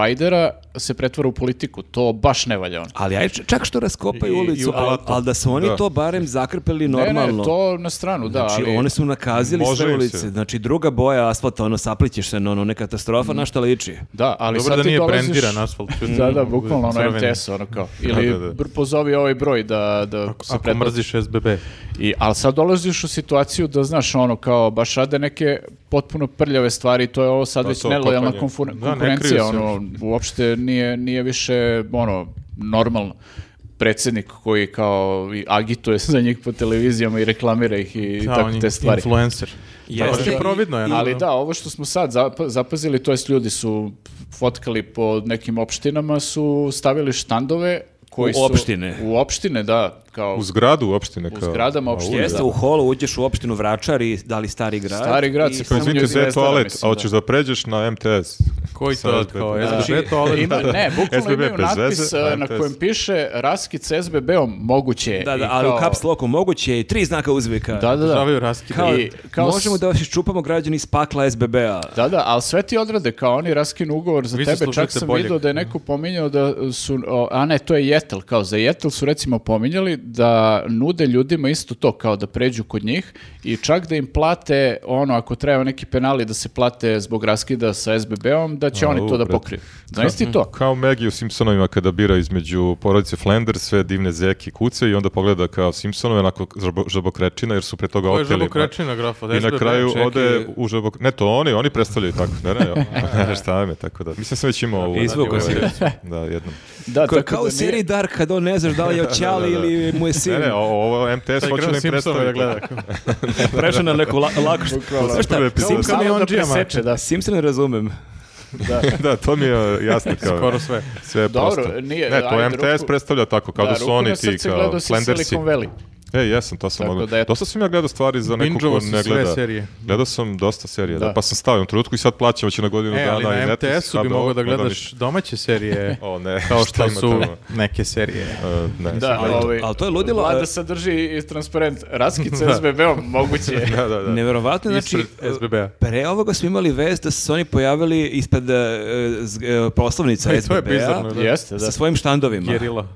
[SPEAKER 3] provajdera se pretvara u politiku. To baš ne valja ono." on.
[SPEAKER 4] Ali aj čak što raskopaju
[SPEAKER 1] I- i
[SPEAKER 4] ulicu,
[SPEAKER 1] u
[SPEAKER 4] ali
[SPEAKER 1] blatu.
[SPEAKER 4] al da su oni
[SPEAKER 1] Da.
[SPEAKER 4] to barem zakrpili normalno.
[SPEAKER 3] Ne, ne, to na stranu, da.
[SPEAKER 4] Znači,
[SPEAKER 3] ali-
[SPEAKER 4] oni su nakazili
[SPEAKER 1] Može
[SPEAKER 4] sve
[SPEAKER 1] im se.
[SPEAKER 4] ulice. Znači, druga boja asfalta, ono, saplićeš se, na ono, ne
[SPEAKER 1] Mm.
[SPEAKER 4] katastrofa, na šta liči.
[SPEAKER 3] Da, ali
[SPEAKER 2] Dobro
[SPEAKER 3] sad
[SPEAKER 2] da
[SPEAKER 3] ti
[SPEAKER 2] nije
[SPEAKER 3] dolaziš...
[SPEAKER 2] brendiran asfalt.
[SPEAKER 3] Da, da, bukvalno ono
[SPEAKER 2] Crveni.
[SPEAKER 3] MTS, ono kao. Ili
[SPEAKER 1] da, da.
[SPEAKER 3] br- pozovi ovaj broj da, da se
[SPEAKER 2] Ako
[SPEAKER 3] pretplati.
[SPEAKER 2] mrziš SBB.
[SPEAKER 3] I, ali sad dolaziš u situaciju da, znaš, ono, kao, baš rade neke potpuno prljave stvari, to je ovo sad
[SPEAKER 1] Pa
[SPEAKER 3] već
[SPEAKER 1] to,
[SPEAKER 3] nelojalna
[SPEAKER 1] kopanje.
[SPEAKER 3] konfur-
[SPEAKER 1] Da, ne
[SPEAKER 3] konkurencija,
[SPEAKER 1] kriju se.
[SPEAKER 3] ono, uopšte nije, nije više, ono, normalno predsjednik koji kao i agituje za njih po televizijama i reklamira ih i
[SPEAKER 2] Da, on
[SPEAKER 3] tako
[SPEAKER 2] je
[SPEAKER 3] te stvari.
[SPEAKER 2] Influencer.
[SPEAKER 4] Jeste.
[SPEAKER 2] Jeste. Providno je.
[SPEAKER 3] Ali
[SPEAKER 2] naravno.
[SPEAKER 3] da, ovo što smo sad zap- zapazili, to jest ljudi su fotkali po nekim opštinama, su stavili štandove koji
[SPEAKER 4] U
[SPEAKER 3] su...
[SPEAKER 4] opštine.
[SPEAKER 3] U opštine, da. Kao
[SPEAKER 1] U zgradu opštine. Kao,
[SPEAKER 3] zgradama
[SPEAKER 1] A,
[SPEAKER 3] opštine,
[SPEAKER 1] u-
[SPEAKER 4] Jeste,
[SPEAKER 3] da.
[SPEAKER 4] u holu uđeš u opštinu Vračar i da li Stari grad.
[SPEAKER 3] Stari grad
[SPEAKER 4] i
[SPEAKER 3] se
[SPEAKER 1] Kao,
[SPEAKER 4] samo
[SPEAKER 1] izvinite,
[SPEAKER 3] Samo
[SPEAKER 1] za
[SPEAKER 3] ljudi
[SPEAKER 1] toalet,
[SPEAKER 3] ne znaju,
[SPEAKER 1] a
[SPEAKER 3] da.
[SPEAKER 1] hoćeš da pređeš na MTS.
[SPEAKER 2] Koji
[SPEAKER 1] Sa
[SPEAKER 2] to
[SPEAKER 1] SBB?
[SPEAKER 2] kao
[SPEAKER 1] Da.
[SPEAKER 2] SBB to ali...
[SPEAKER 3] Znači, Ima, ne, bukvalno
[SPEAKER 1] SBB
[SPEAKER 3] imaju
[SPEAKER 1] bez
[SPEAKER 3] natpis
[SPEAKER 1] veze,
[SPEAKER 3] eh,
[SPEAKER 1] a
[SPEAKER 3] na
[SPEAKER 1] to je-
[SPEAKER 3] kojem piše raskid s SBB-om, moguće je.
[SPEAKER 4] Da, da,
[SPEAKER 3] I
[SPEAKER 4] ali u
[SPEAKER 3] kao-
[SPEAKER 4] caps locku moguće je i tri znaka uzvika.
[SPEAKER 3] Da, da, da.
[SPEAKER 2] Žavaju raskide.
[SPEAKER 4] Kao,
[SPEAKER 3] I- kao s-
[SPEAKER 4] možemo da vas iščupamo građani iz pakla SBB-a.
[SPEAKER 3] Da, da, ali sve ti odrade, kao oni raskinu ugovor za
[SPEAKER 2] Vi
[SPEAKER 3] tebe,
[SPEAKER 2] zaslužujete
[SPEAKER 3] čak sam
[SPEAKER 2] boljeg.
[SPEAKER 3] vidio da je neko pominjao da su, o, a ne, to je Jetel, kao za Jetel su recimo pominjali da nude ljudima isto to, kao da pređu kod njih i čak da im plate, ono, ako treba neki penali da se plate zbog raskida sa SBB-om, da će
[SPEAKER 1] Au,
[SPEAKER 3] oni to da
[SPEAKER 1] brate.
[SPEAKER 3] pokriju. Znaš ti to?
[SPEAKER 1] Kao Maggie u Simpsonovima kada bira između porodice Flanders, sve divne zeki kuce i onda pogleda kao Simpsonove onako žabo- žabokrečina jer su pre toga
[SPEAKER 2] Ovo je
[SPEAKER 1] oteli. pa.
[SPEAKER 2] žabokrečina grafa.
[SPEAKER 1] I na
[SPEAKER 2] SBB,
[SPEAKER 1] kraju
[SPEAKER 2] čekaj.
[SPEAKER 1] ode u žabok... Ne, to oni, oni predstavljaju tako. Ne, ne, ne, šta me, tako da. Mislim sam već imao ovu.
[SPEAKER 4] Izvukao si.
[SPEAKER 1] Da, jednom.
[SPEAKER 3] Da,
[SPEAKER 4] Kao,
[SPEAKER 3] tako
[SPEAKER 4] kao u
[SPEAKER 3] da nije-
[SPEAKER 4] seriji Dark, kad on ne znaš da li je oćali
[SPEAKER 1] da, da.
[SPEAKER 4] ili mu je sin.
[SPEAKER 1] Ne, ne, o- ovo MTS
[SPEAKER 2] Sad
[SPEAKER 1] hoće
[SPEAKER 2] igram
[SPEAKER 1] da im
[SPEAKER 2] Simpsonove da
[SPEAKER 1] predstavlja.
[SPEAKER 2] gleda.
[SPEAKER 4] Prešao na neku la, lakšu.
[SPEAKER 3] Bukvalno.
[SPEAKER 4] Znaš šta,
[SPEAKER 1] Prvi epizod.
[SPEAKER 4] Simpson-
[SPEAKER 3] Kao da
[SPEAKER 2] kamionđijama.
[SPEAKER 3] preseče, da.
[SPEAKER 4] Simpson ne razumem.
[SPEAKER 1] da, to mi je jasno kao.
[SPEAKER 2] Skoro sve.
[SPEAKER 1] Sve je
[SPEAKER 3] Dobro,
[SPEAKER 1] prosto.
[SPEAKER 3] nije-
[SPEAKER 1] ne, to
[SPEAKER 3] ajde,
[SPEAKER 1] MTS
[SPEAKER 3] ruku-
[SPEAKER 1] predstavlja tako, kao da, su
[SPEAKER 3] ruku na
[SPEAKER 1] oni ti
[SPEAKER 3] srce
[SPEAKER 1] kao
[SPEAKER 3] gledao si
[SPEAKER 1] Flandersi.
[SPEAKER 3] Silicon Valley.
[SPEAKER 1] E, jesam, to sam
[SPEAKER 3] Tako
[SPEAKER 1] odmah.
[SPEAKER 3] da, eto.
[SPEAKER 1] Dosta sam ja gledao stvari za nekog ko
[SPEAKER 2] Bingeovao si
[SPEAKER 1] ne
[SPEAKER 2] sve
[SPEAKER 1] gleda.
[SPEAKER 2] serije.
[SPEAKER 1] Gledao sam dosta serija, da.
[SPEAKER 3] Da.
[SPEAKER 1] pa sam stavio u trenutku i sad plaćam će na godinu
[SPEAKER 2] E,
[SPEAKER 1] dana.
[SPEAKER 2] ali
[SPEAKER 1] i
[SPEAKER 2] na
[SPEAKER 1] Netflix,
[SPEAKER 2] MTS-u bi
[SPEAKER 1] HBO,
[SPEAKER 2] mogao da
[SPEAKER 1] ne dam
[SPEAKER 2] gledaš
[SPEAKER 1] ništa.
[SPEAKER 2] domaće serije.
[SPEAKER 1] pa O ne,
[SPEAKER 2] Kao
[SPEAKER 1] šta
[SPEAKER 2] što
[SPEAKER 1] ima
[SPEAKER 2] su
[SPEAKER 1] tamo?
[SPEAKER 2] neke serije.
[SPEAKER 1] E, ne,
[SPEAKER 3] Da,
[SPEAKER 1] znam.
[SPEAKER 3] ovaj,
[SPEAKER 4] ali to je ludilo,
[SPEAKER 3] Vlada
[SPEAKER 4] e-
[SPEAKER 3] sadrži i transparent. Raskid sa SBB-om, moguće je.
[SPEAKER 1] Da, da, da.
[SPEAKER 4] Neverovatno, znači,
[SPEAKER 2] Ispred SBB-a.
[SPEAKER 4] pre ovoga smo imali vest da su se oni pojavili ispred e, zg- e, proslavnica
[SPEAKER 2] E, to je bizarno,
[SPEAKER 4] SBB-a
[SPEAKER 2] da.
[SPEAKER 3] Jeste, da.
[SPEAKER 4] sa svojim štandovima.
[SPEAKER 2] Gerila.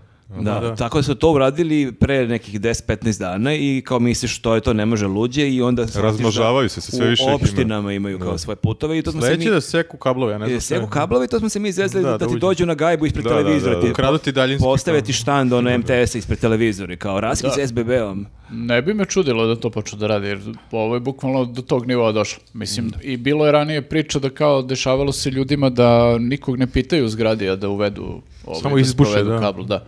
[SPEAKER 4] Da, tako da su to uradili pre nekih 10-15 dana i kao misliš što je to, ne može luđe i onda... shvatiš da
[SPEAKER 1] Razmnožavaju se, sve više ih
[SPEAKER 4] U
[SPEAKER 1] ima.
[SPEAKER 4] opštinama imaju kao svoje putove i to smo se mi...
[SPEAKER 2] Sledeće da seku kablove, ja ne znam.
[SPEAKER 4] e,
[SPEAKER 2] šta
[SPEAKER 4] Seku
[SPEAKER 2] je.
[SPEAKER 4] kablovi, to smo se mi izvezli da,
[SPEAKER 2] Da,
[SPEAKER 4] da
[SPEAKER 2] da
[SPEAKER 4] ti
[SPEAKER 2] uđe.
[SPEAKER 4] dođu na gajbu ispred
[SPEAKER 1] Da, da,
[SPEAKER 4] televizora.
[SPEAKER 1] da,
[SPEAKER 4] ti
[SPEAKER 1] da.
[SPEAKER 2] Ukradu ti daljinski
[SPEAKER 4] Postave ti
[SPEAKER 2] kabel.
[SPEAKER 4] štand, ono MTS-a ispred televizori, kao raskid
[SPEAKER 3] Da.
[SPEAKER 4] s SBB-om.
[SPEAKER 3] Ne bi me čudilo da to počne da radi, jer ovo je bukvalno do tog nivoa došlo. Mislim, i bilo je ranije priča da kao dešavalo se ljudima da nikog ne pitaju u zgradi, a da uvedu ovaj,
[SPEAKER 2] Samo
[SPEAKER 3] da
[SPEAKER 2] izbuše,
[SPEAKER 3] sprovedu
[SPEAKER 2] da.
[SPEAKER 3] kabl, da.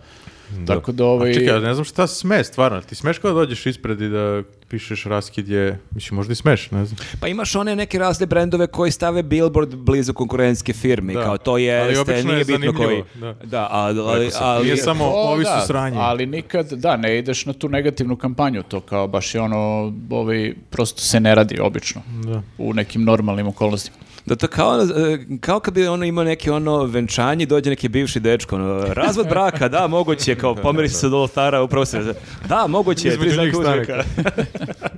[SPEAKER 3] Tako da ovaj...
[SPEAKER 2] Čekaj, ja ne znam šta sme, stvarno. Ti smeš kao da dođeš ispred i da pišeš raskid je... Mislim, možda i smeš, ne znam.
[SPEAKER 4] Pa imaš one neke razne brendove koji stave billboard blizu konkurentske firme,
[SPEAKER 2] Da.
[SPEAKER 4] kao to je,
[SPEAKER 2] Ali obično
[SPEAKER 4] nije
[SPEAKER 2] je
[SPEAKER 4] bitno
[SPEAKER 2] zanimljivo,
[SPEAKER 4] koji.
[SPEAKER 2] da.
[SPEAKER 4] Da, ali, ali, ali-
[SPEAKER 2] Nije samo
[SPEAKER 3] O,
[SPEAKER 2] ovi
[SPEAKER 3] da,
[SPEAKER 2] su sranje.
[SPEAKER 3] Ali nikad, da, ne ideš na tu negativnu kampanju, to kao baš je ono, ovaj, prosto se ne radi obično
[SPEAKER 2] Da.
[SPEAKER 3] u nekim normalnim okolnostima.
[SPEAKER 4] da to kao, ono, e, kao kad bi ono imao neki ono venčanje, dođe neki bivši dečko, ono, razvod braka, da, moguće, je, kao pomeri se do oltara, upravo se, da, moguće, je, tri
[SPEAKER 2] Između njih
[SPEAKER 4] znaka
[SPEAKER 2] stane.
[SPEAKER 4] uzvika.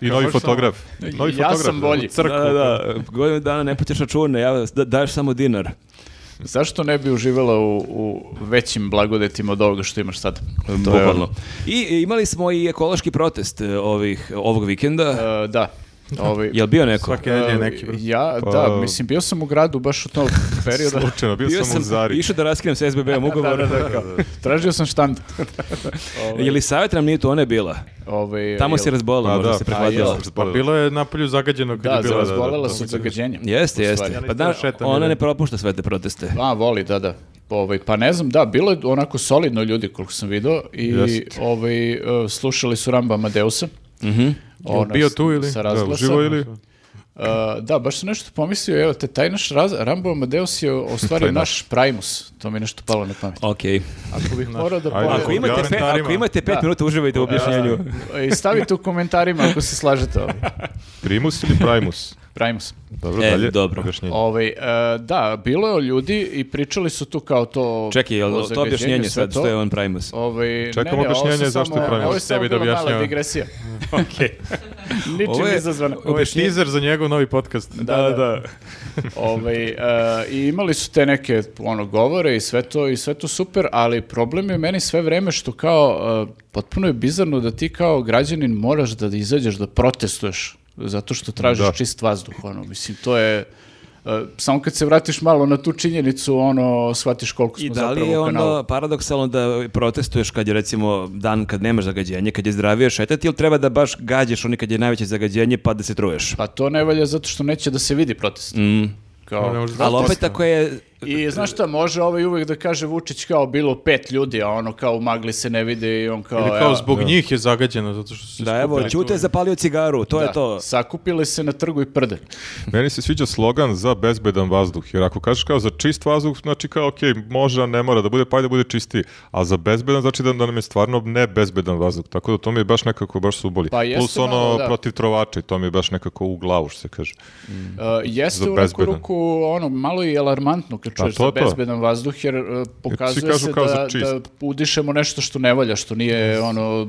[SPEAKER 1] I novi
[SPEAKER 2] Kao što-
[SPEAKER 1] fotograf. Novi
[SPEAKER 3] ja
[SPEAKER 1] fotograf,
[SPEAKER 3] sam
[SPEAKER 1] da.
[SPEAKER 3] bolji.
[SPEAKER 4] Da, da, da, godinu dana ne plaćaš račune, ja, da, daješ samo dinar.
[SPEAKER 3] Zašto ne bi uživala u, u većim blagodetima od ovoga što imaš sad? To je ono.
[SPEAKER 4] Bukvalno. I e, imali smo i ekološki protest e, ovih, ovog vikenda.
[SPEAKER 3] E, da. Ovi,
[SPEAKER 4] Jel bio neko?
[SPEAKER 2] Svake nedelje
[SPEAKER 3] e,
[SPEAKER 2] neki. brzo.
[SPEAKER 3] ja,
[SPEAKER 1] Pa-
[SPEAKER 3] da, mislim, bio sam u gradu baš u tom periodu.
[SPEAKER 1] Slučajno, bio sam u Zari.
[SPEAKER 4] Išao da raskinem sa SBB-om ugovor.
[SPEAKER 3] Tražio sam štand.
[SPEAKER 4] Je li savjet nam nije tu, ona je bila?
[SPEAKER 3] Ovaj,
[SPEAKER 4] Tamo
[SPEAKER 3] jel-
[SPEAKER 4] se razbolila,
[SPEAKER 1] Pa
[SPEAKER 4] možda
[SPEAKER 1] da,
[SPEAKER 4] se
[SPEAKER 1] pa
[SPEAKER 4] prehladila.
[SPEAKER 1] jel.
[SPEAKER 2] Pa bilo je napolju zagađeno kad
[SPEAKER 3] Da,
[SPEAKER 2] je bilo.
[SPEAKER 3] razbolala
[SPEAKER 1] da,
[SPEAKER 3] se od zagađenja.
[SPEAKER 4] Jeste,
[SPEAKER 3] u
[SPEAKER 4] jeste.
[SPEAKER 3] stvari.
[SPEAKER 4] Pa da,
[SPEAKER 2] šetam,
[SPEAKER 4] ona
[SPEAKER 2] je.
[SPEAKER 4] ne propušta sve te proteste.
[SPEAKER 3] A, voli, da, da. Ovaj, pa ne znam, da, bilo je onako solidno ljudi koliko sam video i
[SPEAKER 1] Jeste.
[SPEAKER 3] ovaj, e, slušali su Ramba Amadeusa. Ona
[SPEAKER 2] bio
[SPEAKER 3] s-
[SPEAKER 2] tu ili?
[SPEAKER 3] ono Sa ono
[SPEAKER 2] Da,
[SPEAKER 1] Da,
[SPEAKER 3] razglasa.
[SPEAKER 1] uživo ili?
[SPEAKER 3] Uh, da, baš sam nešto pomislio, evo, te, taj naš raz, Rambo Amadeus je u stvari
[SPEAKER 1] Taj
[SPEAKER 3] naš Primus, to mi je nešto palo na pamet.
[SPEAKER 4] Ok.
[SPEAKER 3] Ako bih morao da
[SPEAKER 1] Ajde.
[SPEAKER 4] Ako
[SPEAKER 1] Ako
[SPEAKER 3] pogledam
[SPEAKER 4] imate, pe,
[SPEAKER 2] komentarima.
[SPEAKER 4] ako imate pet
[SPEAKER 3] Da.
[SPEAKER 4] minuta, uživajte u objašnjenju.
[SPEAKER 3] e, i stavite u komentarima ako se slažete ovo.
[SPEAKER 1] Primus ili Primus?
[SPEAKER 3] Primus.
[SPEAKER 1] Dobro,
[SPEAKER 4] E,
[SPEAKER 1] dalje.
[SPEAKER 4] dobro.
[SPEAKER 1] Objašnjenje.
[SPEAKER 3] Ovaj, e, da, bilo je o ljudi i pričali su tu kao to...
[SPEAKER 4] Čekaj, jel
[SPEAKER 3] o
[SPEAKER 4] to
[SPEAKER 3] zagađenju,
[SPEAKER 4] objašnjenje
[SPEAKER 3] sve
[SPEAKER 4] sad, što je on Primus?
[SPEAKER 3] Ovaj, ne,
[SPEAKER 1] Čekamo
[SPEAKER 3] ne, ovo su
[SPEAKER 1] objašnjenje
[SPEAKER 3] samo-
[SPEAKER 1] zašto je Primus.
[SPEAKER 3] Ovo je samo
[SPEAKER 2] Sebi da
[SPEAKER 3] bila mala
[SPEAKER 2] objašnjava.
[SPEAKER 3] digresija.
[SPEAKER 4] Ovo je-
[SPEAKER 3] Ničim izazvano.
[SPEAKER 2] Ovo je teaser za njegov novi podcast.
[SPEAKER 3] Da, da. Ovaj, e, I imali su te neke ono, govore i sve, to, i sve to super, ali problem je meni sve vreme što kao, e, potpuno je bizarno da ti kao građanin moraš da izađeš, da protestuješ, zato što tražiš
[SPEAKER 1] Da.
[SPEAKER 3] čist vazduh. Ono. Mislim, to je... e, samo kad se vratiš malo na tu činjenicu, ono, shvatiš koliko smo
[SPEAKER 4] I da
[SPEAKER 3] zapravo
[SPEAKER 4] li je
[SPEAKER 3] u kanalu.
[SPEAKER 4] onda paradoksalno da protestuješ kad je recimo dan kad nemaš zagađenje, kad je zdravije šetati ili treba da baš gađaš oni kad je najveće zagađenje pa da se truješ?
[SPEAKER 3] Pa to ne valja zato što neće da se vidi protest. Kao,
[SPEAKER 2] Ne može da-
[SPEAKER 4] Ali opet ako je...
[SPEAKER 3] I znaš šta, može ovaj uvek da kaže Vučić kao bilo pet ljudi, a ono kao u magli se ne vide i on kao...
[SPEAKER 2] Ili kao
[SPEAKER 3] "Evo,
[SPEAKER 2] zbog njih je zagađeno, zato što su se
[SPEAKER 4] Da, evo,
[SPEAKER 2] skupili
[SPEAKER 4] Ćute je
[SPEAKER 2] tu.
[SPEAKER 4] zapalio cigaru, to
[SPEAKER 3] Da,
[SPEAKER 4] je to.
[SPEAKER 3] Sakupili se na trgu i prde.
[SPEAKER 1] Meni se sviđa slogan za bezbedan vazduh, jer ako kažeš kao za čist vazduh, znači kao ok, može, a ne mora da bude, pa ajde da bude čistiji, a za bezbedan znači da, da nam je stvarno ne bezbedan vazduh, tako da to mi je baš nekako baš se uboli.
[SPEAKER 3] Pa jeste
[SPEAKER 1] Plus ono
[SPEAKER 3] malo, da.
[SPEAKER 1] protiv trovača i to mi je baš nekako u glavu što se kaže.
[SPEAKER 3] Uh, jeste
[SPEAKER 1] Za
[SPEAKER 3] u neku
[SPEAKER 1] bezbedan.
[SPEAKER 3] ruku ono, malo i alarmantno kad čuješ
[SPEAKER 1] to
[SPEAKER 3] za
[SPEAKER 1] to.
[SPEAKER 3] bezbedan vazduh, jer uh, pokazuje
[SPEAKER 1] kažu
[SPEAKER 3] se
[SPEAKER 1] kao za
[SPEAKER 3] da,
[SPEAKER 1] čist.
[SPEAKER 3] da udišemo nešto što ne valja, što nije ono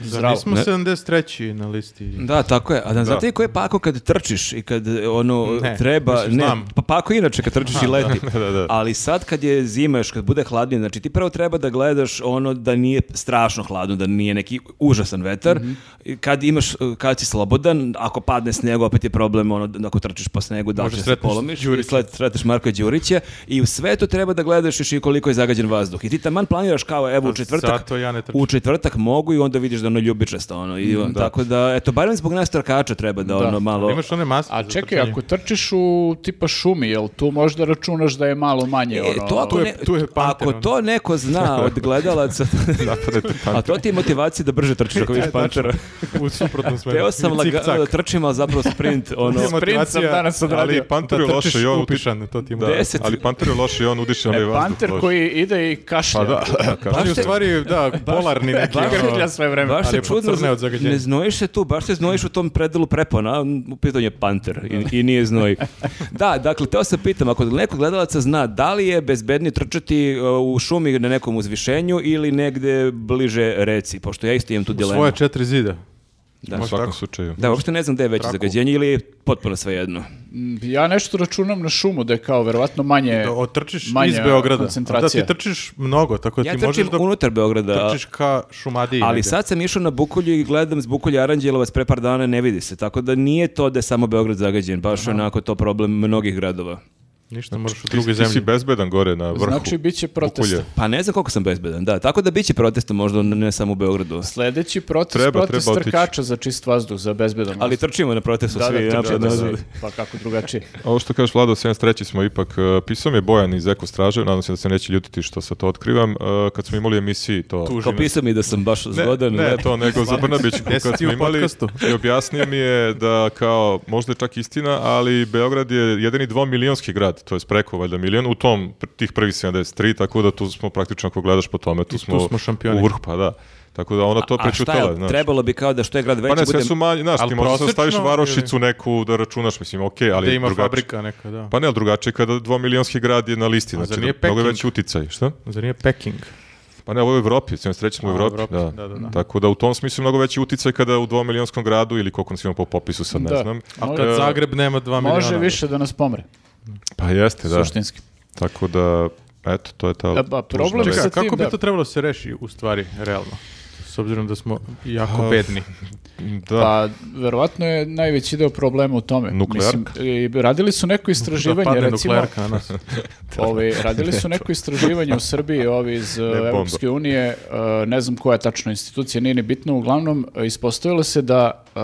[SPEAKER 2] Da,
[SPEAKER 3] zdravo.
[SPEAKER 2] nismo
[SPEAKER 4] Ne.
[SPEAKER 2] 73. na listi.
[SPEAKER 4] Da, tako je. A da, znate i ko je pako kad trčiš i kad e, ono
[SPEAKER 2] Ne,
[SPEAKER 4] treba...
[SPEAKER 2] mislim,
[SPEAKER 4] ne,
[SPEAKER 2] znam.
[SPEAKER 4] pa pako inače kad trčiš i leti.
[SPEAKER 1] da, da.
[SPEAKER 4] Ali sad kad je zima još, kad bude hladnije, znači ti prvo treba da gledaš ono da nije strašno hladno, da nije neki užasan vetar.
[SPEAKER 2] Mhm.
[SPEAKER 4] I Kad imaš, e, kad si slobodan, ako padne sneg, opet je problem ono, da ako trčiš po snegu, da li
[SPEAKER 2] Možda
[SPEAKER 4] će se
[SPEAKER 2] sretneš
[SPEAKER 4] polomiš. I
[SPEAKER 2] Đurića.
[SPEAKER 4] sled- sretneš Marka Đurića. I u sve to treba da gledaš još i koliko je zagađen vazduh. I ti taman planiraš kao, evo, u
[SPEAKER 2] A
[SPEAKER 4] četvrtak,
[SPEAKER 2] Pa, zato ja ne trčim.
[SPEAKER 4] u četvrtak mogu i onda vidiš da ono ljubičasto ono i on, tako da eto barem zbog nas trkača treba da, ono malo
[SPEAKER 2] Imaš one maske
[SPEAKER 3] A
[SPEAKER 2] za
[SPEAKER 3] čekaj,
[SPEAKER 2] trčanje.
[SPEAKER 3] ako trčiš u tipa šumi, jel tu možda računaš da je malo manje?
[SPEAKER 4] E,
[SPEAKER 3] ono,
[SPEAKER 4] to ako,
[SPEAKER 2] Tu je-
[SPEAKER 4] ne-
[SPEAKER 2] tu je ono. Pantheon.
[SPEAKER 4] ako to neko zna od gledalaca,
[SPEAKER 1] Napadajte
[SPEAKER 4] a
[SPEAKER 1] Panter.
[SPEAKER 4] to ti je motivacija da brže trčiš ako vidiš pantera.
[SPEAKER 2] U suprotnom smeru.
[SPEAKER 4] Teo sam lagano
[SPEAKER 2] Cik-cak.
[SPEAKER 4] da trčim, ali zapravo sprint, ono,
[SPEAKER 2] Motivacija,
[SPEAKER 3] Sprint sam danas odradio.
[SPEAKER 1] Ali Panter je
[SPEAKER 2] da
[SPEAKER 1] loše
[SPEAKER 2] trčiš
[SPEAKER 1] i on uti-
[SPEAKER 2] upišan, to ti je
[SPEAKER 1] Da,
[SPEAKER 2] motivacija.
[SPEAKER 4] Deset.
[SPEAKER 1] ali Panter je loše i on udiše onaj
[SPEAKER 3] E,
[SPEAKER 1] vazduh.
[SPEAKER 3] panter
[SPEAKER 1] loš.
[SPEAKER 3] koji ide i
[SPEAKER 1] Pa
[SPEAKER 3] kašlja.
[SPEAKER 1] da,
[SPEAKER 2] On
[SPEAKER 1] kažem.
[SPEAKER 2] je u stvari, da, polarni neki. ono,
[SPEAKER 3] Grlja sve vreme.
[SPEAKER 4] baš se
[SPEAKER 2] je
[SPEAKER 4] čudno,
[SPEAKER 2] pocrneo od zagađenja.
[SPEAKER 4] ne znojiš se tu, baš se znojiš u tom predelu prepona, a u pitanju je panter i, i nije znoj. Da, dakle, teo se pitam, ako neko gledalaca zna, da li je bezbednije trčati uh, u šumi na nekom uzvišenju ili negde bliže reci, pošto ja isto imam tu dilemu.
[SPEAKER 2] Svoje četiri zida.
[SPEAKER 4] Da.
[SPEAKER 1] U svakom slučaju.
[SPEAKER 4] Da, uopšte ne znam gde je veće zagađenje ili je potpuno svejedno.
[SPEAKER 3] Mm, Ja nešto računam na šumu da je kao verovatno E, manje...
[SPEAKER 2] Da otrčiš
[SPEAKER 3] manja
[SPEAKER 2] iz Beograda. Da
[SPEAKER 3] koncentracija.
[SPEAKER 2] ti trčiš mnogo, tako da
[SPEAKER 4] Ja
[SPEAKER 2] ti
[SPEAKER 4] trčim
[SPEAKER 2] možeš da
[SPEAKER 4] unutar Beograda,
[SPEAKER 2] trčiš ka Šumadiji.
[SPEAKER 4] ali
[SPEAKER 2] negde.
[SPEAKER 4] sad sam išao na Bukulju i gledam s Bukulja Aranđelovac pre par dana ne vidi se, tako da nije to da je samo Beograd zagađen, baš je onako to problem mnogih gradova.
[SPEAKER 2] Ništa moraš u
[SPEAKER 1] Ti, ti
[SPEAKER 2] druge
[SPEAKER 1] si
[SPEAKER 2] zemlje.
[SPEAKER 1] bezbedan gore na vrhu.
[SPEAKER 3] Znači, bit će protesta.
[SPEAKER 1] Bukulje.
[SPEAKER 4] Pa ne znam koliko sam bezbedan, da, tako da bit će protesta možda ne samo u Beogradu.
[SPEAKER 3] Sledeći protest,
[SPEAKER 1] Treba, treba
[SPEAKER 3] protest
[SPEAKER 1] otići.
[SPEAKER 3] trkača za čist vazduh, za bezbedan
[SPEAKER 4] Ali
[SPEAKER 3] vazduh.
[SPEAKER 4] trčimo na protestu
[SPEAKER 3] da,
[SPEAKER 4] svi
[SPEAKER 3] da,
[SPEAKER 4] napred,
[SPEAKER 3] trkača, da,
[SPEAKER 4] nazad.
[SPEAKER 3] da. Pa kako drugačije?
[SPEAKER 1] Ovo što kažeš, Vlado, 73. smo ipak, e, pisao mi je Bojan iz Eko Straže, nadam se da se neće ljutiti što sad to otkrivam, e, kad smo imali emisiji to...
[SPEAKER 2] Tuži
[SPEAKER 4] Kao
[SPEAKER 2] me.
[SPEAKER 4] pisao mi da sam baš
[SPEAKER 1] Ne,
[SPEAKER 4] zgodan.
[SPEAKER 1] ne,
[SPEAKER 4] lepo.
[SPEAKER 1] to nego za Brnabićku
[SPEAKER 2] Jesi
[SPEAKER 1] kad
[SPEAKER 2] ti
[SPEAKER 1] smo
[SPEAKER 2] u
[SPEAKER 1] imali
[SPEAKER 2] podcastu?
[SPEAKER 1] i objasnio mi je da kao možda je čak istina, ali Beograd je jedan i dvomilionski grad, to je preko valjda milion u tom pr- tih prvih 73, tako da tu smo praktično ako gledaš po tome, tu
[SPEAKER 2] tu
[SPEAKER 1] smo,
[SPEAKER 2] smo šampioni.
[SPEAKER 1] u vrhu, pa da. Tako da ona to
[SPEAKER 4] A šta
[SPEAKER 1] prećutala,
[SPEAKER 4] je,
[SPEAKER 1] znaš.
[SPEAKER 4] trebalo bi kao da što je grad veći
[SPEAKER 1] Pa ne, sve
[SPEAKER 4] bude-
[SPEAKER 1] su manji, znaš,
[SPEAKER 2] Ali
[SPEAKER 1] ti možda sad staviš
[SPEAKER 2] prosečno
[SPEAKER 1] varošicu neku da računaš, mislim, okej, ali
[SPEAKER 2] Gde ima
[SPEAKER 1] drugačije.
[SPEAKER 2] fabrika neka, da.
[SPEAKER 1] Pa ne, ali drugačije kada dvomilionski grad je na listi, znači
[SPEAKER 2] zar
[SPEAKER 1] da,
[SPEAKER 2] nije
[SPEAKER 1] mnogo je
[SPEAKER 2] Peking?
[SPEAKER 1] veći uticaj, šta?
[SPEAKER 2] Zar nije Peking?
[SPEAKER 1] Pa ne, ovo je u Evropi, sve sreći smo u
[SPEAKER 2] A, u
[SPEAKER 1] Evropi,
[SPEAKER 2] Evropi,
[SPEAKER 1] da.
[SPEAKER 2] da, da, da.
[SPEAKER 1] Tako da u tom smislu je mnogo veći uticaj kada u dvomilijonskom gradu ili koliko nas ima po popisu, sad ne
[SPEAKER 3] Da.
[SPEAKER 1] znam.
[SPEAKER 2] A
[SPEAKER 3] Može-
[SPEAKER 1] E,
[SPEAKER 2] kad Zagreb nema 2 miliona.
[SPEAKER 3] Može više da nas pomre,
[SPEAKER 1] Pa jeste, ono- da.
[SPEAKER 3] suštinski.
[SPEAKER 1] Tako da, eto, to je ta...
[SPEAKER 2] E,
[SPEAKER 3] Da, pa
[SPEAKER 1] tužna
[SPEAKER 3] problem je
[SPEAKER 1] vest.
[SPEAKER 3] sa
[SPEAKER 2] Čekaj,
[SPEAKER 3] tim,
[SPEAKER 2] kako bi
[SPEAKER 3] da.
[SPEAKER 2] to trebalo se reši u stvari, realno? S obzirom da smo jako
[SPEAKER 3] Ah,
[SPEAKER 1] A,
[SPEAKER 2] bedni.
[SPEAKER 1] Da,
[SPEAKER 3] Pa, verovatno je najveći deo problema u tome.
[SPEAKER 1] Nuklearka.
[SPEAKER 3] Mislim, i radili su neko
[SPEAKER 2] Da
[SPEAKER 3] istraživanje,
[SPEAKER 2] padne
[SPEAKER 3] recimo,
[SPEAKER 2] nuklearka na nas.
[SPEAKER 3] ovi, radili su neko istraživanje u Srbiji, ovi iz uh,
[SPEAKER 1] bomba.
[SPEAKER 3] Evropske unije, uh, ne znam koja je tačno institucija, nije ni bitno, uglavnom uh, ispostavilo se da uh,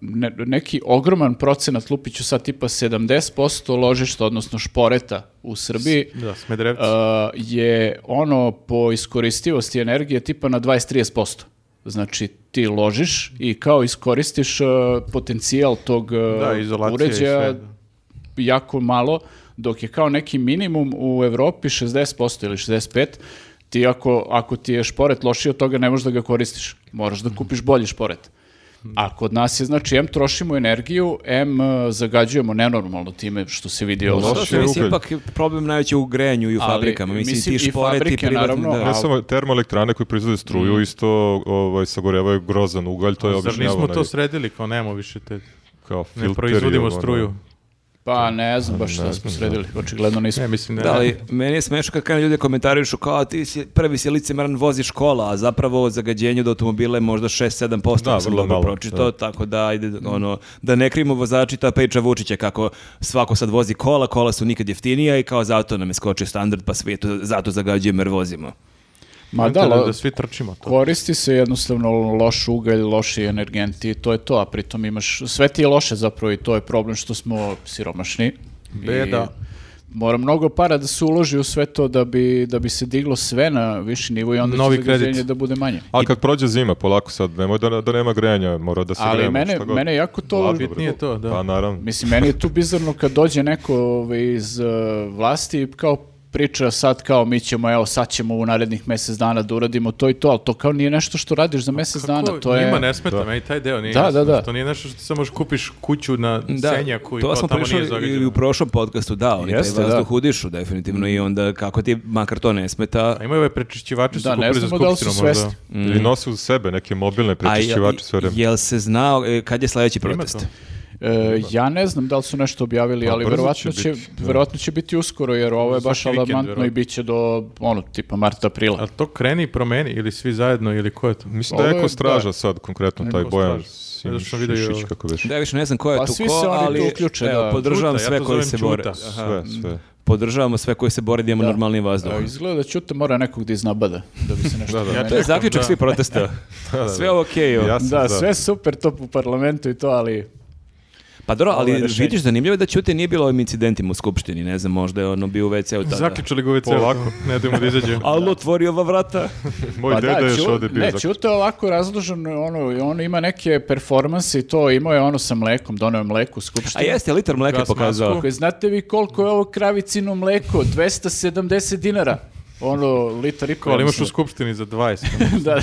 [SPEAKER 3] ne- neki ogroman procenat, lupiću sad tipa 70% ložišta, odnosno šporeta u Srbiji,
[SPEAKER 2] Da, Smederevci.
[SPEAKER 3] uh, je ono po iskoristivosti energije tipa na 20-30%. Znači ti ložiš i kao iskoristiš uh, potencijal tog uh,
[SPEAKER 2] Da, izolacija i
[SPEAKER 3] uređaja
[SPEAKER 2] sve, da.
[SPEAKER 3] jako malo, dok je kao neki minimum u Evropi 60% ili 65%, ti ako, ako ti je šporet lošiji od toga ne možeš da ga koristiš. Moraš da kupiš bolji šporet. A kod nas je, znači, em trošimo energiju, em eh, zagađujemo nenormalno time što se vidi ovo.
[SPEAKER 1] Loše
[SPEAKER 4] Zato što
[SPEAKER 1] je
[SPEAKER 4] mislim
[SPEAKER 1] ugljen.
[SPEAKER 4] ipak je problem najveći u grejanju i u
[SPEAKER 3] Ali,
[SPEAKER 4] fabrikama. Mislim,
[SPEAKER 3] mislim,
[SPEAKER 4] ti
[SPEAKER 3] i
[SPEAKER 4] špore, ti
[SPEAKER 3] fabrike,
[SPEAKER 4] privatni,
[SPEAKER 3] naravno,
[SPEAKER 2] Pa,
[SPEAKER 4] da.
[SPEAKER 1] Ne
[SPEAKER 3] ali-
[SPEAKER 1] samo termoelektrane koje proizvode struju, isto ovaj, sagorevaju grozan ugalj, to je
[SPEAKER 2] Mm. Zar
[SPEAKER 1] obično
[SPEAKER 2] nismo
[SPEAKER 1] evo,
[SPEAKER 2] to
[SPEAKER 1] naj-
[SPEAKER 2] sredili kao nemamo više te...
[SPEAKER 1] kao
[SPEAKER 2] Ne
[SPEAKER 1] filteri,
[SPEAKER 2] proizvodimo
[SPEAKER 1] ono, da.
[SPEAKER 2] struju.
[SPEAKER 3] Pa ne znam baš šta smo sredili, očigledno nismo.
[SPEAKER 2] Ne, mislim ne.
[SPEAKER 4] Da, ali meni je smešno kad krenu ljudi komentarišu kao "A ti si, prvi si licimeran vozi škola, a zapravo zagađenje od automobila je možda 6-7%
[SPEAKER 1] Da,
[SPEAKER 4] da, sam
[SPEAKER 1] vrlo
[SPEAKER 4] dobro
[SPEAKER 1] malo,
[SPEAKER 4] pročitao,
[SPEAKER 1] da.
[SPEAKER 4] tako da ajde, ono, da ne krivimo vozači ta priča Vučića kako svako sad vozi kola, kola su nikad jeftinija i kao zato nam je skočio standard pa svi to, zato zagađujemo jer vozimo.
[SPEAKER 3] Ma da,
[SPEAKER 2] da,
[SPEAKER 3] lo-
[SPEAKER 2] da svi trčimo to.
[SPEAKER 3] koristi se jednostavno loš ugalj, loši energenti, to je to, a pritom imaš, sve ti je loše zapravo i to je problem što smo siromašni.
[SPEAKER 2] Beda.
[SPEAKER 3] I mora mnogo para da se uloži u sve to da bi, da bi se diglo sve na viši nivo i onda
[SPEAKER 2] Novi
[SPEAKER 3] će zagađenje
[SPEAKER 2] kredit.
[SPEAKER 3] da bude manje.
[SPEAKER 1] Ali kad prođe zima, polako sad, nemoj da, da nema grejanja, mora da se
[SPEAKER 3] Ali
[SPEAKER 1] grejemo,
[SPEAKER 3] mene,
[SPEAKER 1] šta god.
[SPEAKER 3] mene jako to...
[SPEAKER 1] Dobro.
[SPEAKER 2] Bitnije to, da.
[SPEAKER 1] Pa naravno.
[SPEAKER 3] Mislim, meni je tu bizarno kad dođe neko ovaj, iz eh, vlasti i kao priča sad kao mi ćemo, evo sad ćemo u narednih mjesec dana da uradimo to i to, ali to kao nije nešto što radiš za mjesec dana, to je...
[SPEAKER 2] Pa Njima ne smeta,
[SPEAKER 1] Da.
[SPEAKER 2] meni taj deo nije
[SPEAKER 3] Da,
[SPEAKER 2] jasno.
[SPEAKER 3] da, da.
[SPEAKER 2] To nije nešto što samo kupiš kuću na senjaku i
[SPEAKER 4] to
[SPEAKER 2] to
[SPEAKER 4] smo
[SPEAKER 2] pa tamo nije
[SPEAKER 4] pričali i
[SPEAKER 2] zagađeno.
[SPEAKER 4] u prošlom podcastu, da, oni
[SPEAKER 3] Jeste,
[SPEAKER 4] taj
[SPEAKER 3] da.
[SPEAKER 4] vazduh udišu definitivno i onda kako ti makar to ne smeta,
[SPEAKER 2] A imaju ove prečišćivače su
[SPEAKER 3] Da, ne
[SPEAKER 2] kupili za
[SPEAKER 3] znamo da li su
[SPEAKER 2] skupštinu
[SPEAKER 3] svesni.
[SPEAKER 2] možda.
[SPEAKER 1] Ili nosi uz sebe neke mobilne
[SPEAKER 4] A je-
[SPEAKER 1] prečišćivače sve vreme.
[SPEAKER 4] Jel se znao e, kad je sljedeći
[SPEAKER 2] Ima
[SPEAKER 4] protest?
[SPEAKER 2] to.
[SPEAKER 3] E, ja ne znam da li su nešto objavili,
[SPEAKER 1] Pa,
[SPEAKER 3] ali
[SPEAKER 1] brzo
[SPEAKER 3] verovatno
[SPEAKER 1] će
[SPEAKER 3] će,
[SPEAKER 1] biti, da.
[SPEAKER 3] verovatno će biti uskoro, jer ovo je
[SPEAKER 2] Svaki
[SPEAKER 3] baš
[SPEAKER 2] vikend,
[SPEAKER 3] alarmantno i
[SPEAKER 2] verovatno.
[SPEAKER 3] bit će do, ono, tipa marta, aprila.
[SPEAKER 2] A to kreni i promeni ili svi zajedno ili ko je to?
[SPEAKER 1] Mislim da
[SPEAKER 3] Ovo
[SPEAKER 1] je
[SPEAKER 3] je-
[SPEAKER 1] Eko Straža
[SPEAKER 3] da.
[SPEAKER 1] sad, konkretno taj
[SPEAKER 2] Eko
[SPEAKER 1] Bojan
[SPEAKER 2] Straža. Zato što sam vidio i
[SPEAKER 1] Šišić,
[SPEAKER 2] ovo.
[SPEAKER 1] kako veš.
[SPEAKER 4] Da, ja više ne znam ko je
[SPEAKER 3] Pa
[SPEAKER 4] tu
[SPEAKER 3] svi
[SPEAKER 4] ko,
[SPEAKER 3] se oni
[SPEAKER 4] ali
[SPEAKER 3] tu uključe,
[SPEAKER 4] evo,
[SPEAKER 3] da.
[SPEAKER 4] podržavam
[SPEAKER 2] Čuta, ja
[SPEAKER 4] sve
[SPEAKER 2] to
[SPEAKER 4] koji
[SPEAKER 2] zovem
[SPEAKER 4] se
[SPEAKER 2] Čuta.
[SPEAKER 4] bore. Aha.
[SPEAKER 1] Sve, sve.
[SPEAKER 4] Podržavamo sve koji se bore da imamo
[SPEAKER 3] Da.
[SPEAKER 4] normalni vazduh.
[SPEAKER 3] E, izgleda da Ćuta mora nekog da iznabada, da bi se nešto
[SPEAKER 1] Da, da.
[SPEAKER 3] promenilo.
[SPEAKER 4] To je zaključak
[SPEAKER 2] da.
[SPEAKER 4] svih protesta. Sve okej. ovo.
[SPEAKER 1] Ja sam
[SPEAKER 3] Da,
[SPEAKER 1] za.
[SPEAKER 3] sve super to u parlamentu i to, ali
[SPEAKER 4] Pa dobro,
[SPEAKER 3] Ovo je
[SPEAKER 4] ali
[SPEAKER 3] rešenje.
[SPEAKER 4] vidiš zanimljivo je da Ćute nije bilo ovim incidentima u skupštini, ne znam, možda je ono bio u WC-u tada.
[SPEAKER 2] Zaključali ga u WC-u.
[SPEAKER 1] Polako.
[SPEAKER 2] Ne dajmo da izađe.
[SPEAKER 4] Alo, otvori ova vrata.
[SPEAKER 1] Moj
[SPEAKER 3] Pa da,
[SPEAKER 1] deda je još
[SPEAKER 3] Ću-
[SPEAKER 1] ovde bio.
[SPEAKER 3] Ne,
[SPEAKER 1] zato-
[SPEAKER 3] Ćuta je ovako razložen, ono, on ima neke performanse i to, imao je ono sa mlekom, doneo je mleku u
[SPEAKER 4] A
[SPEAKER 3] skupštinu.
[SPEAKER 4] jeste, litar mleka je
[SPEAKER 2] Gas
[SPEAKER 4] pokazao.
[SPEAKER 2] masku.
[SPEAKER 3] Ako je, znate vi koliko je ovo kravicino mleko? 270 dinara. Ono, litar i pol.
[SPEAKER 2] Ali imaš u
[SPEAKER 3] mislim.
[SPEAKER 2] skupštini za 20.
[SPEAKER 3] Da,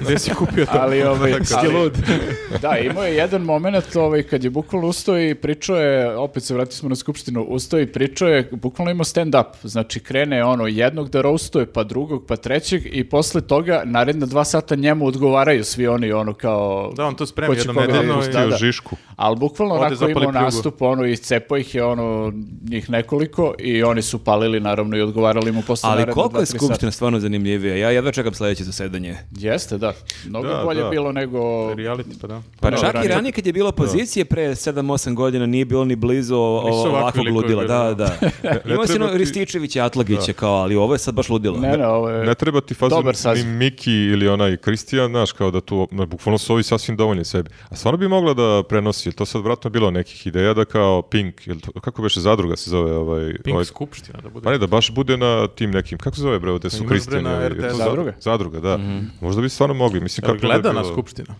[SPEAKER 2] Gde si kupio to?
[SPEAKER 3] ali ovaj... ali-
[SPEAKER 2] lud.
[SPEAKER 3] da, imao je jedan moment ovaj, kad je bukvalno ustao i pričao je, opet se vratili smo na skupštinu, ustao i pričao je, bukvalno imao stand-up. Znači, krene ono jednog da roastuje, pa drugog, pa trećeg i posle toga naredna dva sata njemu odgovaraju svi oni ono kao...
[SPEAKER 2] Da, on to spremi
[SPEAKER 3] ko će
[SPEAKER 2] jednom
[SPEAKER 3] koga
[SPEAKER 2] nedeljno
[SPEAKER 3] da
[SPEAKER 2] i-
[SPEAKER 3] pusti, da, da.
[SPEAKER 1] Pustio Žišku.
[SPEAKER 3] Ali bukvalno
[SPEAKER 2] Ode
[SPEAKER 3] onako
[SPEAKER 2] zapali
[SPEAKER 3] imao
[SPEAKER 2] pljugu.
[SPEAKER 3] nastup, ono, i cepo ih je, ono, njih nekoliko i oni su palili, naravno, i odgovarali mu posle
[SPEAKER 4] Ali
[SPEAKER 3] naredna
[SPEAKER 4] koliko
[SPEAKER 3] dva,
[SPEAKER 4] je
[SPEAKER 3] tri
[SPEAKER 4] skupština stvarno zanimljivija? Ja jedva čekam sljedeće zasedanje.
[SPEAKER 3] sata. Jeste, da. Mnogo
[SPEAKER 1] Da,
[SPEAKER 3] bolje
[SPEAKER 1] da.
[SPEAKER 3] bilo nego...
[SPEAKER 2] Reality, pa da.
[SPEAKER 4] Pa
[SPEAKER 3] Da,
[SPEAKER 4] čak i
[SPEAKER 3] ranije.
[SPEAKER 4] ranije kad je bilo opozicije pre 7-8 godina nije bilo ni blizu o- o-
[SPEAKER 2] Nisu ovakvi
[SPEAKER 4] ovakvog
[SPEAKER 2] likovi
[SPEAKER 4] ludila. Da,
[SPEAKER 2] bili,
[SPEAKER 4] da.
[SPEAKER 1] ne
[SPEAKER 4] Imao si
[SPEAKER 1] treba
[SPEAKER 4] ono
[SPEAKER 1] ti-
[SPEAKER 4] Rističevića i Atlagića kao, ali ovo je sad baš ludilo.
[SPEAKER 3] Ne, ne,
[SPEAKER 2] E,
[SPEAKER 3] ovo je...
[SPEAKER 1] Ne treba ti fazon
[SPEAKER 3] Dobar
[SPEAKER 1] ni
[SPEAKER 3] saziv.
[SPEAKER 1] Miki ili onaj Kristijan, znaš, kao da tu, na, bukvalno su ovi sasvim dovoljni sebi. A stvarno bi mogla da prenosi, to sad vratno bilo nekih ideja da kao Pink, ili to- kako beše zadruga se zove ovaj...
[SPEAKER 2] Pink
[SPEAKER 1] ovaj-
[SPEAKER 2] skupština da bude.
[SPEAKER 1] Pa ne, da baš bude na tim nekim, kako se zove bre, gde su
[SPEAKER 2] Imaš, bre,
[SPEAKER 1] Kristijani?
[SPEAKER 2] na
[SPEAKER 1] ovi, je to
[SPEAKER 2] RTS.
[SPEAKER 3] Zadruga?
[SPEAKER 1] Zadruga, da. Možda bi stvarno mogli, mislim
[SPEAKER 2] Jel
[SPEAKER 1] kako bi
[SPEAKER 2] gleda
[SPEAKER 1] bilo-
[SPEAKER 2] na skupština?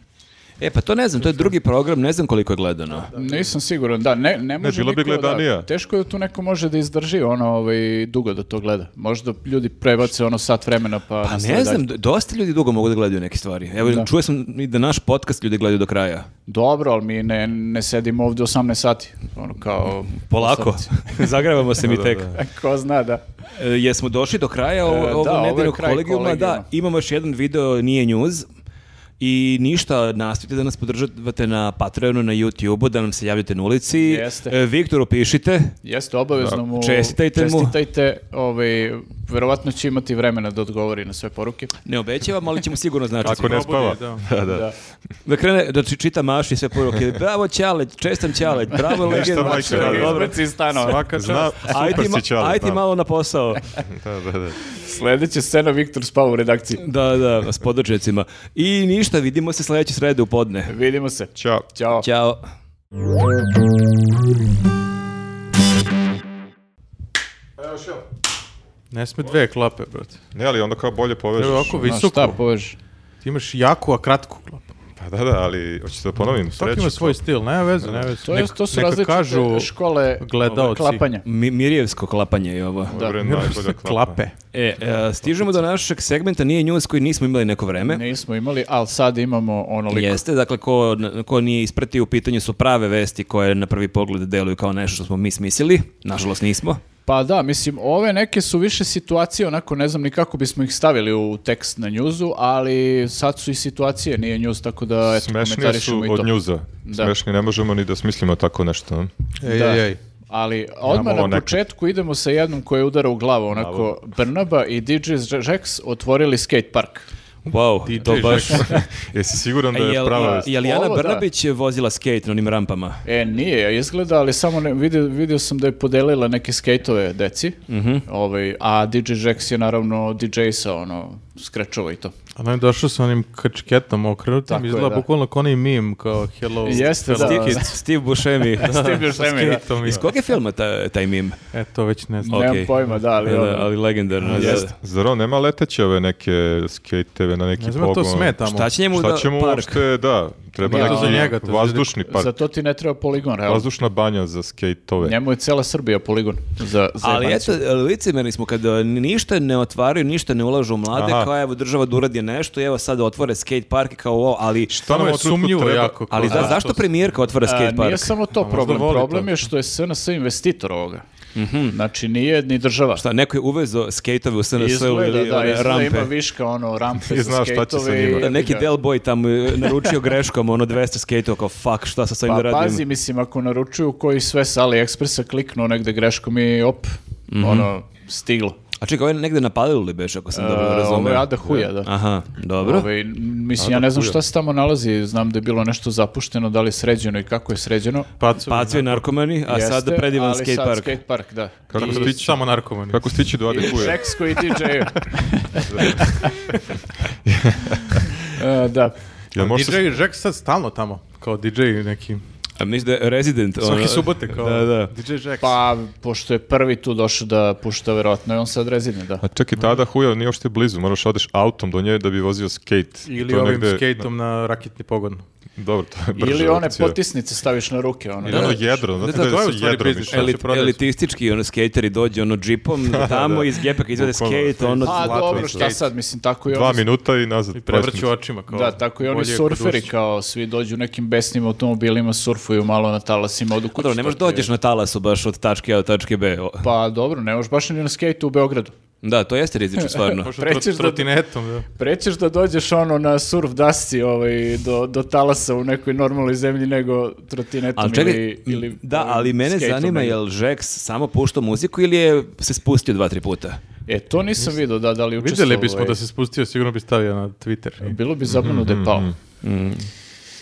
[SPEAKER 4] E, pa to ne znam, to je drugi program, ne znam koliko je gledano.
[SPEAKER 3] Nisam siguran, da, ne, ne može
[SPEAKER 1] bilo bi
[SPEAKER 3] niko,
[SPEAKER 1] gledanija.
[SPEAKER 3] Da, teško je da tu neko može da izdrži ono ovaj, dugo da to gleda. Možda ljudi prebace ono sat vremena pa...
[SPEAKER 4] Pa
[SPEAKER 3] nastave
[SPEAKER 4] ne
[SPEAKER 3] dalje.
[SPEAKER 4] znam, d- dosta ljudi dugo mogu da gledaju neke stvari. Evo,
[SPEAKER 3] Da.
[SPEAKER 4] čuo sam i da naš podcast ljudi gledaju do kraja.
[SPEAKER 3] Dobro, ali mi ne, ne sedimo ovdje 18 sati. Ono kao...
[SPEAKER 4] Polako, zagravamo se mi tek.
[SPEAKER 3] Ko zna, da.
[SPEAKER 4] E, jesmo došli do kraja
[SPEAKER 3] E,
[SPEAKER 4] ovo,
[SPEAKER 3] da,
[SPEAKER 4] ovog
[SPEAKER 3] ovo je
[SPEAKER 4] nedeljnog
[SPEAKER 3] kraj
[SPEAKER 4] kolegijuma. Da,
[SPEAKER 3] kolegijuma.
[SPEAKER 4] imamo još jedan video, nije news. I ništa, nastavite da nas podržavate na Patreonu, na YouTubeu, da nam se javljate na ulici.
[SPEAKER 3] Jeste.
[SPEAKER 4] E, Viktoru pišite.
[SPEAKER 3] Jeste, obavezno mu...
[SPEAKER 4] Čestitajte mu.
[SPEAKER 3] čestitajte, ovaj, verovatno će imati vremena da odgovori na sve poruke.
[SPEAKER 4] Ne obećavam, ali ćemo sigurno znači.
[SPEAKER 1] Ako ne spava.
[SPEAKER 2] Probudi, da.
[SPEAKER 1] Da, da.
[SPEAKER 3] Da.
[SPEAKER 4] Da krene, da či- čita Maši sve poruke. Bravo Ćale, čestam Ćale, bravo legend.
[SPEAKER 1] majka
[SPEAKER 4] Maša,
[SPEAKER 1] radi.
[SPEAKER 4] dobro.
[SPEAKER 3] Izbaci iz stanova.
[SPEAKER 2] Svaka
[SPEAKER 1] Zna,
[SPEAKER 2] čast.
[SPEAKER 4] Aj
[SPEAKER 1] super
[SPEAKER 4] ti, ma-
[SPEAKER 1] si Ćale,
[SPEAKER 4] aj ti
[SPEAKER 1] znam.
[SPEAKER 4] malo na posao.
[SPEAKER 1] Da, da, da.
[SPEAKER 3] Sledeća scena, Viktor spava u redakciji.
[SPEAKER 4] Da, da, s podočecima. I ništa, vidimo se sledeće srede u podne.
[SPEAKER 3] Vidimo se.
[SPEAKER 1] Ćao.
[SPEAKER 3] Ćao.
[SPEAKER 4] Ćao.
[SPEAKER 2] Ne sme dve klape, brate.
[SPEAKER 1] Ne, ali onda kao bolje povežeš.
[SPEAKER 2] Evo ovako
[SPEAKER 3] Ma šta,
[SPEAKER 2] visoko.
[SPEAKER 3] poveži?
[SPEAKER 2] Ti imaš jaku, a kratku klapu.
[SPEAKER 1] Pa da, da, ali hoćete da ponovim?
[SPEAKER 2] Svaki ima
[SPEAKER 1] Treću?
[SPEAKER 2] svoj stil, nema veze, nema veze.
[SPEAKER 3] To, je,
[SPEAKER 2] Nek-
[SPEAKER 3] to su
[SPEAKER 2] neka
[SPEAKER 3] različite
[SPEAKER 2] kažu
[SPEAKER 3] škole
[SPEAKER 2] gledaoci.
[SPEAKER 3] klapanja.
[SPEAKER 4] Mi- Mirijevsko klapanje je ovo.
[SPEAKER 1] Ovo je bre najbolja klapa.
[SPEAKER 2] klape.
[SPEAKER 4] E, e, stižemo do našeg segmenta Nije news koji nismo imali neko vreme.
[SPEAKER 3] Nismo imali, ali sad imamo onoliko.
[SPEAKER 4] Jeste, dakle, ko, ko nije ispratio u pitanju su prave vesti koje na prvi pogled deluju kao nešto što smo mi smislili. Nažalost nismo.
[SPEAKER 3] Pa da, mislim, ove neke su više situacije, onako ne znam ni kako bismo ih stavili u tekst na njuzu, ali sad su i situacije, nije njuz, tako da eto,
[SPEAKER 1] Smešnije su
[SPEAKER 3] komentarišemo i to.
[SPEAKER 1] od njuza.
[SPEAKER 3] Da.
[SPEAKER 1] Smešnije ne možemo ni da smislimo tako nešto. a?
[SPEAKER 2] Ej,
[SPEAKER 3] Da.
[SPEAKER 2] ej, ej.
[SPEAKER 3] Ali odmah
[SPEAKER 1] ovo
[SPEAKER 3] na
[SPEAKER 1] nekad.
[SPEAKER 3] početku idemo sa jednom koja je udara u glavu, onako Brnaba i DJ Jax otvorili skate park.
[SPEAKER 4] Wow, to
[SPEAKER 2] Jack.
[SPEAKER 4] baš...
[SPEAKER 1] Jesi siguran da
[SPEAKER 4] E,
[SPEAKER 1] je
[SPEAKER 4] jel,
[SPEAKER 1] prava
[SPEAKER 4] a,
[SPEAKER 1] vest?
[SPEAKER 4] jel Jana
[SPEAKER 3] Ovo da.
[SPEAKER 4] Brnabić je vozila skate na onim rampama?
[SPEAKER 3] E, nije, izgleda, ali samo ne, vidio, vidio sam da je podelila neke skejtove deci, ovaj, a DJ Jax je naravno DJ-sa, ono, skrečova i to.
[SPEAKER 2] Ona je došla sa onim krčketom okrenutim,
[SPEAKER 3] Tako je,
[SPEAKER 2] izgleda
[SPEAKER 3] da.
[SPEAKER 2] bukvalno kao onaj mim, kao hello.
[SPEAKER 3] Jeste,
[SPEAKER 2] hello.
[SPEAKER 3] da.
[SPEAKER 4] Steve, Steve Buscemi.
[SPEAKER 3] Steve Buscemi, da.
[SPEAKER 4] Skateom, Iz kog je filma ta, taj mim?
[SPEAKER 2] E, to već ne znam.
[SPEAKER 4] Ok.
[SPEAKER 3] Nemam pojma, da, ali,
[SPEAKER 4] Da,
[SPEAKER 3] ono,
[SPEAKER 4] ali legendarno. da.
[SPEAKER 3] Jeste.
[SPEAKER 1] Zar on nema leteće ove neke skejteve na neki
[SPEAKER 2] Ne
[SPEAKER 1] pogon?
[SPEAKER 2] znam, to sme tamo.
[SPEAKER 4] Šta će njemu
[SPEAKER 1] Šta
[SPEAKER 4] da
[SPEAKER 1] ćemo
[SPEAKER 4] park?
[SPEAKER 1] uopšte, da, treba
[SPEAKER 3] Ja, to za
[SPEAKER 2] njega,
[SPEAKER 1] neki
[SPEAKER 2] to je
[SPEAKER 1] vazdušni
[SPEAKER 3] za
[SPEAKER 1] park.
[SPEAKER 3] to ti ne treba poligon, realno.
[SPEAKER 1] Vazdušna banja za skejtove.
[SPEAKER 3] Njemu je cela Srbija poligon za, za
[SPEAKER 4] Ali
[SPEAKER 3] jebanicu.
[SPEAKER 4] eto, licemerni smo kad e, ništa ne otvaraju, ništa ne ulažu u mlade,
[SPEAKER 1] Aha.
[SPEAKER 4] kao evo država da uradi nešto i evo sad otvore skate park i kao ovo, ali...
[SPEAKER 1] Šta nam
[SPEAKER 2] Samo je
[SPEAKER 1] ovo trenutku
[SPEAKER 2] sumnjivo
[SPEAKER 1] treba?
[SPEAKER 2] jako.
[SPEAKER 4] Ali da,
[SPEAKER 2] A,
[SPEAKER 4] zašto
[SPEAKER 2] to-
[SPEAKER 4] premijerka otvara
[SPEAKER 3] A,
[SPEAKER 4] skate park?
[SPEAKER 3] Nije samo to problem.
[SPEAKER 2] voli
[SPEAKER 3] Problem
[SPEAKER 2] to.
[SPEAKER 3] je što je SNS investitor ovoga. Znači nije ni država.
[SPEAKER 4] Šta, neko je uvezo skateove u SNS -u
[SPEAKER 3] Izgleda,
[SPEAKER 4] ili
[SPEAKER 3] da,
[SPEAKER 4] one
[SPEAKER 3] izgleda
[SPEAKER 4] rampe?
[SPEAKER 3] ima viška ono rampe
[SPEAKER 1] I
[SPEAKER 3] za
[SPEAKER 1] znaš šta će sa
[SPEAKER 3] skejtove i-
[SPEAKER 1] njima.
[SPEAKER 4] Da, neki del boy tamo je naručio greškom ono 200 skateova kao fuck šta sa svojim
[SPEAKER 3] Pa
[SPEAKER 4] da radim.
[SPEAKER 3] pazi, mislim, ako naručuju koji sve sa AliExpressa kliknu negde greškom i op,
[SPEAKER 4] Mhm.
[SPEAKER 3] ono, stiglo.
[SPEAKER 4] A čekaj, ovo je negde napadilo li beš ako sam dobro
[SPEAKER 3] E,
[SPEAKER 4] razumeo.
[SPEAKER 3] Ovo je Ada Huja, da.
[SPEAKER 4] Aha, dobro.
[SPEAKER 3] Ovaj, m, mislim, ja ne znam šta se tamo nalazi, znam da je bilo nešto zapušteno, da li je sređeno i kako je sređeno.
[SPEAKER 2] Pacu.
[SPEAKER 4] Pacu je narkomani, a
[SPEAKER 3] Jeste,
[SPEAKER 4] Pa, sad predivan
[SPEAKER 3] ali
[SPEAKER 4] skate
[SPEAKER 3] sad
[SPEAKER 4] park.
[SPEAKER 3] skate park, da.
[SPEAKER 1] Kako
[SPEAKER 3] I-
[SPEAKER 1] se tiče-
[SPEAKER 2] Samo narkomani.
[SPEAKER 1] Kako stići do
[SPEAKER 3] I
[SPEAKER 1] Adekuje?
[SPEAKER 3] Šeks koji DJ-u. E, da.
[SPEAKER 1] Jel može
[SPEAKER 2] DJ
[SPEAKER 1] se...
[SPEAKER 2] Jack sad stalno tamo, kao DJ neki.
[SPEAKER 4] A mislim da je resident. ono-
[SPEAKER 2] Svaki subote kao
[SPEAKER 4] Da, da.
[SPEAKER 2] DJ Jack.
[SPEAKER 3] Pa, pošto je prvi tu došao da pušta, verovatno je on sad rezident, da.
[SPEAKER 1] A čekaj, tada huja nije uopšte blizu, moraš odeš autom do nje da bi vozio skate.
[SPEAKER 2] Ili
[SPEAKER 1] To je
[SPEAKER 2] ovim
[SPEAKER 1] negde-
[SPEAKER 2] skateom na raketni pogon.
[SPEAKER 1] Dobro, to je brža
[SPEAKER 3] Ili one
[SPEAKER 1] opcija.
[SPEAKER 3] potisnice staviš na ruke, ono.
[SPEAKER 1] Ili ono jedro, znate
[SPEAKER 4] Da, da,
[SPEAKER 1] da,
[SPEAKER 2] to je u
[SPEAKER 1] su
[SPEAKER 2] stvari
[SPEAKER 1] jedro.
[SPEAKER 2] biznis.
[SPEAKER 1] mi-
[SPEAKER 2] Šta
[SPEAKER 4] Elit-
[SPEAKER 2] će prodati?
[SPEAKER 4] elitistički ono skateri dođe ono džipom tamo iz gepeka izvede
[SPEAKER 1] Bukvalno,
[SPEAKER 4] skate ono
[SPEAKER 3] Pa
[SPEAKER 1] Zlato
[SPEAKER 3] dobro,
[SPEAKER 1] isto.
[SPEAKER 3] šta sad, mislim, tako i
[SPEAKER 1] Dva
[SPEAKER 3] oni...
[SPEAKER 1] minuta i nazad.
[SPEAKER 2] I
[SPEAKER 1] 20
[SPEAKER 2] prevrću
[SPEAKER 1] minuta.
[SPEAKER 2] očima. Kao,
[SPEAKER 3] Da, tako i oni
[SPEAKER 2] bolje je kod
[SPEAKER 3] surferi,
[SPEAKER 2] ušća.
[SPEAKER 3] kao svi dođu nekim besnim automobilima, surfuju malo na talasima, odu kući.
[SPEAKER 4] Dobro, ne možeš dođeš na talasu baš od tačke A do tačke B. O,
[SPEAKER 3] Pa dobro, ne možeš baš ni na skejtu u Beogradu.
[SPEAKER 4] Da, to jeste rizično stvarno.
[SPEAKER 2] Možda
[SPEAKER 3] Prećeš
[SPEAKER 2] trot-
[SPEAKER 3] da-
[SPEAKER 2] trotinetom, da.
[SPEAKER 3] Prećeš da dođeš ono na surf dasci ovaj, do, do talasa u nekoj normalnoj zemlji nego trotinetom
[SPEAKER 4] Ali čekaj,
[SPEAKER 3] ili, ili... ovaj,
[SPEAKER 4] da,
[SPEAKER 3] ovim
[SPEAKER 4] ali mene
[SPEAKER 3] skejtom
[SPEAKER 4] zanima
[SPEAKER 3] negdje.
[SPEAKER 4] je li Žeks samo puštao muziku ili je se spustio dva, tri puta?
[SPEAKER 3] E, to nisam vidio, da, da li je učestvovao.
[SPEAKER 2] Videli bismo
[SPEAKER 3] ovaj.
[SPEAKER 2] da se spustio, sigurno bi stavio na Twitter.
[SPEAKER 3] Bilo bi zabavno da je pao.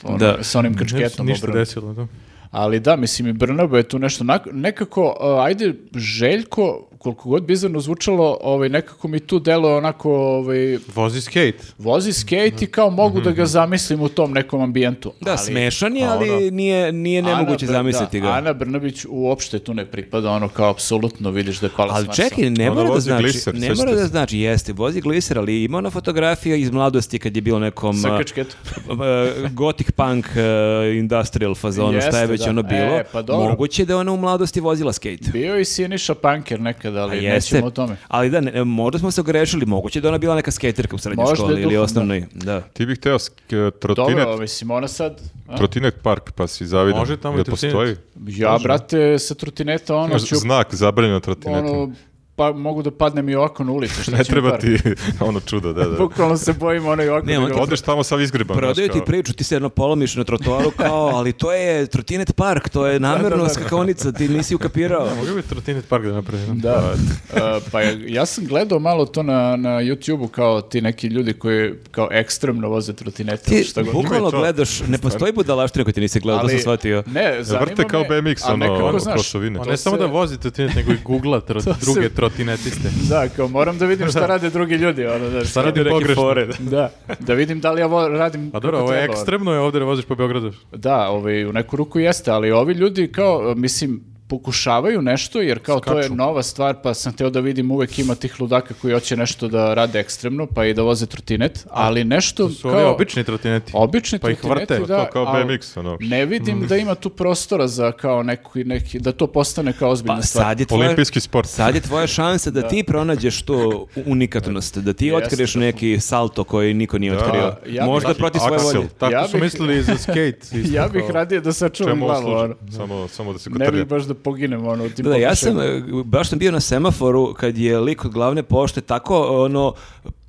[SPEAKER 3] Ono,
[SPEAKER 4] Da.
[SPEAKER 3] Sa onim
[SPEAKER 2] mhm, Ne bi se
[SPEAKER 3] krčketom
[SPEAKER 2] ništa
[SPEAKER 3] obrnutim.
[SPEAKER 2] desilo, da.
[SPEAKER 3] Ali da, mislim i Brnabo je tu nešto. nak- Nekako, a, ajde, Željko, koliko god bizarno zvučalo, ovaj, nekako mi tu delo onako, ovaj,
[SPEAKER 2] Vozi skate.
[SPEAKER 3] vozi skate i kao mogu da ga zamislim u tom nekom ambijentu.
[SPEAKER 4] Da,
[SPEAKER 3] Ali Ono-
[SPEAKER 4] smešan je, ali nije, nije
[SPEAKER 3] Ana
[SPEAKER 4] nemoguće
[SPEAKER 3] Br-
[SPEAKER 4] zamisliti
[SPEAKER 3] da,
[SPEAKER 4] ga.
[SPEAKER 3] Ana Brnabić uopšte tu ne pripada, ono kao apsolutno vidiš da je pala s
[SPEAKER 4] Ali
[SPEAKER 3] Marsa.
[SPEAKER 4] čekaj, ne
[SPEAKER 3] Ono
[SPEAKER 1] Ona
[SPEAKER 4] mora da
[SPEAKER 1] vozi
[SPEAKER 4] znači,
[SPEAKER 1] gliser,
[SPEAKER 4] ne
[SPEAKER 1] sjećate
[SPEAKER 4] mora da
[SPEAKER 1] se.
[SPEAKER 4] znači, jeste, vozi gliser, ali ima ona fotografija iz mladosti kad je bio nekom
[SPEAKER 3] Sa
[SPEAKER 4] a,
[SPEAKER 3] krčketom.
[SPEAKER 4] a, gothic punk a, industrial fazonu, šta je
[SPEAKER 3] Jeste,
[SPEAKER 4] već
[SPEAKER 3] da.
[SPEAKER 4] ono bilo.
[SPEAKER 3] E, pa dobro.
[SPEAKER 4] Moguće da je ona u mladosti vozila skate.
[SPEAKER 3] Bio je i Siniša Panker nekada, ali
[SPEAKER 4] Jeste,
[SPEAKER 3] nećemo o tome.
[SPEAKER 4] ali da, ne, možda smo se ogrešili, moguće da je ona bila neka skaterka u srednjoj
[SPEAKER 3] Možda je
[SPEAKER 4] školi ili
[SPEAKER 3] duhom,
[SPEAKER 4] osnovnoj. Da.
[SPEAKER 1] Ti bih hteo sk- e, trotinet,
[SPEAKER 3] Dobro, mislim, ona sad... a?
[SPEAKER 1] trotinet park, pa si zavidan.
[SPEAKER 2] Može tamo i
[SPEAKER 1] Jel
[SPEAKER 2] trotinet.
[SPEAKER 1] postoji?
[SPEAKER 3] Ja, brate, sa trotineta, ono, ću...
[SPEAKER 1] Znak zabranjeno trotinetom.
[SPEAKER 3] Ono, pa mogu da padnem i ovako na ulicu. Šta
[SPEAKER 1] ne
[SPEAKER 3] će mi
[SPEAKER 1] treba
[SPEAKER 3] par?
[SPEAKER 1] ti ono čudo, da, da.
[SPEAKER 3] Bukvalno se bojim ono i ovako.
[SPEAKER 4] Ne,
[SPEAKER 3] da
[SPEAKER 4] on
[SPEAKER 3] ga-
[SPEAKER 4] ti-
[SPEAKER 1] Odeš tamo sav izgreban.
[SPEAKER 4] Prodaju ti priču, ti se jedno polomiš na trotoaru kao, ali to je trotinet park, to je namjerno skakaonica, ti nisi ukapirao.
[SPEAKER 2] Mogu bi trotinet park da napravim.
[SPEAKER 3] Da, E, pa ja, ja sam gledao malo to na, na YouTube-u kao ti neki ljudi koji kao ekstremno voze trotinete.
[SPEAKER 4] Ti
[SPEAKER 3] šta god.
[SPEAKER 4] bukvalno
[SPEAKER 1] Ima i to.
[SPEAKER 4] gledaš, ne postoji budalaština koju ti nisi gledao, to sam shvatio.
[SPEAKER 3] Ne, zanima
[SPEAKER 1] Vrte kao
[SPEAKER 3] me,
[SPEAKER 1] BMX,
[SPEAKER 3] a nekako,
[SPEAKER 1] ono,
[SPEAKER 3] znaš,
[SPEAKER 1] prošovine.
[SPEAKER 2] On
[SPEAKER 3] To
[SPEAKER 2] ne samo
[SPEAKER 3] se-
[SPEAKER 2] da vozi trotinet, nego i googla tro-
[SPEAKER 3] se-
[SPEAKER 2] druge trotinetiste.
[SPEAKER 3] Da, kao moram da vidim šta rade drugi ljudi. Ono, da,
[SPEAKER 2] Sad radi pogrešno.
[SPEAKER 3] Da, da vidim da li ja vo- radim
[SPEAKER 2] Pa dobro,
[SPEAKER 3] kako
[SPEAKER 2] ovo je
[SPEAKER 3] treba, ono.
[SPEAKER 2] ekstremno je ovdje da voziš po Beogradu.
[SPEAKER 3] Da, ovaj, u neku ruku jeste, ali ovi ljudi kao, mislim, pokušavaju nešto, jer kao to je
[SPEAKER 2] Skaču.
[SPEAKER 3] nova stvar, pa sam teo da vidim uvek ima tih ludaka koji hoće nešto da rade ekstremno, pa i da voze trotinet, ali nešto
[SPEAKER 2] Su ovi
[SPEAKER 3] kao...
[SPEAKER 2] obični trotineti.
[SPEAKER 3] Obični
[SPEAKER 2] pa ih
[SPEAKER 3] trotineti,
[SPEAKER 2] vrte.
[SPEAKER 1] To
[SPEAKER 3] da,
[SPEAKER 1] kao
[SPEAKER 3] ali
[SPEAKER 1] BMX, ono.
[SPEAKER 3] Ne vidim da ima tu prostora za kao neki, neki, da to postane kao ozbiljna
[SPEAKER 4] Pa
[SPEAKER 3] stvar.
[SPEAKER 4] sad je tvoja,
[SPEAKER 1] Olimpijski sport.
[SPEAKER 4] Sad je tvoja šansa da, ti pronađeš tu unikatnost, da ti
[SPEAKER 3] Jeste,
[SPEAKER 4] otkriješ
[SPEAKER 3] da.
[SPEAKER 4] neki salto koji niko nije otkrio.
[SPEAKER 3] ja bih-
[SPEAKER 4] Možda
[SPEAKER 3] Taki
[SPEAKER 4] protiv svoje
[SPEAKER 1] aksel.
[SPEAKER 4] volje.
[SPEAKER 2] Tako
[SPEAKER 3] Ja
[SPEAKER 2] su
[SPEAKER 3] bih-
[SPEAKER 2] mislili i za skate. isto
[SPEAKER 3] Ja bih
[SPEAKER 2] kao-
[SPEAKER 3] radije da sačuvam
[SPEAKER 1] Čemu ovo
[SPEAKER 3] glavu,
[SPEAKER 1] služi?
[SPEAKER 3] ono.
[SPEAKER 1] Samo, samo da se
[SPEAKER 3] ne bih
[SPEAKER 1] kotrlja.
[SPEAKER 3] baš da poginem ono, u tim
[SPEAKER 4] Da, da, ja sam,
[SPEAKER 3] pokušajima.
[SPEAKER 4] e, baš sam bio na semaforu kad je lik od glavne pošte tako, ono,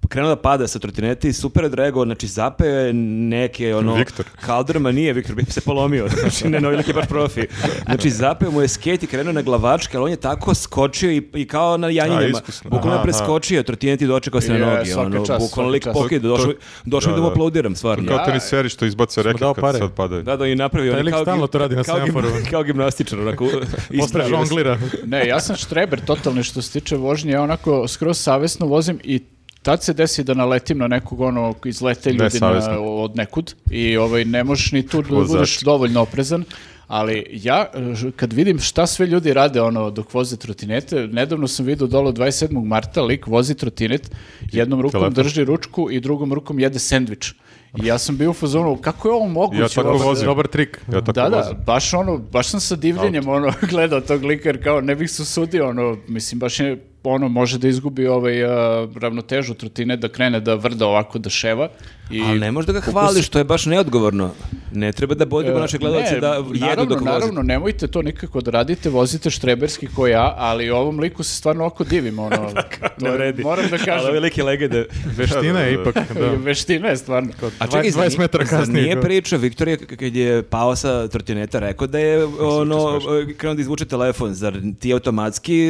[SPEAKER 4] krenuo da pada sa trotinete i super je drego, znači zapeo je neke, ono,
[SPEAKER 1] Viktor.
[SPEAKER 4] kaldrma, nije Viktor, bi se polomio, znači ne, no, lik je baš profi. Znači zapeo mu je skate i krenuo na glavačke, ali on je tako skočio i, i kao na janjinama,
[SPEAKER 1] iskusno.
[SPEAKER 4] bukvalno
[SPEAKER 1] Aha,
[SPEAKER 4] je preskočio, trotineti i dočekao se na
[SPEAKER 3] Je,
[SPEAKER 4] noge,
[SPEAKER 3] svaka
[SPEAKER 4] ono,
[SPEAKER 3] čast,
[SPEAKER 4] bukvalno lik
[SPEAKER 3] svaka čast.
[SPEAKER 4] pokida, došao, došao
[SPEAKER 1] Da,
[SPEAKER 4] da, da mu
[SPEAKER 1] da.
[SPEAKER 4] aplaudiram, stvarno.
[SPEAKER 1] Kao
[SPEAKER 3] Ja-
[SPEAKER 1] teniseri što izbace reket
[SPEAKER 2] dao
[SPEAKER 1] kad
[SPEAKER 2] pare.
[SPEAKER 1] sad padaju.
[SPEAKER 4] Da, da, on je napravio.
[SPEAKER 2] Taj
[SPEAKER 4] on je
[SPEAKER 2] lik
[SPEAKER 4] kao
[SPEAKER 2] stalno
[SPEAKER 4] gim-
[SPEAKER 2] to radi na
[SPEAKER 4] kao gim-
[SPEAKER 2] semaforu.
[SPEAKER 4] Kao gimnastičar, onako,
[SPEAKER 2] Posle
[SPEAKER 4] istražio se.
[SPEAKER 2] žonglira.
[SPEAKER 3] Ne, ja sam štreber totalni što se tiče vožnje, ja onako skroz savjesno vozim i tad se desi da naletim na nekog ono izlete ljudi na-
[SPEAKER 1] Nesavesno.
[SPEAKER 3] od nekud i ovaj, ne možeš ni tu da
[SPEAKER 1] Vozač.
[SPEAKER 3] budeš dovoljno oprezan, ali ja e, ž- kad vidim šta sve ljudi rade ono dok voze trotinete, nedavno sam vidio dolo 27. marta lik vozi trotinet, jednom rukom
[SPEAKER 1] telefon.
[SPEAKER 3] drži ručku i drugom rukom jede sendvič. I ja sam bio u fazonu, kako je ovo moguće?
[SPEAKER 1] Ja tako
[SPEAKER 3] uopšte?
[SPEAKER 1] vozim.
[SPEAKER 2] Dobar trik.
[SPEAKER 1] Ja tako
[SPEAKER 3] da,
[SPEAKER 1] vozim.
[SPEAKER 3] da, baš ono, baš sam sa divljenjem ono, gledao tog lika jer kao ne bih se usudio, ono, mislim, baš je, ono, može da izgubi ovaj, a, ravnotežu trotine, da krene da vrda ovako, da ševa. I
[SPEAKER 4] Ali ne možeš da ga
[SPEAKER 3] fokus-
[SPEAKER 4] hvališ, to je baš neodgovorno. Ne treba da bodimo
[SPEAKER 3] E,
[SPEAKER 4] naše gledalce
[SPEAKER 3] ne,
[SPEAKER 4] da jedu
[SPEAKER 3] naravno,
[SPEAKER 4] dok voze.
[SPEAKER 3] Naravno, nemojte to nikako da radite, vozite štreberski ko ja, ali ovom liku se stvarno oko divim, ono, moram da
[SPEAKER 4] Ali
[SPEAKER 3] kažem,
[SPEAKER 4] velike legende.
[SPEAKER 2] Veština je ipak, da.
[SPEAKER 3] veština je stvarno.
[SPEAKER 4] A čekaj, zar
[SPEAKER 2] 20
[SPEAKER 4] nije-
[SPEAKER 2] metara
[SPEAKER 4] zar
[SPEAKER 2] kasnije
[SPEAKER 4] Nije
[SPEAKER 2] kao-
[SPEAKER 4] priča, Viktor je k- kad je pao sa trotineta rekao da je ono, krenuo da izvuče telefon. Zar ti automatski,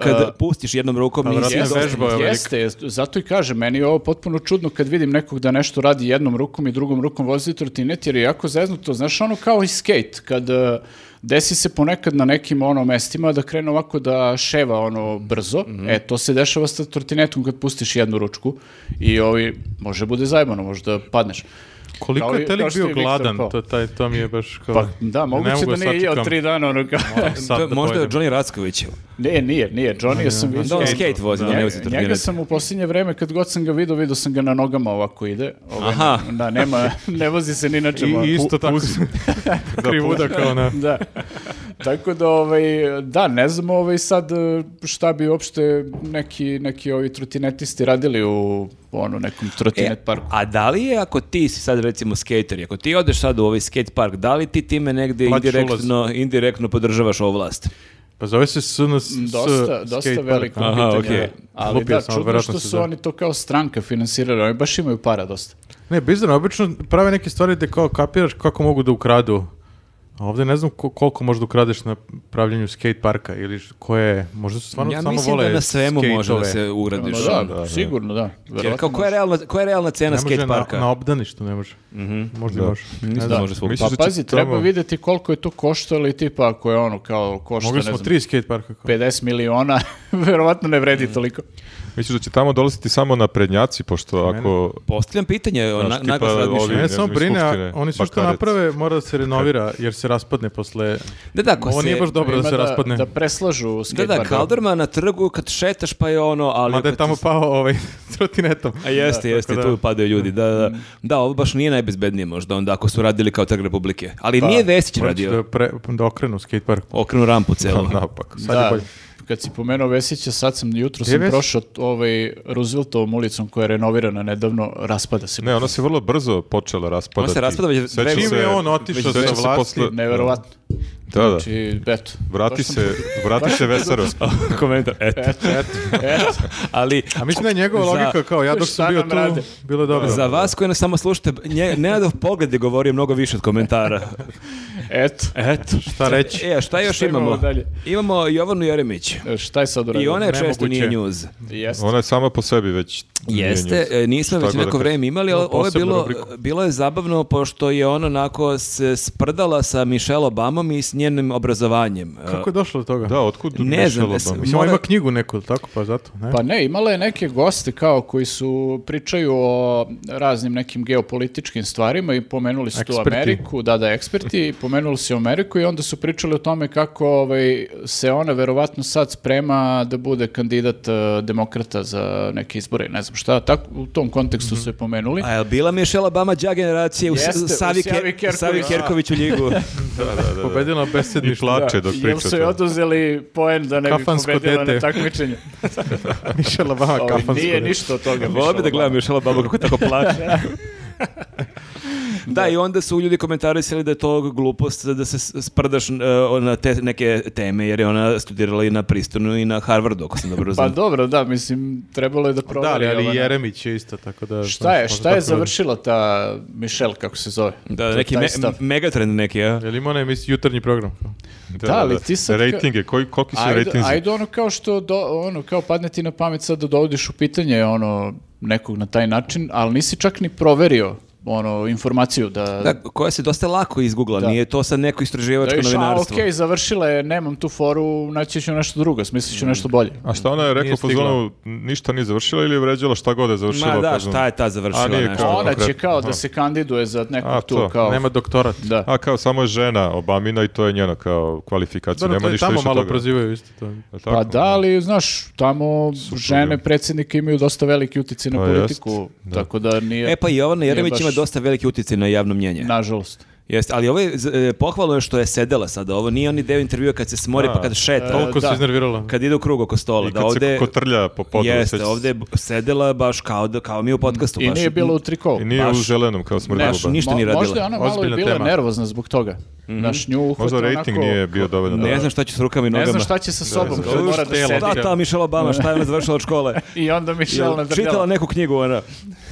[SPEAKER 4] kad
[SPEAKER 3] E,
[SPEAKER 4] pustiš jednom
[SPEAKER 3] pa
[SPEAKER 4] rukom,
[SPEAKER 2] ali
[SPEAKER 4] nisi
[SPEAKER 2] vratno
[SPEAKER 4] dosta-
[SPEAKER 2] je vežba. je velika.
[SPEAKER 3] jeste, jeste, zato i kažem, meni je ovo potpuno čudno kad vidim nekog da nešto radi jednom rukom i drugom rukom vozi trotinet, jer je jako zeznuto, znaš, ono kao i skate, kad e, desi se ponekad na nekim ono mestima da krene ovako da ševa ono brzo, e, to se dešava sa trotinetom kad pustiš jednu ručku i ovi, može bude zajebano, možda padneš.
[SPEAKER 2] Koliko
[SPEAKER 3] Kao
[SPEAKER 2] je
[SPEAKER 3] i-
[SPEAKER 2] Telik
[SPEAKER 3] kao što je
[SPEAKER 2] bio
[SPEAKER 3] Viktor
[SPEAKER 2] gladan,
[SPEAKER 3] kao.
[SPEAKER 2] to, taj, to mi je baš kao...
[SPEAKER 3] Pa, da, moguće da nije jeo tri dana, ono kao...
[SPEAKER 4] To je možda je Johnny Racković.
[SPEAKER 3] Ne, nije, nije, Johnny, ja sam
[SPEAKER 4] Da
[SPEAKER 3] vidio...
[SPEAKER 4] on skate vozi, da ne vozi
[SPEAKER 3] Njega, njega
[SPEAKER 4] trotinet.
[SPEAKER 3] sam u posljednje vreme, kad god sam ga vidio, vidio sam ga na nogama ovako ide. Ovaj,
[SPEAKER 4] Aha.
[SPEAKER 3] Da, nema, ne vozi se ni na čemu.
[SPEAKER 2] I isto tako krivuda kao na...
[SPEAKER 3] Da. Tako da, ovaj, da, ne znam ovaj sad eh, šta bi uopšte neki, neki ovi trotinetisti radili u ono nekom trotinet
[SPEAKER 4] E,
[SPEAKER 3] parku.
[SPEAKER 4] A da li je, ako ti si sad recimo skater, i ako ti odeš sad u ovaj skate park, da li ti time negde
[SPEAKER 3] Pa
[SPEAKER 2] Plaćaš
[SPEAKER 4] indirektno, indirektno podržavaš ovu vlast?
[SPEAKER 2] Pa zove se SNS
[SPEAKER 3] Dosta, dosta
[SPEAKER 2] skate
[SPEAKER 3] veliko
[SPEAKER 2] park.
[SPEAKER 4] Aha,
[SPEAKER 3] pitanje.
[SPEAKER 4] okej.
[SPEAKER 3] Ali
[SPEAKER 2] Lupio
[SPEAKER 3] da,
[SPEAKER 2] sam,
[SPEAKER 3] čudno
[SPEAKER 2] verovatno
[SPEAKER 3] što
[SPEAKER 2] se
[SPEAKER 3] su
[SPEAKER 2] da.
[SPEAKER 3] oni to kao stranka finansirali, oni baš imaju para dosta.
[SPEAKER 2] Ne, bizarno, obično prave neke stvari gde kao kapiraš kako mogu da ukradu. A ovde ne znam ko- koliko možda ukradeš na pravljenju skate parka ili š- koje, možda su stvarno
[SPEAKER 4] ja
[SPEAKER 2] samo
[SPEAKER 4] mislim
[SPEAKER 2] vole
[SPEAKER 4] da na svemu može da
[SPEAKER 2] skateove.
[SPEAKER 4] se ugradiš.
[SPEAKER 3] Pa da,
[SPEAKER 1] da, da.
[SPEAKER 3] sigurno da.
[SPEAKER 4] Jer
[SPEAKER 3] Verovatno
[SPEAKER 4] kao, koja je realna, koja je realna cena
[SPEAKER 2] Ne može
[SPEAKER 4] skate
[SPEAKER 2] na,
[SPEAKER 4] parka? Mhm.
[SPEAKER 2] na obdaništu, ne može. Možda i
[SPEAKER 1] Da.
[SPEAKER 2] može. Ne
[SPEAKER 4] Mislim da
[SPEAKER 2] znam.
[SPEAKER 4] može svog.
[SPEAKER 1] Mislim-
[SPEAKER 3] Pa
[SPEAKER 1] Misliš da će
[SPEAKER 3] pazi, treba
[SPEAKER 1] tamo-
[SPEAKER 3] vidjeti koliko je to koštalo i tipa ako je ono kao košta,
[SPEAKER 2] Mogli
[SPEAKER 3] ne
[SPEAKER 2] smo
[SPEAKER 3] znam,
[SPEAKER 2] tri skate parka. Kao.
[SPEAKER 3] 50 miliona, verovatno ne vredi toliko.
[SPEAKER 1] Misliš da će tamo dolaziti samo naprednjaci, pošto ako...
[SPEAKER 4] Pa Postavljam pitanje,
[SPEAKER 1] Znaš,
[SPEAKER 4] na,
[SPEAKER 1] tipa
[SPEAKER 4] naglas razmišljam.
[SPEAKER 1] ovi-
[SPEAKER 2] Ne,
[SPEAKER 1] Ne
[SPEAKER 2] samo
[SPEAKER 1] znam, iz
[SPEAKER 2] brine, a
[SPEAKER 1] Skupštine,
[SPEAKER 2] oni su što
[SPEAKER 1] Bakarec.
[SPEAKER 2] naprave, mora da se renovira, jer se raspadne posle...
[SPEAKER 4] Da, da, ako
[SPEAKER 2] Ovo
[SPEAKER 4] se...
[SPEAKER 2] nije baš dobro da
[SPEAKER 3] Ima
[SPEAKER 2] se raspadne.
[SPEAKER 3] Da preslažu
[SPEAKER 4] Da, da,
[SPEAKER 3] skatepark.
[SPEAKER 4] kaldrma na trgu kad šetaš pa je ono, ali...
[SPEAKER 2] Mada
[SPEAKER 4] ako
[SPEAKER 2] je
[SPEAKER 4] ti
[SPEAKER 2] tamo
[SPEAKER 4] se-
[SPEAKER 2] pao ovaj trotinetom.
[SPEAKER 4] A jeste, jeste,
[SPEAKER 2] da.
[SPEAKER 4] tu padaju ljudi, da, da. Da, ovo baš nije najbezbednije možda onda ako su radili kao Trg Republike. Ali
[SPEAKER 2] Pa,
[SPEAKER 4] nije Vesić
[SPEAKER 2] Morat ću Da,
[SPEAKER 4] radio,
[SPEAKER 2] pre, da okrenu pa. skate park.
[SPEAKER 4] okrenu rampu celu.
[SPEAKER 1] Napak.
[SPEAKER 2] Sad je
[SPEAKER 3] Da,
[SPEAKER 2] bolje.
[SPEAKER 3] kad si pomenuo Vesića, sad sam, jutro
[SPEAKER 2] Gde
[SPEAKER 3] sam
[SPEAKER 2] je Vesić?
[SPEAKER 3] prošao t- ovaj Rooseveltovom ulicom koja je renovirana nedavno, raspada se.
[SPEAKER 1] Ne, ona se vrlo brzo počela raspadati.
[SPEAKER 4] Ona se raspada već
[SPEAKER 1] Sećam
[SPEAKER 4] dve-
[SPEAKER 1] se-
[SPEAKER 2] Čim je on otišao
[SPEAKER 1] sećam
[SPEAKER 2] sa
[SPEAKER 1] se
[SPEAKER 2] vlasti,
[SPEAKER 1] posle-
[SPEAKER 3] Neverovatno.
[SPEAKER 1] Da, da.
[SPEAKER 3] Znači, eto.
[SPEAKER 1] Vrati
[SPEAKER 3] baš sam-
[SPEAKER 1] se, vrati se Vesaro.
[SPEAKER 4] Komentar, eto.
[SPEAKER 3] Eto,
[SPEAKER 4] Ali,
[SPEAKER 2] A mislim da je njegova
[SPEAKER 4] Za-
[SPEAKER 2] logika kao ja dok
[SPEAKER 3] Šta
[SPEAKER 2] sam bio
[SPEAKER 3] nam
[SPEAKER 2] tu,
[SPEAKER 3] rade?
[SPEAKER 2] bilo je dobro.
[SPEAKER 4] Za vas koji nas samo slušate, nje, Nenadov pogled je govorio mnogo više od komentara.
[SPEAKER 3] eto.
[SPEAKER 4] Eto.
[SPEAKER 2] Šta reći?
[SPEAKER 4] E, a šta E, još
[SPEAKER 3] Šta imamo
[SPEAKER 4] imamo?
[SPEAKER 3] dalje?
[SPEAKER 4] Imamo Jovanu Jeremić.
[SPEAKER 3] E, Šta je sad
[SPEAKER 4] I
[SPEAKER 3] uradio?
[SPEAKER 4] ona je često
[SPEAKER 2] Nemoguće.
[SPEAKER 4] nije njuz.
[SPEAKER 3] Jeste.
[SPEAKER 1] Ona je sama po sebi već...
[SPEAKER 4] Jeste, e, nismo
[SPEAKER 1] Šta
[SPEAKER 4] već
[SPEAKER 1] god da
[SPEAKER 4] neko
[SPEAKER 1] kažem.
[SPEAKER 4] vreme imali, ali
[SPEAKER 2] Imamo
[SPEAKER 4] ovo je
[SPEAKER 2] posebnu
[SPEAKER 4] bilo,
[SPEAKER 2] rubriku.
[SPEAKER 4] ono bilo je zabavno pošto je ona onako se sprdala sa Michelle Obamom i s njenim obrazovanjem. E,
[SPEAKER 2] Kako je došlo do toga?
[SPEAKER 1] Da, otkud
[SPEAKER 4] Ne znam,
[SPEAKER 1] Miša
[SPEAKER 4] jesam-
[SPEAKER 1] Loban?
[SPEAKER 2] Mislim, ona
[SPEAKER 4] mora-
[SPEAKER 2] ima knjigu neku, ili tako, pa zato, ne?
[SPEAKER 3] Pa ne, imala je neke goste kao koji su pričaju o raznim nekim geopolitičkim stvarima i pomenuli su tu
[SPEAKER 2] Eksperti.
[SPEAKER 3] Ameriku, da da eksperti, i pomenuli su Ameriku i onda su pričali o tome kako ovaj, se ona verovatno sad sprema da bude kandidat eh, demokrata za neke izbore, ne znam šta, tako, u tom kontekstu
[SPEAKER 2] Mhm.
[SPEAKER 3] su je pomenuli.
[SPEAKER 4] E, A je bila Michelle Obama đa generacije u, s-
[SPEAKER 3] Jeste, u Savi
[SPEAKER 4] Savi, Ke-
[SPEAKER 3] Kerković.
[SPEAKER 4] Savi Kerković u ligu?
[SPEAKER 2] Pa, Pobedila
[SPEAKER 1] I
[SPEAKER 2] besedništvo.
[SPEAKER 1] plače dok
[SPEAKER 3] Jel
[SPEAKER 1] priča.
[SPEAKER 3] su joj
[SPEAKER 1] to.
[SPEAKER 3] oduzeli poen da ne bi
[SPEAKER 2] Kafansko
[SPEAKER 3] pobedila na
[SPEAKER 2] dete.
[SPEAKER 3] takmičenju?
[SPEAKER 2] Miša Lavama,
[SPEAKER 3] Ovaj,
[SPEAKER 2] kafansko.
[SPEAKER 3] Nije ništa od toga.
[SPEAKER 4] Volio bi
[SPEAKER 3] Mišela
[SPEAKER 4] da gledam Michelle Obama kako tako plače. da, i onda su ljudi komentarisali da je to glupost da se s- sprdaš e, na te neke teme, jer je ona studirala i na Pristonu i na Harvardu, ako sam dobro
[SPEAKER 3] Pa
[SPEAKER 4] razumio.
[SPEAKER 3] dobro, da, mislim, trebalo je da proveri.
[SPEAKER 2] Da, ali, ali
[SPEAKER 3] Jelena.
[SPEAKER 2] Jeremić je isto, tako da...
[SPEAKER 3] Šta
[SPEAKER 2] znaš,
[SPEAKER 3] je,
[SPEAKER 2] možda
[SPEAKER 3] šta je
[SPEAKER 2] tako da-
[SPEAKER 3] završila ta Michelle, kako se zove?
[SPEAKER 4] Da,
[SPEAKER 3] To-
[SPEAKER 4] neki
[SPEAKER 3] taj
[SPEAKER 4] me,
[SPEAKER 3] stav.
[SPEAKER 4] megatrend neki, a?
[SPEAKER 2] Je li ima onaj emisij- jutarnji program?
[SPEAKER 1] Da,
[SPEAKER 3] Da, ali
[SPEAKER 1] da.
[SPEAKER 3] ti sad ka-
[SPEAKER 1] Rejtinge, koji, koliki su
[SPEAKER 3] Ajde,
[SPEAKER 1] rejtinzi?
[SPEAKER 3] ajde ono kao što do, ono kao padne ti na pamet sad da dovodiš u pitanje ono nekog na taj način, ali nisi čak ni proverio ono informaciju da
[SPEAKER 4] Da, koja se dosta lako izgugla,
[SPEAKER 3] Da.
[SPEAKER 4] nije to sad neko
[SPEAKER 3] da
[SPEAKER 4] istraživačko
[SPEAKER 3] viš, a
[SPEAKER 4] novinarstvo.
[SPEAKER 3] okej, završila je, nemam tu foru, naći ću nešto drugo, smislit ću nešto bolje.
[SPEAKER 1] Mm. A šta ona je rekla
[SPEAKER 2] Nije
[SPEAKER 1] u fazonu, ništa nije završila ili je vređala šta god je završila?
[SPEAKER 4] Ma
[SPEAKER 1] u
[SPEAKER 4] da,
[SPEAKER 1] fazonu?
[SPEAKER 4] šta je ta završila
[SPEAKER 1] A nije
[SPEAKER 4] nešto?
[SPEAKER 1] kao-
[SPEAKER 3] Ona će
[SPEAKER 1] konkretno,
[SPEAKER 3] kao da
[SPEAKER 1] aha.
[SPEAKER 3] se kandiduje za
[SPEAKER 1] A,
[SPEAKER 3] nekog tu
[SPEAKER 1] to,
[SPEAKER 3] kao...
[SPEAKER 2] Nema doktorat.
[SPEAKER 3] Da.
[SPEAKER 1] A kao samo je žena Obamina i to je njena kao kvalifikacija,
[SPEAKER 2] Dobro,
[SPEAKER 1] nema
[SPEAKER 2] to je
[SPEAKER 1] ništa
[SPEAKER 2] tamo
[SPEAKER 1] više
[SPEAKER 2] malo
[SPEAKER 1] toga.
[SPEAKER 2] prozivaju isto to.
[SPEAKER 1] Je li tako?
[SPEAKER 3] Pa da, ali znaš, tamo žene predsjednike imaju dosta veliki utjecaj na
[SPEAKER 1] Pa jest,
[SPEAKER 3] politiku,
[SPEAKER 1] da.
[SPEAKER 3] tako da nije,
[SPEAKER 4] E pa Jovana Jeremić
[SPEAKER 3] baš-
[SPEAKER 4] ima dosta veliki utjecaj na javno mnjenje.
[SPEAKER 3] nažalost.
[SPEAKER 4] Jeste, ali ovo je z- e, pohvalno je što je sedela sada. Ovo nije oni deo intervjua kad se smori
[SPEAKER 1] Da.
[SPEAKER 4] pa kad šeta,
[SPEAKER 2] Toliko
[SPEAKER 3] da.
[SPEAKER 2] se iznervirala.
[SPEAKER 4] kad ide u krug oko stola.
[SPEAKER 1] I
[SPEAKER 4] da
[SPEAKER 1] kad
[SPEAKER 4] ovde,
[SPEAKER 1] se kotrlja po podu.
[SPEAKER 4] jeste,
[SPEAKER 1] seća se.
[SPEAKER 4] ovdje je b- sedela baš kao, da, kao mi u podcastu.
[SPEAKER 3] I
[SPEAKER 4] baš.
[SPEAKER 3] nije bilo u trikovu.
[SPEAKER 1] I nije
[SPEAKER 4] baš-
[SPEAKER 1] u zelenom kao smrdi
[SPEAKER 4] Baš ništa nije radila.
[SPEAKER 3] Možda je ona malo i
[SPEAKER 2] Ozbiljna
[SPEAKER 3] bila
[SPEAKER 2] tema.
[SPEAKER 3] nervozna zbog toga. Znaš, nju
[SPEAKER 1] Možda
[SPEAKER 3] uhvata
[SPEAKER 1] rejting
[SPEAKER 3] onako-
[SPEAKER 1] nije bio dovoljno
[SPEAKER 4] Ne
[SPEAKER 1] dobar.
[SPEAKER 4] znam šta će s rukama i
[SPEAKER 3] Ne
[SPEAKER 4] nogama.
[SPEAKER 3] znam šta će sa sobom
[SPEAKER 1] znam.
[SPEAKER 3] kad mora da
[SPEAKER 2] Telo.
[SPEAKER 3] sedi.
[SPEAKER 4] Da, ta Michelle Obama, šta je ona završila od škole?
[SPEAKER 3] I onda Michelle
[SPEAKER 4] Jel Čitala
[SPEAKER 3] nadrljala.
[SPEAKER 4] neku knjigu ona.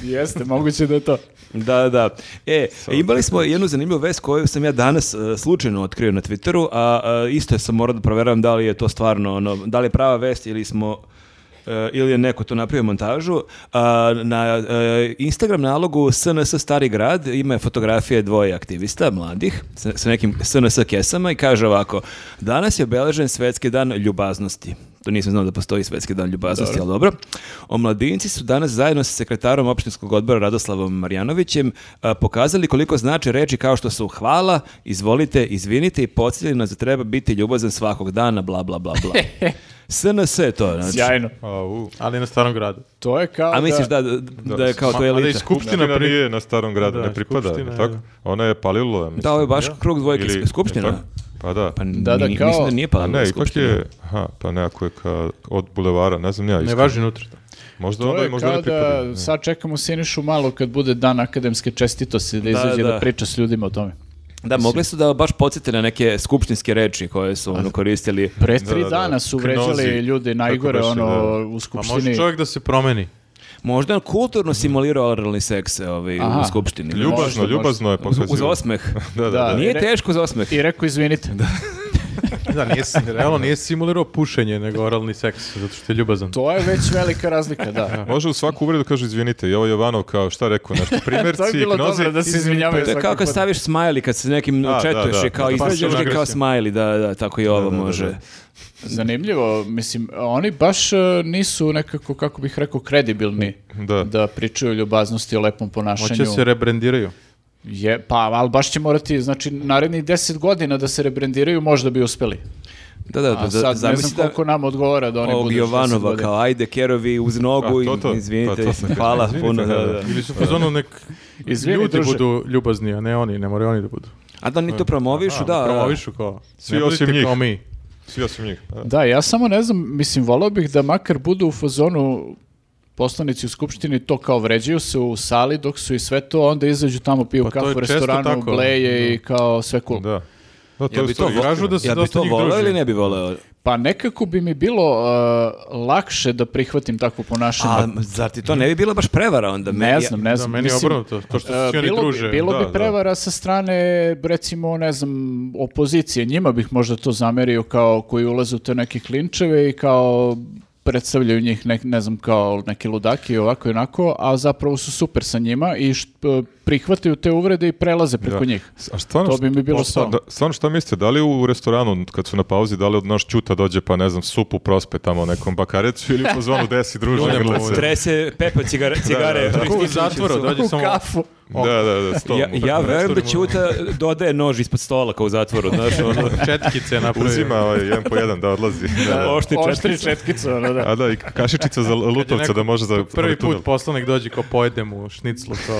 [SPEAKER 3] Jeste, moguće da je to.
[SPEAKER 4] Da, da. E, imali smo jednu zanimljivu vest koju sam ja danas e, slučajno otkrio na Twitteru, a e, isto sam morao da proveravam da li je to stvarno, ono, da li je prava vest ili smo e, ili je neko to napravio montažu. A, na e, Instagram nalogu SNS Stari grad ima fotografije dvoje aktivista, mladih, sa, sa nekim SNS kesama i kaže ovako, danas je obeležen Svetski dan ljubaznosti. To nisam znao da postoji Svetski dan ljubaznosti, ali dobro. Omladinci su danas zajedno sa sekretarom opštinskog odbora Radoslavom Marjanovićem a, pokazali koliko znači reči kao što su hvala, izvolite, izvinite i podsjetili nas da treba biti ljubazan svakog dana, bla, bla, bla, bla. SNS je to, znači.
[SPEAKER 3] Sjajno.
[SPEAKER 1] Au.
[SPEAKER 2] Ali na starom gradu.
[SPEAKER 3] To je kao
[SPEAKER 4] A misliš da, da, da je kao to
[SPEAKER 2] Ma-
[SPEAKER 4] je
[SPEAKER 2] mada i
[SPEAKER 4] elita?
[SPEAKER 1] Skupština
[SPEAKER 2] pri-
[SPEAKER 1] nije na starom gradu,
[SPEAKER 2] Da,
[SPEAKER 1] ne pripada, je
[SPEAKER 2] skupština,
[SPEAKER 1] tako?
[SPEAKER 2] da.
[SPEAKER 1] Ona je palilo, ja mislim.
[SPEAKER 4] Da, ovo je baš krug dvojke.
[SPEAKER 1] Ili-
[SPEAKER 4] skupština?
[SPEAKER 1] je tako? Pa da.
[SPEAKER 4] Pa
[SPEAKER 3] Da, da,
[SPEAKER 4] ni-
[SPEAKER 3] kao-
[SPEAKER 4] mislim da nije pa
[SPEAKER 1] A ne, ipak je, aha, pa nekako je ka, od bulevara, ne znam ja
[SPEAKER 2] Ne
[SPEAKER 1] iskreno.
[SPEAKER 2] važi unutra.
[SPEAKER 1] Možda
[SPEAKER 3] To
[SPEAKER 1] onda i
[SPEAKER 3] je
[SPEAKER 1] možda
[SPEAKER 3] kao
[SPEAKER 1] ne pripada.
[SPEAKER 3] da sad čekamo Sinišu malo kad bude dan akademske čestitosti da izađe
[SPEAKER 4] da.
[SPEAKER 3] da priča s ljudima o tome.
[SPEAKER 4] Da, mogli su da baš podsjete na neke skupštinske reči koje su ono, koristili.
[SPEAKER 3] Pre
[SPEAKER 1] Da,
[SPEAKER 3] tri
[SPEAKER 1] da, da.
[SPEAKER 3] dana su
[SPEAKER 1] Knozi,
[SPEAKER 3] vređali ljudi
[SPEAKER 1] tako
[SPEAKER 3] najgore
[SPEAKER 1] beše,
[SPEAKER 3] ono
[SPEAKER 1] da.
[SPEAKER 3] u
[SPEAKER 2] Pa
[SPEAKER 3] skupštini.
[SPEAKER 2] može čovjek da se promeni.
[SPEAKER 4] Možda je on kulturno simulirao oralni seks ovaj, u
[SPEAKER 3] Aha.
[SPEAKER 4] skupštini.
[SPEAKER 1] Ljubazno,
[SPEAKER 3] Možda, možda.
[SPEAKER 1] ljubazno je
[SPEAKER 4] Uz,
[SPEAKER 1] pokazio.
[SPEAKER 4] uz osmeh.
[SPEAKER 1] Da, da,
[SPEAKER 3] Da.
[SPEAKER 1] da.
[SPEAKER 4] Nije
[SPEAKER 3] Re-
[SPEAKER 4] teško uz osmeh.
[SPEAKER 3] I rekao izvinite.
[SPEAKER 2] Da, nije, si- realno nije simulirao pušenje, nego oralni seks, zato što je ljubazan.
[SPEAKER 3] To je već velika razlika, da.
[SPEAKER 1] Može u svaku uvredu kaže izvinite, i ovo Jovanov kao šta rekao nešto,
[SPEAKER 3] to je
[SPEAKER 1] primjerci,
[SPEAKER 3] bilo
[SPEAKER 1] gnozi,
[SPEAKER 3] dobro da se izvinjavaju
[SPEAKER 4] To je kao
[SPEAKER 3] svaki
[SPEAKER 4] kad
[SPEAKER 3] put.
[SPEAKER 4] staviš smajli kad se nekim
[SPEAKER 1] A, da,
[SPEAKER 4] četuješ
[SPEAKER 1] da.
[SPEAKER 4] i kao
[SPEAKER 1] Da,
[SPEAKER 2] pasivna
[SPEAKER 4] izađeš i kao
[SPEAKER 2] agresija.
[SPEAKER 4] smajli, da, da, tako i ovo
[SPEAKER 1] da, da,
[SPEAKER 4] može.
[SPEAKER 1] da.
[SPEAKER 3] Zanimljivo, mislim, oni baš e, nisu nekako, kako bih rekao, kredibilni
[SPEAKER 1] Da.
[SPEAKER 3] pričaju o ljubaznosti, o lepom ponašanju.
[SPEAKER 2] Hoće se rebrendiraju.
[SPEAKER 3] Je, pa, ali baš će morati, znači, narednih deset godina da se rebrendiraju, možda bi uspeli.
[SPEAKER 4] Da, da, da,
[SPEAKER 3] A
[SPEAKER 4] Pa da,
[SPEAKER 3] sad ne
[SPEAKER 4] zamisli
[SPEAKER 3] znam
[SPEAKER 4] da-
[SPEAKER 3] koliko nam odgovora da oni budu
[SPEAKER 4] ovog
[SPEAKER 3] 60
[SPEAKER 4] Jovanova
[SPEAKER 3] godina.
[SPEAKER 4] kao ajde kerovi uz nogu
[SPEAKER 1] A, to, to,
[SPEAKER 4] i izvinite,
[SPEAKER 1] to, to sam htio,
[SPEAKER 4] hvala
[SPEAKER 1] izvinite,
[SPEAKER 4] puno.
[SPEAKER 1] da,
[SPEAKER 4] da,
[SPEAKER 1] da.
[SPEAKER 4] da.
[SPEAKER 2] Ili su pozvano nek
[SPEAKER 3] Izvini,
[SPEAKER 2] ljudi
[SPEAKER 3] druže.
[SPEAKER 2] budu ljubazni, a ne oni, ne moraju oni da budu.
[SPEAKER 4] A da oni to promovišu, da. da.
[SPEAKER 2] Promovišu kao.
[SPEAKER 1] Svi
[SPEAKER 2] ne budite
[SPEAKER 1] osim njih.
[SPEAKER 2] Kao mi.
[SPEAKER 1] svi osim njih. Da.
[SPEAKER 3] Da, ja samo ne znam, mislim, volao bih da makar budu u fazonu poslanici u skupštini to kao vređaju se u sali dok su i sve to, onda izađu tamo piju
[SPEAKER 2] Pa to
[SPEAKER 3] kafu
[SPEAKER 2] je
[SPEAKER 3] u
[SPEAKER 2] često
[SPEAKER 3] restoranu,
[SPEAKER 2] tako.
[SPEAKER 3] bleje i kao sve cool.
[SPEAKER 1] Da. Da, to
[SPEAKER 4] Ja
[SPEAKER 1] je
[SPEAKER 4] bi
[SPEAKER 1] u stvari
[SPEAKER 4] to
[SPEAKER 2] Kažu
[SPEAKER 1] istina.
[SPEAKER 2] da se
[SPEAKER 4] Ja bi
[SPEAKER 2] dosta
[SPEAKER 4] to
[SPEAKER 2] njih
[SPEAKER 4] voleo
[SPEAKER 2] druži.
[SPEAKER 4] ili ne bi voleo?
[SPEAKER 3] Pa nekako bi mi bilo uh, lakše da prihvatim takvo ponašanje.
[SPEAKER 4] A zar ti to ne bi bila baš prevara onda?
[SPEAKER 3] ne
[SPEAKER 4] Meni-
[SPEAKER 3] znam, ne
[SPEAKER 2] Da,
[SPEAKER 3] znam.
[SPEAKER 2] meni je
[SPEAKER 3] mislim,
[SPEAKER 2] obrnuto. To što se
[SPEAKER 3] e,
[SPEAKER 2] svi oni
[SPEAKER 3] bilo
[SPEAKER 2] druže.
[SPEAKER 3] bi, bilo
[SPEAKER 1] da,
[SPEAKER 3] bi
[SPEAKER 1] da.
[SPEAKER 3] prevara sa strane, recimo, ne znam, opozicije. Njima bih možda to zamerio kao koji ulaze u te neke klinčeve i kao predstavljaju njih, ne, ne znam, kao neke ludaki, ovako i onako, a zapravo su super sa njima i št- uh, prihvataju te uvrede i prelaze preko
[SPEAKER 1] Da.
[SPEAKER 3] njih.
[SPEAKER 1] A stvarno,
[SPEAKER 3] To bi mi bilo
[SPEAKER 1] šta- ono
[SPEAKER 3] stvarno.
[SPEAKER 1] da, stvarno šta mislite, da li u restoranu kad su na pauzi, da li od naš ćuta dođe pa ne znam, supu prospe tamo nekom bakarecu ili po zvonu desi druže, grle se.
[SPEAKER 4] Trese pepa cigare, cigare.
[SPEAKER 2] Tako u zatvoru, dođe
[SPEAKER 3] U
[SPEAKER 2] samo...
[SPEAKER 3] kafu.
[SPEAKER 1] Da, da, da, sto.
[SPEAKER 4] Ja, ja verujem da Ćuta dodaje nož ispod stola kao u zatvoru, znaš, ono,
[SPEAKER 2] Četkice napravi.
[SPEAKER 1] Uzima ovaj, jedan po jedan da odlazi. Da, da.
[SPEAKER 4] oštri
[SPEAKER 3] Oštri
[SPEAKER 4] četkice.
[SPEAKER 3] četkica, ono, da.
[SPEAKER 1] A da, i kašičica za lutovca
[SPEAKER 2] neko
[SPEAKER 1] da može za
[SPEAKER 2] Prvi
[SPEAKER 1] tunel.
[SPEAKER 2] put poslanik dođe kao pojedem u šniclu, to...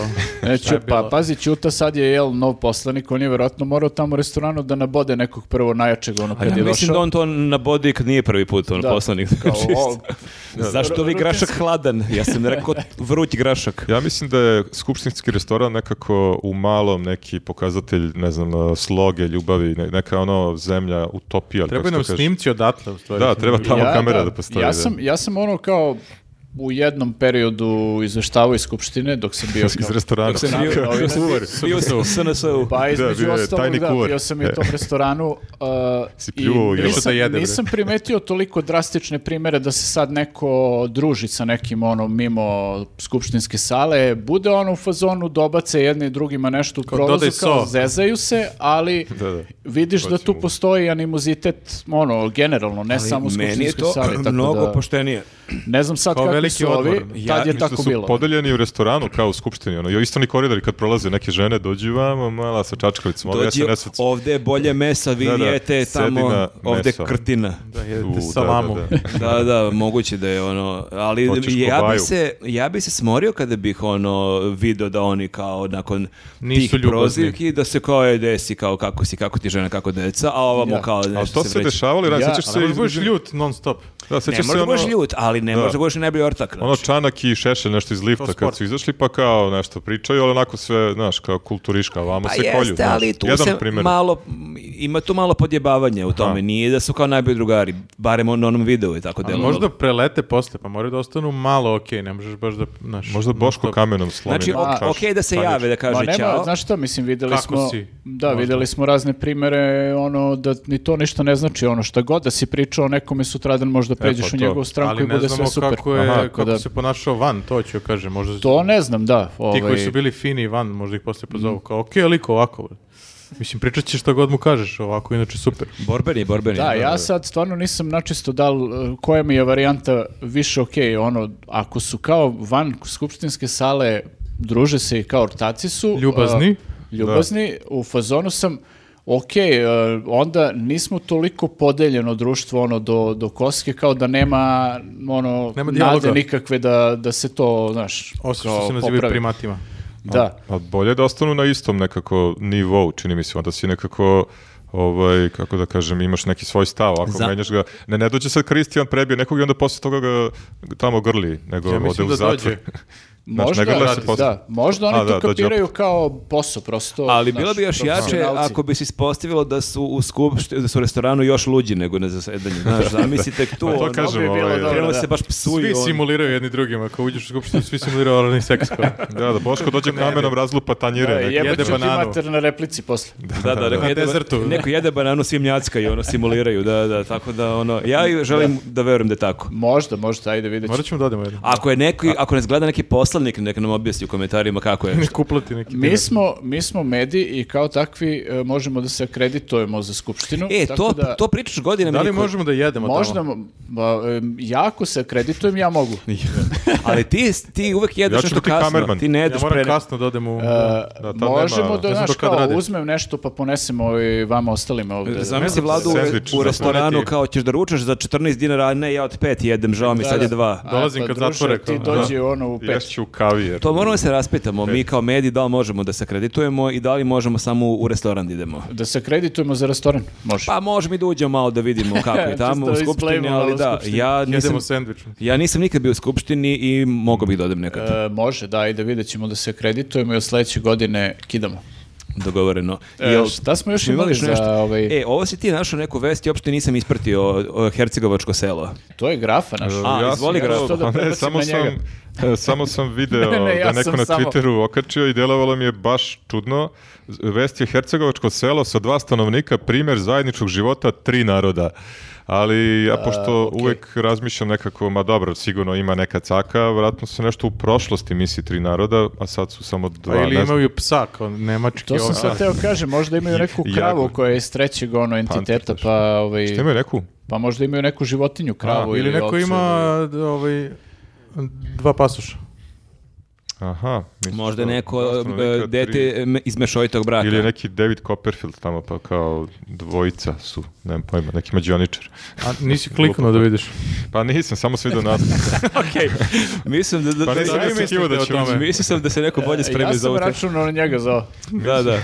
[SPEAKER 3] E,
[SPEAKER 2] Šta je
[SPEAKER 3] Ću-
[SPEAKER 2] bilo?
[SPEAKER 3] pa pazi, Ćuta sad je jel nov poslanik, on je vjerojatno morao tamo u restoranu da nabode nekog prvo najjačeg ono
[SPEAKER 4] A
[SPEAKER 3] kad
[SPEAKER 4] ja
[SPEAKER 3] je
[SPEAKER 4] mislim da
[SPEAKER 3] došao.
[SPEAKER 4] on to nabodi kad nije prvi put, on
[SPEAKER 3] Da.
[SPEAKER 4] poslanik.
[SPEAKER 3] Kao,
[SPEAKER 4] Čisto.
[SPEAKER 3] o,
[SPEAKER 4] Zašto vi grašak hladan? Ja sam rekao vruć grašak.
[SPEAKER 1] Ja mislim da je skupštinski restoran nekako u malom neki pokazatelj, ne znam, e, sloge, ljubavi, ne- neka ono zemlja utopija. ali kako
[SPEAKER 2] Trebaju
[SPEAKER 1] se to kaže.
[SPEAKER 2] nam snimci odatle, u stvari.
[SPEAKER 1] Da, treba tamo kamera da, postoji.
[SPEAKER 3] Ja
[SPEAKER 1] da.
[SPEAKER 3] sam, ja sam ono kao u jednom periodu izveštavao iz Skupštine dok sam bio
[SPEAKER 1] iz
[SPEAKER 3] kao...
[SPEAKER 1] restorana.
[SPEAKER 4] Dok sam bio,
[SPEAKER 3] Ovi-
[SPEAKER 4] bio sam u SNS-u.
[SPEAKER 3] Pa
[SPEAKER 1] bio
[SPEAKER 3] između
[SPEAKER 1] je
[SPEAKER 3] ostalog,
[SPEAKER 1] tajni
[SPEAKER 3] da,
[SPEAKER 1] kuvar.
[SPEAKER 3] bio sam i u tom restoranu uh,
[SPEAKER 1] Si
[SPEAKER 3] i
[SPEAKER 1] pljuvao u jelo.
[SPEAKER 2] Šta
[SPEAKER 3] nisam,
[SPEAKER 2] te jede, bre?
[SPEAKER 3] nisam primetio toliko drastične primere da se sad neko druži sa nekim ono mimo skupštinske sale, bude ono u fazonu, dobace jedni drugima nešto u prolazu,
[SPEAKER 2] dodaj
[SPEAKER 3] kao
[SPEAKER 2] so.
[SPEAKER 3] zezaju se, ali
[SPEAKER 1] Da, da.
[SPEAKER 3] vidiš da tu
[SPEAKER 1] Hoćemo.
[SPEAKER 3] postoji animozitet, ono, generalno, ne samo u
[SPEAKER 4] Meni je
[SPEAKER 3] skupštinskoj
[SPEAKER 4] to
[SPEAKER 3] sali, tako
[SPEAKER 4] mnogo
[SPEAKER 3] da...
[SPEAKER 4] poštenije.
[SPEAKER 3] Ne znam sad
[SPEAKER 2] Kao
[SPEAKER 3] kako
[SPEAKER 2] veliki
[SPEAKER 3] su ovi,
[SPEAKER 2] odmor.
[SPEAKER 4] Ja-
[SPEAKER 3] tad je
[SPEAKER 1] Mislim da
[SPEAKER 3] tako
[SPEAKER 1] su
[SPEAKER 3] bilo.
[SPEAKER 1] podeljeni u restoranu kao u skupštini, ono, i istrani koridori kad prolaze neke žene, dođi vamo, mala sa čačkalicom, ovo ja
[SPEAKER 4] Dođi,
[SPEAKER 1] se nesvec.
[SPEAKER 4] ovdje je bolje mesa, vi
[SPEAKER 1] Da, da,
[SPEAKER 4] jete
[SPEAKER 1] sedi
[SPEAKER 4] tamo,
[SPEAKER 1] na
[SPEAKER 4] ovdje
[SPEAKER 1] meso.
[SPEAKER 4] krtina.
[SPEAKER 2] Da, jedete
[SPEAKER 1] U, da,
[SPEAKER 2] salamu.
[SPEAKER 1] da, da.
[SPEAKER 4] Da, da, moguće da je ono, ali
[SPEAKER 1] Hoćeš
[SPEAKER 4] ja bi,
[SPEAKER 1] kobaju.
[SPEAKER 4] se, ja bi se smorio kada bih ono video da oni kao nakon
[SPEAKER 2] Nisu
[SPEAKER 4] tih
[SPEAKER 2] ljubazni.
[SPEAKER 4] prozivki da se kao je desi kao kako si, kako ti žena, kako deca, a ovo mu
[SPEAKER 3] Da.
[SPEAKER 4] kao
[SPEAKER 1] A
[SPEAKER 4] nešto
[SPEAKER 1] to se
[SPEAKER 4] vreće.
[SPEAKER 1] dešavalo, i ranije,
[SPEAKER 3] Ja,
[SPEAKER 1] sećaš
[SPEAKER 2] A
[SPEAKER 1] se...
[SPEAKER 2] ne
[SPEAKER 1] iz-
[SPEAKER 2] možeš ljut non stop.
[SPEAKER 1] Da,
[SPEAKER 4] Ne
[SPEAKER 1] sećaš se
[SPEAKER 4] možda budeš
[SPEAKER 1] ono,
[SPEAKER 4] ljut, ali ne
[SPEAKER 1] Da.
[SPEAKER 4] možda budeš i najbolji ortak.
[SPEAKER 1] ono
[SPEAKER 4] znači.
[SPEAKER 1] Čanak i Šešelj nešto iz lifta kad
[SPEAKER 2] sport.
[SPEAKER 1] su izašli, pa kao nešto pričaju, ali onako sve, znaš, kao kulturiška, a vamo
[SPEAKER 4] Pa
[SPEAKER 1] se
[SPEAKER 4] jeste,
[SPEAKER 1] kolju. znaš.
[SPEAKER 4] ali tu
[SPEAKER 1] Jedan
[SPEAKER 4] se
[SPEAKER 1] primjer.
[SPEAKER 4] malo, ima tu malo podjebavanja u tome.
[SPEAKER 1] Aha.
[SPEAKER 4] Nije da su kao najbolji drugari, barem on na onom videu i tako
[SPEAKER 2] A
[SPEAKER 3] ono-
[SPEAKER 4] delovalo.
[SPEAKER 2] možda prelete posle, pa moraju da ostanu malo okej, ne možeš baš da... Znaš,
[SPEAKER 1] Možda Boško
[SPEAKER 2] non-stop.
[SPEAKER 1] kamenom slomi.
[SPEAKER 4] Znači,
[SPEAKER 1] na
[SPEAKER 4] ok,
[SPEAKER 1] čašu.
[SPEAKER 4] okej da se
[SPEAKER 1] Pa
[SPEAKER 4] jave, da kaže
[SPEAKER 3] Ma nema,
[SPEAKER 4] ćao.
[SPEAKER 3] znaš šta, mislim, videli
[SPEAKER 2] Kako
[SPEAKER 3] smo...
[SPEAKER 2] si?
[SPEAKER 3] Da, videli smo razne primere, ono, da ni to ništa ne znači, ono, šta god da si pričao o nekome sutradan možda pređeš
[SPEAKER 1] pa
[SPEAKER 3] u
[SPEAKER 1] to.
[SPEAKER 3] njegovu stranku
[SPEAKER 2] E, Ali
[SPEAKER 3] i
[SPEAKER 2] ne
[SPEAKER 3] bude sve
[SPEAKER 2] znamo
[SPEAKER 3] super.
[SPEAKER 2] kako, je,
[SPEAKER 3] Aha, pa
[SPEAKER 2] kako
[SPEAKER 3] da-
[SPEAKER 2] se ponašao van, to ću joj kažem. Možda
[SPEAKER 3] To ne znam, da. Ovaj, Mm.
[SPEAKER 2] Ti koji su bili fini van, možda ih posle pozovu. Kao, okej, liko, ovako. bre." Mislim, pričat će što god mu kažeš, ovako, inače super.
[SPEAKER 4] Borbeni, borbeni.
[SPEAKER 3] Da, ja sad stvarno nisam načisto dal e, koja mi je varijanta više ok, ono, ako su kao van skupštinske sale, druže se i kao ortaci su.
[SPEAKER 2] Ljubazni.
[SPEAKER 3] a, ljubazni, u fazonu sam, ok, e, onda nismo toliko podeljeno društvo ono do, do koske kao da nema ono
[SPEAKER 2] Nema
[SPEAKER 3] nade
[SPEAKER 2] dijaloga.
[SPEAKER 3] nikakve da, da se to znaš
[SPEAKER 2] Osim
[SPEAKER 3] kao
[SPEAKER 2] što se nazivaju
[SPEAKER 3] popravi.
[SPEAKER 2] primatima.
[SPEAKER 3] Da.
[SPEAKER 1] A bolje da ostanu na istom nekako nivou, čini mi se, onda si nekako ovaj, kako da kažem, imaš neki svoj stav, ako
[SPEAKER 4] Za-
[SPEAKER 1] menjaš ga, ne, ne dođe sad Kristijan prebije nekog i onda posle toga ga tamo grli, nego
[SPEAKER 2] Ja
[SPEAKER 1] ode
[SPEAKER 2] mislim
[SPEAKER 1] u
[SPEAKER 2] da
[SPEAKER 1] zatvor.
[SPEAKER 2] dođe.
[SPEAKER 1] Znaš,
[SPEAKER 3] Možda,
[SPEAKER 1] ne gleda se posle.
[SPEAKER 3] da, možda oni
[SPEAKER 1] A, da,
[SPEAKER 3] to
[SPEAKER 1] dođe
[SPEAKER 3] kapiraju kao posao, prosto.
[SPEAKER 4] Ali
[SPEAKER 3] znaš,
[SPEAKER 4] bilo bi još jače
[SPEAKER 3] profesionalci.
[SPEAKER 4] ako bi se ispostavilo da su u skupšti, da su u restoranu još luđi nego na zasedanju. Znaš, zamislite tu,
[SPEAKER 1] Pa to
[SPEAKER 4] ono,
[SPEAKER 1] kažem,
[SPEAKER 3] bi bilo
[SPEAKER 1] ovaj,
[SPEAKER 3] dobro.
[SPEAKER 4] krenulo
[SPEAKER 3] da.
[SPEAKER 4] se baš psuju.
[SPEAKER 2] Svi
[SPEAKER 4] ono.
[SPEAKER 2] simuliraju jedni drugima. Ako uđeš u skupštinu, svi simuliraju oralni seks. kao.
[SPEAKER 1] da, da Boško dođe kamenom razlupa tanjire.
[SPEAKER 3] Da,
[SPEAKER 1] neke.
[SPEAKER 3] jebe
[SPEAKER 2] jede
[SPEAKER 3] E, ću ti
[SPEAKER 2] bananu.
[SPEAKER 3] mater na replici posle.
[SPEAKER 4] Da, da, neko
[SPEAKER 2] Na
[SPEAKER 4] jede,
[SPEAKER 2] dezertu.
[SPEAKER 4] neko jede bananu svimnjacka i ono simuliraju, da, da, tako da ono, ja i želim da, verujem da je tako.
[SPEAKER 3] Možda, možda, ajde vidjet ću.
[SPEAKER 2] Morat ćemo da odemo jednom.
[SPEAKER 4] Ako je neki, ako nas gleda neki poslanik, nek nam objasni u komentarima kako je.
[SPEAKER 2] Nek uplati neki
[SPEAKER 3] Mi smo, mi smo mediji i kao takvi e, možemo da se akreditujemo za skupštinu.
[SPEAKER 4] E,
[SPEAKER 3] tako
[SPEAKER 4] to,
[SPEAKER 3] da
[SPEAKER 4] to pričaš godine.
[SPEAKER 2] dinar. Da li možemo da jedemo
[SPEAKER 3] Možda,
[SPEAKER 2] tamo?
[SPEAKER 3] ba, e, ja ako se akreditujem, ja mogu.
[SPEAKER 4] Ali ti, ti uvek jedeš
[SPEAKER 1] Ja ću
[SPEAKER 4] nešto
[SPEAKER 1] biti
[SPEAKER 4] kasno.
[SPEAKER 1] kamerman.
[SPEAKER 4] Ti ne
[SPEAKER 2] Ja
[SPEAKER 4] jedeš pre...
[SPEAKER 2] moram kasno da odem u...
[SPEAKER 3] E,
[SPEAKER 1] da, tad
[SPEAKER 3] možemo
[SPEAKER 1] nema-
[SPEAKER 3] da,
[SPEAKER 2] ne znam
[SPEAKER 3] znaš,
[SPEAKER 2] do kad
[SPEAKER 3] kao
[SPEAKER 2] rade.
[SPEAKER 3] uzmem nešto pa ponesemo i vama ostalima ovde. Znači,
[SPEAKER 4] Zamisli
[SPEAKER 2] Ne,
[SPEAKER 4] vladu u-
[SPEAKER 1] sendvič
[SPEAKER 4] u,
[SPEAKER 1] za
[SPEAKER 4] restoranu
[SPEAKER 2] poneti.
[SPEAKER 4] kao ćeš da ručaš za 14 dinara, a ne ja od 5 jedem, žao mi
[SPEAKER 3] Da,
[SPEAKER 4] sad
[SPEAKER 3] da.
[SPEAKER 4] je dva.
[SPEAKER 3] A, pa
[SPEAKER 2] Dolazim kad
[SPEAKER 3] druže,
[SPEAKER 2] zatvore,
[SPEAKER 3] Ti
[SPEAKER 2] kao,
[SPEAKER 3] dođi ono u pet.
[SPEAKER 1] Ješću kavijer.
[SPEAKER 4] To moramo da se raspitamo, mi kao mediji da li možemo da se kreditujemo i da li možemo samo u restoran da idemo.
[SPEAKER 3] Da se akreditujemo za restoran, može.
[SPEAKER 4] Pa možemo i da uđemo malo da vidimo kako je tamo
[SPEAKER 3] Čisto da
[SPEAKER 4] u skupštini,
[SPEAKER 3] isplejmo malo
[SPEAKER 4] ali
[SPEAKER 3] u
[SPEAKER 4] da,
[SPEAKER 3] skupštini.
[SPEAKER 4] ja nisam,
[SPEAKER 2] Jedemo sendvičom.
[SPEAKER 4] ja nisam nikad bio u skupštini i mogao bih da odem nekad.
[SPEAKER 3] E, može, da, ajde, vidjet ćemo da se akreditujemo i od sledeće godine kidamo.
[SPEAKER 4] Dogovoreno.
[SPEAKER 3] E,
[SPEAKER 4] Jel-
[SPEAKER 3] šta smo još
[SPEAKER 4] smo
[SPEAKER 3] imali za ovaj-
[SPEAKER 4] E, ovo si ti našao neku vest i uopšte nisam ispratio o, o Hercegovačko selo.
[SPEAKER 3] To je grafa naš.
[SPEAKER 4] A, izvoli
[SPEAKER 1] sam-
[SPEAKER 4] grafa.
[SPEAKER 1] Pa
[SPEAKER 3] To da
[SPEAKER 1] ne,
[SPEAKER 3] prebacim
[SPEAKER 1] samo
[SPEAKER 3] na
[SPEAKER 1] sam
[SPEAKER 3] njega.
[SPEAKER 1] E, Samo sam video
[SPEAKER 3] Ne, ne, ja
[SPEAKER 1] da neko
[SPEAKER 3] sam
[SPEAKER 1] na
[SPEAKER 3] samo-
[SPEAKER 1] Twitteru okačio i delovalo mi je baš čudno. Vest je Hercegovačko selo sa dva stanovnika, primer zajedničkog života tri naroda. Ali ja pošto uvek razmišljam nekako, ma dobro, sigurno ima neka caka, vratno se nešto u prošlosti misli tri naroda, a sad su
[SPEAKER 3] Pa
[SPEAKER 1] samo dva.
[SPEAKER 2] A ili
[SPEAKER 1] ne znam.
[SPEAKER 2] imaju psa, kao nemački. ovaj-
[SPEAKER 3] To sam
[SPEAKER 2] ovce.
[SPEAKER 3] sad teo kažem, možda imaju neku
[SPEAKER 1] Jagu.
[SPEAKER 3] kravu koja je iz trećeg ono entiteta,
[SPEAKER 1] Panter,
[SPEAKER 3] pa, ovaj,
[SPEAKER 1] Šta imaju neku?
[SPEAKER 3] pa možda imaju neku životinju, kravu
[SPEAKER 1] A,
[SPEAKER 2] Ili neko
[SPEAKER 3] ovcu
[SPEAKER 2] ima d- ovaj, dva pasuša.
[SPEAKER 1] Aha. misliš
[SPEAKER 4] Možda
[SPEAKER 1] da- dva
[SPEAKER 4] neko
[SPEAKER 1] stanovnika,
[SPEAKER 4] e,
[SPEAKER 1] tri-
[SPEAKER 4] dete me- iz mešovitog braka.
[SPEAKER 1] Ili je neki David Copperfield tamo, pa kao dvojica su, nemam pojma, neki mađioničar.
[SPEAKER 2] A nisi kliknuo da vidiš.
[SPEAKER 1] Pa nisam, samo sam vidio nas.
[SPEAKER 4] Okej. Mislim da... da,
[SPEAKER 1] Pa
[SPEAKER 4] da-
[SPEAKER 1] nisam
[SPEAKER 4] da-
[SPEAKER 1] ni očekivao da
[SPEAKER 4] mislite
[SPEAKER 1] će
[SPEAKER 4] o tome.
[SPEAKER 1] ući.
[SPEAKER 4] Mislio sam da se neko
[SPEAKER 3] E,
[SPEAKER 4] bolje
[SPEAKER 3] Ja
[SPEAKER 4] spremi za
[SPEAKER 3] sam
[SPEAKER 4] ovu
[SPEAKER 3] računao na njega za ovo.
[SPEAKER 4] Da, da.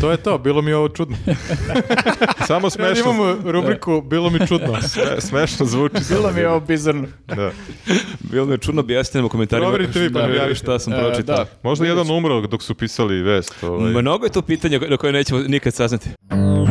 [SPEAKER 2] To je to, bilo mi je ovo čudno.
[SPEAKER 1] Samo
[SPEAKER 2] Sad
[SPEAKER 1] smešno,
[SPEAKER 2] imamo rubriku, bilo mi čudno.
[SPEAKER 1] sme- smešno zvuči. samo
[SPEAKER 3] Bilo mi je
[SPEAKER 1] vidim.
[SPEAKER 3] ovo bizarno.
[SPEAKER 1] Da.
[SPEAKER 4] Bilo mi je čudno objasnite u komentarima.
[SPEAKER 2] Proverite vi, pa mi
[SPEAKER 4] šta,
[SPEAKER 2] javite.
[SPEAKER 4] šta sam
[SPEAKER 3] E,
[SPEAKER 4] pročitao.
[SPEAKER 3] da.
[SPEAKER 1] Možda jedan umro dok su pisali vest. Ovaj.
[SPEAKER 4] Mnogo je to pitanja na koje nećemo nikad saznati.